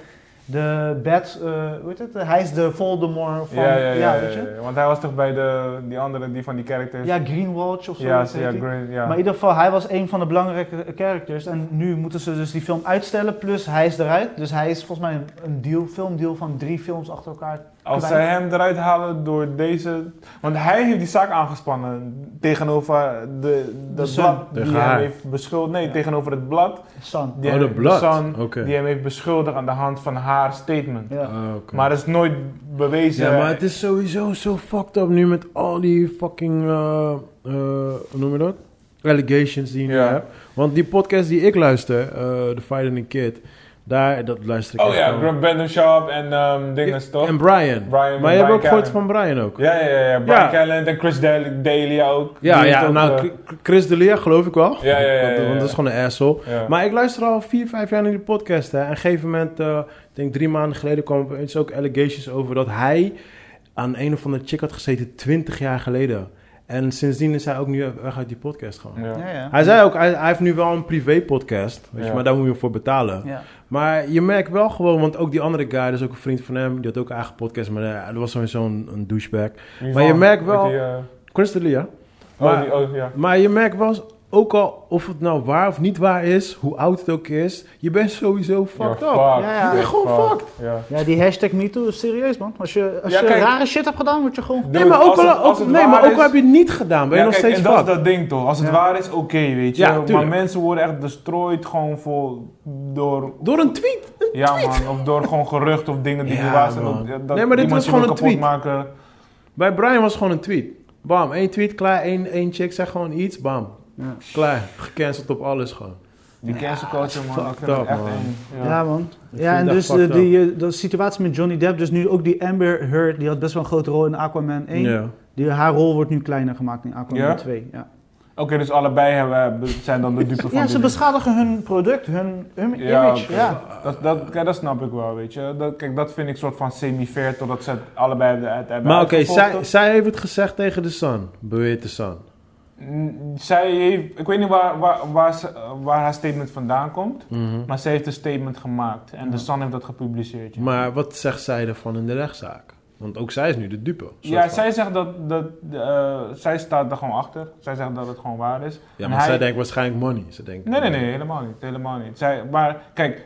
de bad, eh, hoe heet het? Hij is de Voldemort van,
ja, ja, ja, ja,
weet je?
ja, Want hij was toch bij de, die andere, die van die characters?
Ja, Greenwatch of zo.
ja,
heet
ja,
die.
Green, ja.
Maar in ieder geval, hij was een van de belangrijke characters. En nu moeten ze dus die film uitstellen, plus hij is eruit. Dus hij is volgens mij een, een deal, filmdeal van drie films achter elkaar.
Als
kwijt.
zij hem eruit halen door deze... Want hij heeft die zaak aangespannen tegenover de, de,
Sun.
blad die
Tegen
hem
haar.
heeft beschuldigd. Nee,
Ja.
tegenover het blad.
San.
Die
Oh,
hem-
de blad.
Sun,
Oké.
Die hem heeft beschuldigd aan de hand van haar statement.
Ja.
Ah, oké.
Maar dat is nooit bewezen.
Ja, maar het is sowieso zo fucked up nu met al die fucking, eh, eh, hoe noem je dat? Allegations die je
Ja.
nu hebt. Want die podcast die ik luister, eh The Fight and the Kid, daar, dat luister ik
Oh
echt
ja,
gewoon.
Grant Brandon Sharp en ehm dingen toch?
En Brian.
Brian-
maar je hebt
Brian
ook gehoord
Callen.
van Brian ook.
Ja, ja, ja. ja. Brian
Ja.
Callen en Chris Daly, Daly ook.
Ja,
Die
ja,
heeft ook,
nou,
eh,
Chr- Chris D'Elia geloof ik wel.
Ja, ja, ja, ja, ja.
Want dat is gewoon een asshole.
ja.
Maar ik luister al vier, vijf jaar naar die podcast. Hè. En op een gegeven moment, eh, ik denk drie maanden geleden, kwam opeens ook allegations over dat hij aan een of andere chick had gezeten twintig jaar geleden. En sindsdien is hij ook nu weg uit die podcast gewoon.
Ja.
Ja, ja.
Hij zei ook, hij, hij heeft nu wel een privé podcast, weet je,
Ja.
maar daar moet je hem voor betalen.
Ja.
Maar je merkt wel gewoon, want ook die andere guy, dat is ook een vriend van hem, die had ook een eigen podcast, maar eh, dat was sowieso een, een douchebag.
Wie
Maar je
van?
merkt wel-
Met Die, eh,
Chris D'Elia.
oh,
Maar-
die, oh, ja.
Maar je merkt wel, eens, ook al of het nou waar of niet waar is, hoe oud het ook is, je bent sowieso fucked
Ja,
up.
fuck.
Ja, ja.
Ja,
Je bent
gewoon
Ja.
Ja, die hashtag MeToo is serieus, man. Als je, als
Ja,
je
kijk.
rare shit hebt gedaan, word je gewoon...
Nee, maar ook,
Als
al,
het- als
ook-
het
nee,
waar
maar ook al
is-
heb je het niet gedaan, ben je
Ja,
nog
kijk,
steeds
en dat is
fucked.
dat ding toch. Als het
Ja.
waar is, oké, weet je.
Ja,
maar
tuurlijk.
mensen worden echt destroyed gewoon voor, door...
Door een tweet.
Ja man, of door gewoon gerucht of dingen die
Ja,
niet waar zijn.
man.
Of, ja, dat
Nee, maar dit
iemand
was
je
gewoon
wil
een tweet.
kapot Maken.
Bij Brian was gewoon een tweet. Bam, één tweet, klaar. Eén, één chick zegt gewoon iets, bam.
Ja.
Klaar, gecanceld op alles gewoon.
Die cancel culture man, ik
fucked
vind het
up,
echt
man.
eng.
Ja, man. Ja,
vind
en
dat
dus de,
fucked
die, eh, de situatie met Johnny Depp, dus nu ook die Amber Heard, die had best wel een grote rol in Aquaman 1.
Ja.
Die, haar rol wordt nu kleiner gemaakt in Aquaman
Ja?
2. Ja,
Oké, dus allebei hebben, zijn dan de dupe van
ja
die
ze
dingen.
beschadigen hun product, hun, hun
Ja,
image.
oké.
Ja.
dat, dat, kijk, dat snap ik wel, weet je. Dat, kijk, dat vind ik soort van semi-fair, totdat ze het allebei hebben het hebben
Maar oké,
uitgevochten.
zij, zij heeft het gezegd tegen de Sun, beweert de Sun.
Mm, zij heeft... Ik weet niet waar, waar, waar, ze- eh, waar haar statement vandaan komt.
Mhm.
Maar ze heeft een statement gemaakt. En de Sun heeft dat gepubliceerd. ja.
Maar wat zegt zij ervan in de rechtszaak? Want ook zij is nu de dupe. soort
Ja,
van.
zij zegt dat... dat eh, zij staat er gewoon achter. Zij zegt dat het gewoon waar is.
ja
En
maar
hij-
zij denkt waarschijnlijk money. Ze denkt,
Nee, nee, nee, helemaal niet. Helemaal niet. Zij, maar kijk,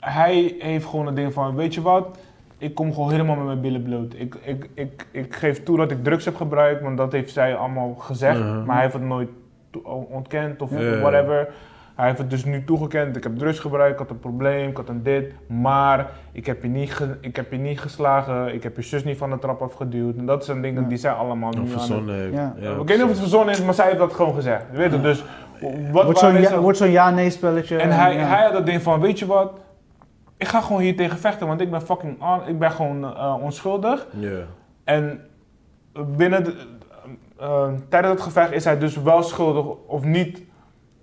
hij heeft gewoon het ding van: weet je wat, ik kom gewoon helemaal met mijn billen bloot. Ik, ik, ik, ik geef toe dat ik drugs heb gebruikt, want dat heeft zij allemaal gezegd.
Mhm.
Maar hij heeft het nooit to- ontkend of
Ja.
whatever. Hij heeft het dus nu toegekend. Ik heb drugs gebruikt, ik had een probleem, ik had een dit. Maar ik heb je niet, ge- ik heb je niet geslagen, ik heb je zus niet van de trap afgeduwd. En dat zijn dingen
Ja.
die zij allemaal nu
Of
aan het-
verzonnen heeft.
Ja.
Ik weet niet of het verzonnen is, maar zij heeft dat gewoon gezegd. Je weet het, dus wat
wordt
waar
zo'n
is
ja,
het-
wordt zo'n ja-nee spelletje.
en hij,
ja.
hij had dat ding van, weet je wat, ik ga gewoon hier tegen vechten, want ik ben fucking, on- ik ben gewoon eh, onschuldig.
Ja.
En binnen, de- eh, eh, tijdens het gevecht is hij dus wel schuldig of niet.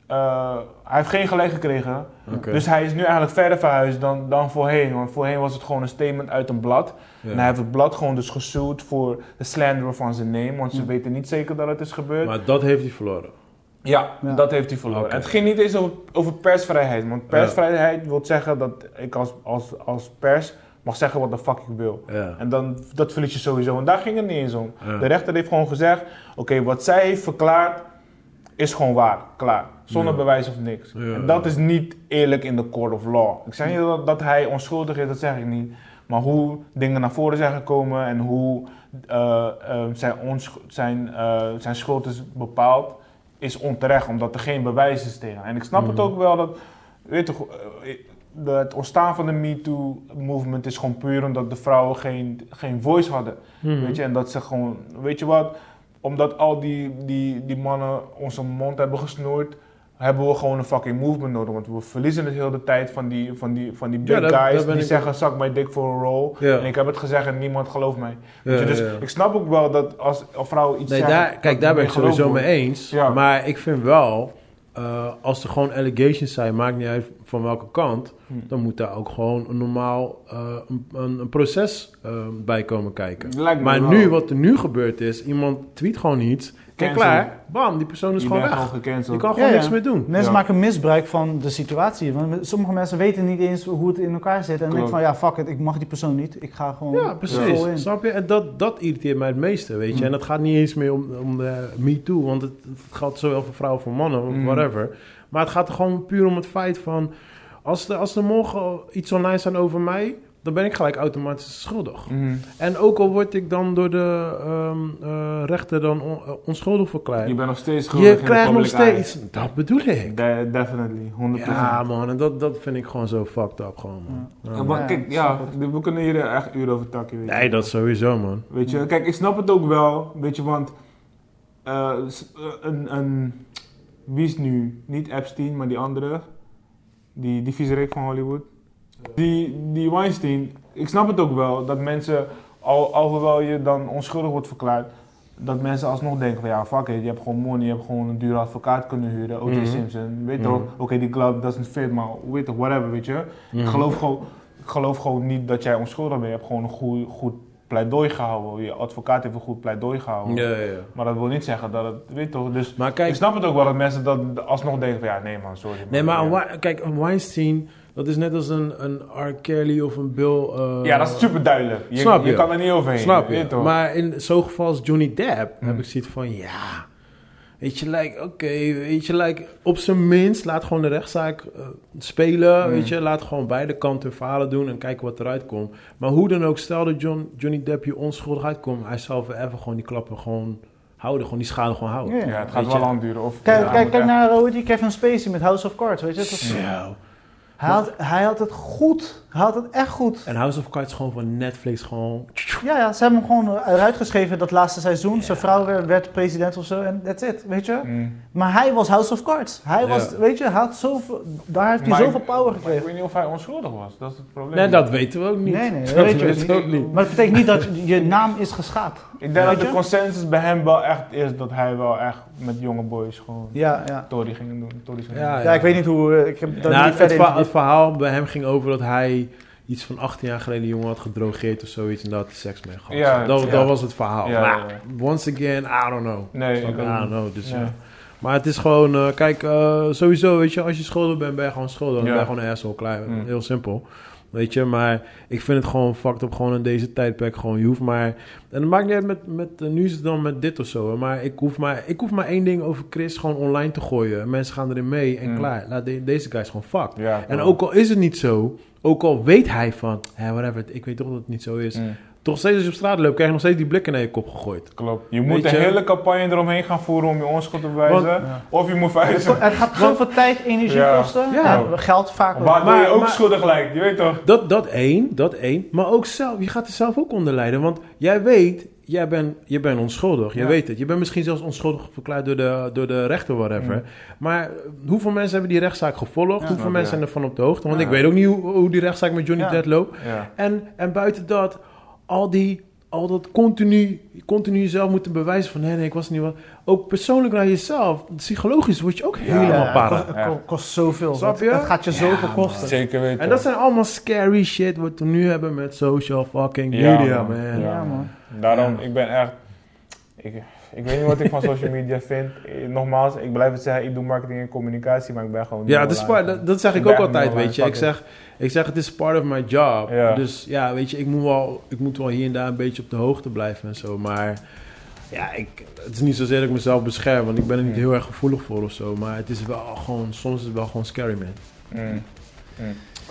Eh, hij heeft geen gelijk gekregen,
Oké.
dus hij is nu eigenlijk verder verhuisd dan, dan voorheen. Want voorheen was het gewoon een statement uit een blad.
Ja.
En hij heeft het blad gewoon dus gesuwd voor de slander van zijn name, want ze
Hm.
weten niet zeker dat het is gebeurd.
Maar dat heeft hij verloren.
Ja,
Ja.
dat heeft hij verloren.
Oké.
Het ging niet eens over, over persvrijheid. Want persvrijheid wil zeggen dat ik als, als, als pers mag zeggen wat de fuck ik wil.
Ja.
En dan, dat verlies je sowieso. En daar ging het niet eens om.
Ja.
De rechter heeft gewoon gezegd, oké, wat zij heeft verklaard is gewoon waar. Klaar. Zonder
Ja.
bewijs of niks.
Ja.
En dat is niet eerlijk in de court of law. Ik zeg niet dat, dat hij onschuldig is, dat zeg ik niet. Maar hoe dingen naar voren zijn gekomen en hoe eh, eh, zijn, onsch- zijn, eh, zijn schuld is bepaald, is onterecht, omdat er geen bewijs is tegen. En ik snap het
Mhm.
ook wel dat, weet je toch, eh, de- het ontstaan van de MeToo-movement is gewoon puur omdat de vrouwen geen, geen voice hadden.
Mhm.
Weet je, en dat ze gewoon, weet je wat, omdat al die, die, die mannen onze mond hebben gesnoerd, hebben we gewoon een fucking movement nodig. Want we verliezen het heel de tijd van die, van die, van die big
Ja, daar- daar
guys
ben
die
ik-
zeggen, zak mijn dik voor een rol.
Ja.
En ik heb het gezegd en niemand gelooft mij.
Ja,
Weet je, dus
ja.
ik snap ook wel dat als een vrouw iets
Nee,
zegt...
daar, kijk, daar ben ik sowieso mee
eens.
eens.
Ja.
Maar ik vind wel, eh, als er gewoon allegations zijn, maakt niet uit van welke kant,
Hm.
dan moet daar ook gewoon een normaal eh, een, een, een proces eh, bij komen kijken.
Lijkt me
Maar
wel.
nu, wat er nu gebeurd is, iemand tweet gewoon iets en
Cancel.
klaar, bam, die persoon is
Je
gewoon
bent
weg.
gewoon gecanceld.
Je kan gewoon
Ja, ja.
niks meer doen.
Mensen
Ja.
maken misbruik van de situatie. Want sommige mensen weten niet eens hoe het in elkaar zit. En denken
Klopt.
van, ja, fuck it, ik mag die persoon niet. Ik ga gewoon
Ja, precies.
vol in.
Snap je? En dat, dat irriteert mij het meeste, weet je.
Mm.
En dat gaat niet eens meer om, om de me too, want het, het geldt zowel voor vrouwen als voor mannen,
Mm.
whatever. Maar het gaat er gewoon puur om het feit van... Als er, als er morgen iets online staat over mij, dan ben ik gelijk automatisch schuldig.
Mhm.
En ook al word ik dan door de ehm, eh, rechter dan on- eh, onschuldig verklaard...
Je bent nog steeds
Je,
schuldig in de
krijgt nog
public eye.
steeds... Dat bedoel ik.
De- definitely, 100%.
Ja, man. En dat, dat vind ik gewoon zo fucked up, gewoon, man. Ja,
Ja,
man.
maar
Ja,
kijk,
snap
ja, we kunnen hier echt uren over takken. weet je.
Nee, dat sowieso, man.
Weet je, kijk, ik snap het ook wel, weet je, want eh, s- eh, een, een, wie is nu, niet Epstein, maar die andere, die, die viezerik van Hollywood, die, die Weinstein, ik snap het ook wel, dat mensen, al, alhoewel je dan onschuldig wordt verklaard, dat mensen alsnog denken van ja, fuck it, je hebt gewoon money, je hebt gewoon een dure advocaat kunnen huren, O.J.
Mhm.
Simpson, weet je
Mhm.
toch, oké, die club, dat is een fit, maar weet toch, whatever, weet je.
Mhm.
Ik geloof gewoon, ik geloof gewoon niet dat jij onschuldig bent. Je hebt gewoon een goed, goed pleidooi gehouden. Je advocaat heeft een goed pleidooi gehouden.
Ja, ja, ja.
Maar dat wil niet zeggen dat het, weet je toch? Dus
Maar kijk,
ik snap het ook wel dat mensen dat alsnog denken van ja, nee man, sorry.
Nee, maar een
Oh, ja.
Wei- kijk, een Weinstein, dat is net als een, een R. Kelly of een Bill... eh,
ja, dat is super duidelijk. Je,
Snap je?
kan er niet overheen.
Snap
weet
je?
toch?
Maar in zo'n geval als Johnny Depp heb
Hmm.
ik zoiets van, ja... Weet je, like, oké, weet je, like, op zijn minst laat gewoon de rechtszaak eh, spelen,
Hmm.
weet je. Laat gewoon beide kanten verhalen doen en kijken wat eruit komt. Maar hoe dan ook, stel dat John, Johnny Depp hier onschuldig uitkomt, hij zal forever gewoon die klappen gewoon houden, gewoon die schade gewoon houden.
Ja.
ja, het
Weet
gaat
je?
wel lang duren. Of,
Kijk,
ja,
kijk,
moet
kijk
echt-
naar hoe die Kevin Spacey met House of Cards, weet je. Dat was-
Zo.
hij, had, hij had het goed. Hij had het echt goed.
En House of Cards gewoon van Netflix gewoon...
Ja, ja, ze hebben hem gewoon eruit geschreven dat laatste seizoen. Zijn vrouw werd, werd president of zo en that's it, weet je.
Mm.
Maar hij was House of Cards. Hij
Ja.
was, weet je, hij had zoveel, daar heeft hij
Maar ik-
zoveel power
Maar ik
gekregen.
weet niet of hij onschuldig was. Dat is het probleem.
Nee, dat weten we ook niet.
Nee, nee, dat
dat
weet je
weten we
ook
ook niet.
Maar dat betekent niet dat je- je naam is geschaad.
Ik denk dat
Weet
de
je?
consensus bij hem wel echt is dat hij wel echt met jonge boys gewoon
Ja, ja.
Tory ging doen. Tory ging
Ja,
doen.
Ja, ik weet niet hoe, eh, ik heb dat
Nou,
niet
het,
verder
verhaal,
in-
het verhaal bij hem ging over dat hij iets van 18 jaar geleden een jongen had gedrogeerd of zoiets en daar had hij seks mee gehad.
Ja,
dat,
ja.
dat was het verhaal.
Ja,
maar
ja,
once again, I don't know.
Nee,
Snap
ik
je? I
ook
don't
niet.
know. Dus,
Nee.
ja. Maar het is gewoon, eh, kijk, eh, sowieso, weet je, als je schuldig bent, ben je gewoon schuldig. Dan
Ja.
ben je gewoon een asshole, klaar.
Mm.
Heel simpel. Weet je, maar ik vind het gewoon fucked up, gewoon in deze tijdperk, gewoon, je hoeft maar... En dat maakt niet uit met, met eh, nu is het dan met dit of zo, hè, maar ik hoef maar, ik hoef maar één ding over Chris gewoon online te gooien. Mensen gaan erin mee en
Mm.
klaar. Laat de- deze guy is gewoon fucked.
Ja,
En
toch.
ook al is het niet zo, ook al weet hij van, hè, whatever, ik weet toch dat het niet zo is.
Mm.
Toch steeds als je op straat loopt, krijg je nog steeds die blikken naar je kop gegooid.
Klopt. Je
Weet
moet een
je?
hele campagne eromheen gaan voeren om je onschuld te bewijzen.
Want-
Ja.
Of je moet
Het
verhuizen.
ko- het gaat zoveel tijd, energie
Ja.
kosten.
Ja.
En geld vaak ook.
Maar,
Maar-
je ook
maar-
schuldig lijkt, je weet toch?
Dat, dat één, dat één. Maar ook zelf, je gaat er zelf ook onder lijden. Want jij weet, jij bent, je bent onschuldig. Je
Ja.
weet het. Je bent misschien zelfs onschuldig verklaard door de, door de rechter, whatever.
Mm.
Maar eh, hoeveel mensen hebben die rechtszaak gevolgd?
Ja.
hoeveel
Ja.
mensen zijn ervan op de hoogte? Want
Ja.
ik weet ook niet hoe, hoe die rechtszaak met Johnny
Ja.
Depp loopt.
Ja.
En, en buiten dat, al, die, al dat continu, continu jezelf moeten bewijzen van... nee, nee, ik was niet wat. Ook persoonlijk naar jezelf, psychologisch word je ook helemaal
Ja,
para.
Het ko- kost zoveel.
Snap
Het-
je?
Het gaat je zoveel
Ja,
kosten.
Zeker weten.
En dat zijn allemaal scary shit wat we nu hebben met social fucking
Ja,
media, man.
man.
Ja,
Ja,
man.
Daarom,
Ja.
ik ben echt... Ik, ik weet niet wat ik van social media vind. Eh, Nogmaals, ik blijf het zeggen, ik doe marketing en communicatie, maar ik ben gewoon...
Ja,
niet
dat, is
online.
part, dat, dat zeg ik
Ik ben
ook
echt
altijd,
niet online,
weet je. Ik
fuck
zeg,
it.
ik zeg, het is part of my job.
Ja.
Dus ja, weet je, ik moet, wel, ik moet wel hier en daar een beetje op de hoogte blijven en zo. Maar ja, ik, het is niet zozeer dat ik mezelf bescherm, want ik ben er niet
Hmm.
heel erg gevoelig voor of zo. Maar het is wel gewoon, soms is het wel gewoon scary, man.
Mm.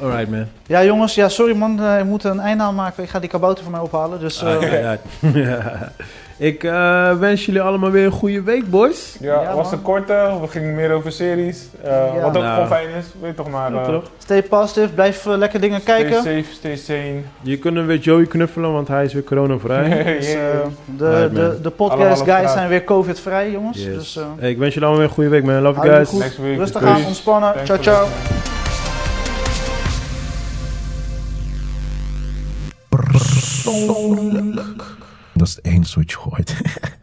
Alright, man.
Ja, jongens, ja, sorry man, eh, ik moet een einde aan maken. Ik ga die kabouter voor mij ophalen. Dus
Ah,
eh,
Alright,
[LAUGHS]
alright. ik eh, wens jullie allemaal weer een goede week, boys.
Ja,
Ja,
was
man.
een korte. We gingen meer over series. eh,
Ja.
wat ook
Nou.
gewoon fijn is. Weet toch maar. eh,
stay positive, blijf eh, lekker dingen kijken.
Stay safe, stay sane.
Je kunt hem weer Joey knuffelen, want hij is weer
[LAUGHS]
coronavrij.
Dus, eh,
Yeah.
de,
Right, man.
de, de podcast
Allemaal
guys
opgepraat.
zijn weer covid-vrij, jongens.
Yes.
Dus eh,
Hey, ik wens jullie allemaal weer een goede week, man. Love you
Hou je
guys.
goed.
Next week.
eh, rustig
Peace.
aan, ontspannen.
Thanks
Ciao,
for
ciao.
listening.
Dat is het enige wat je hoort.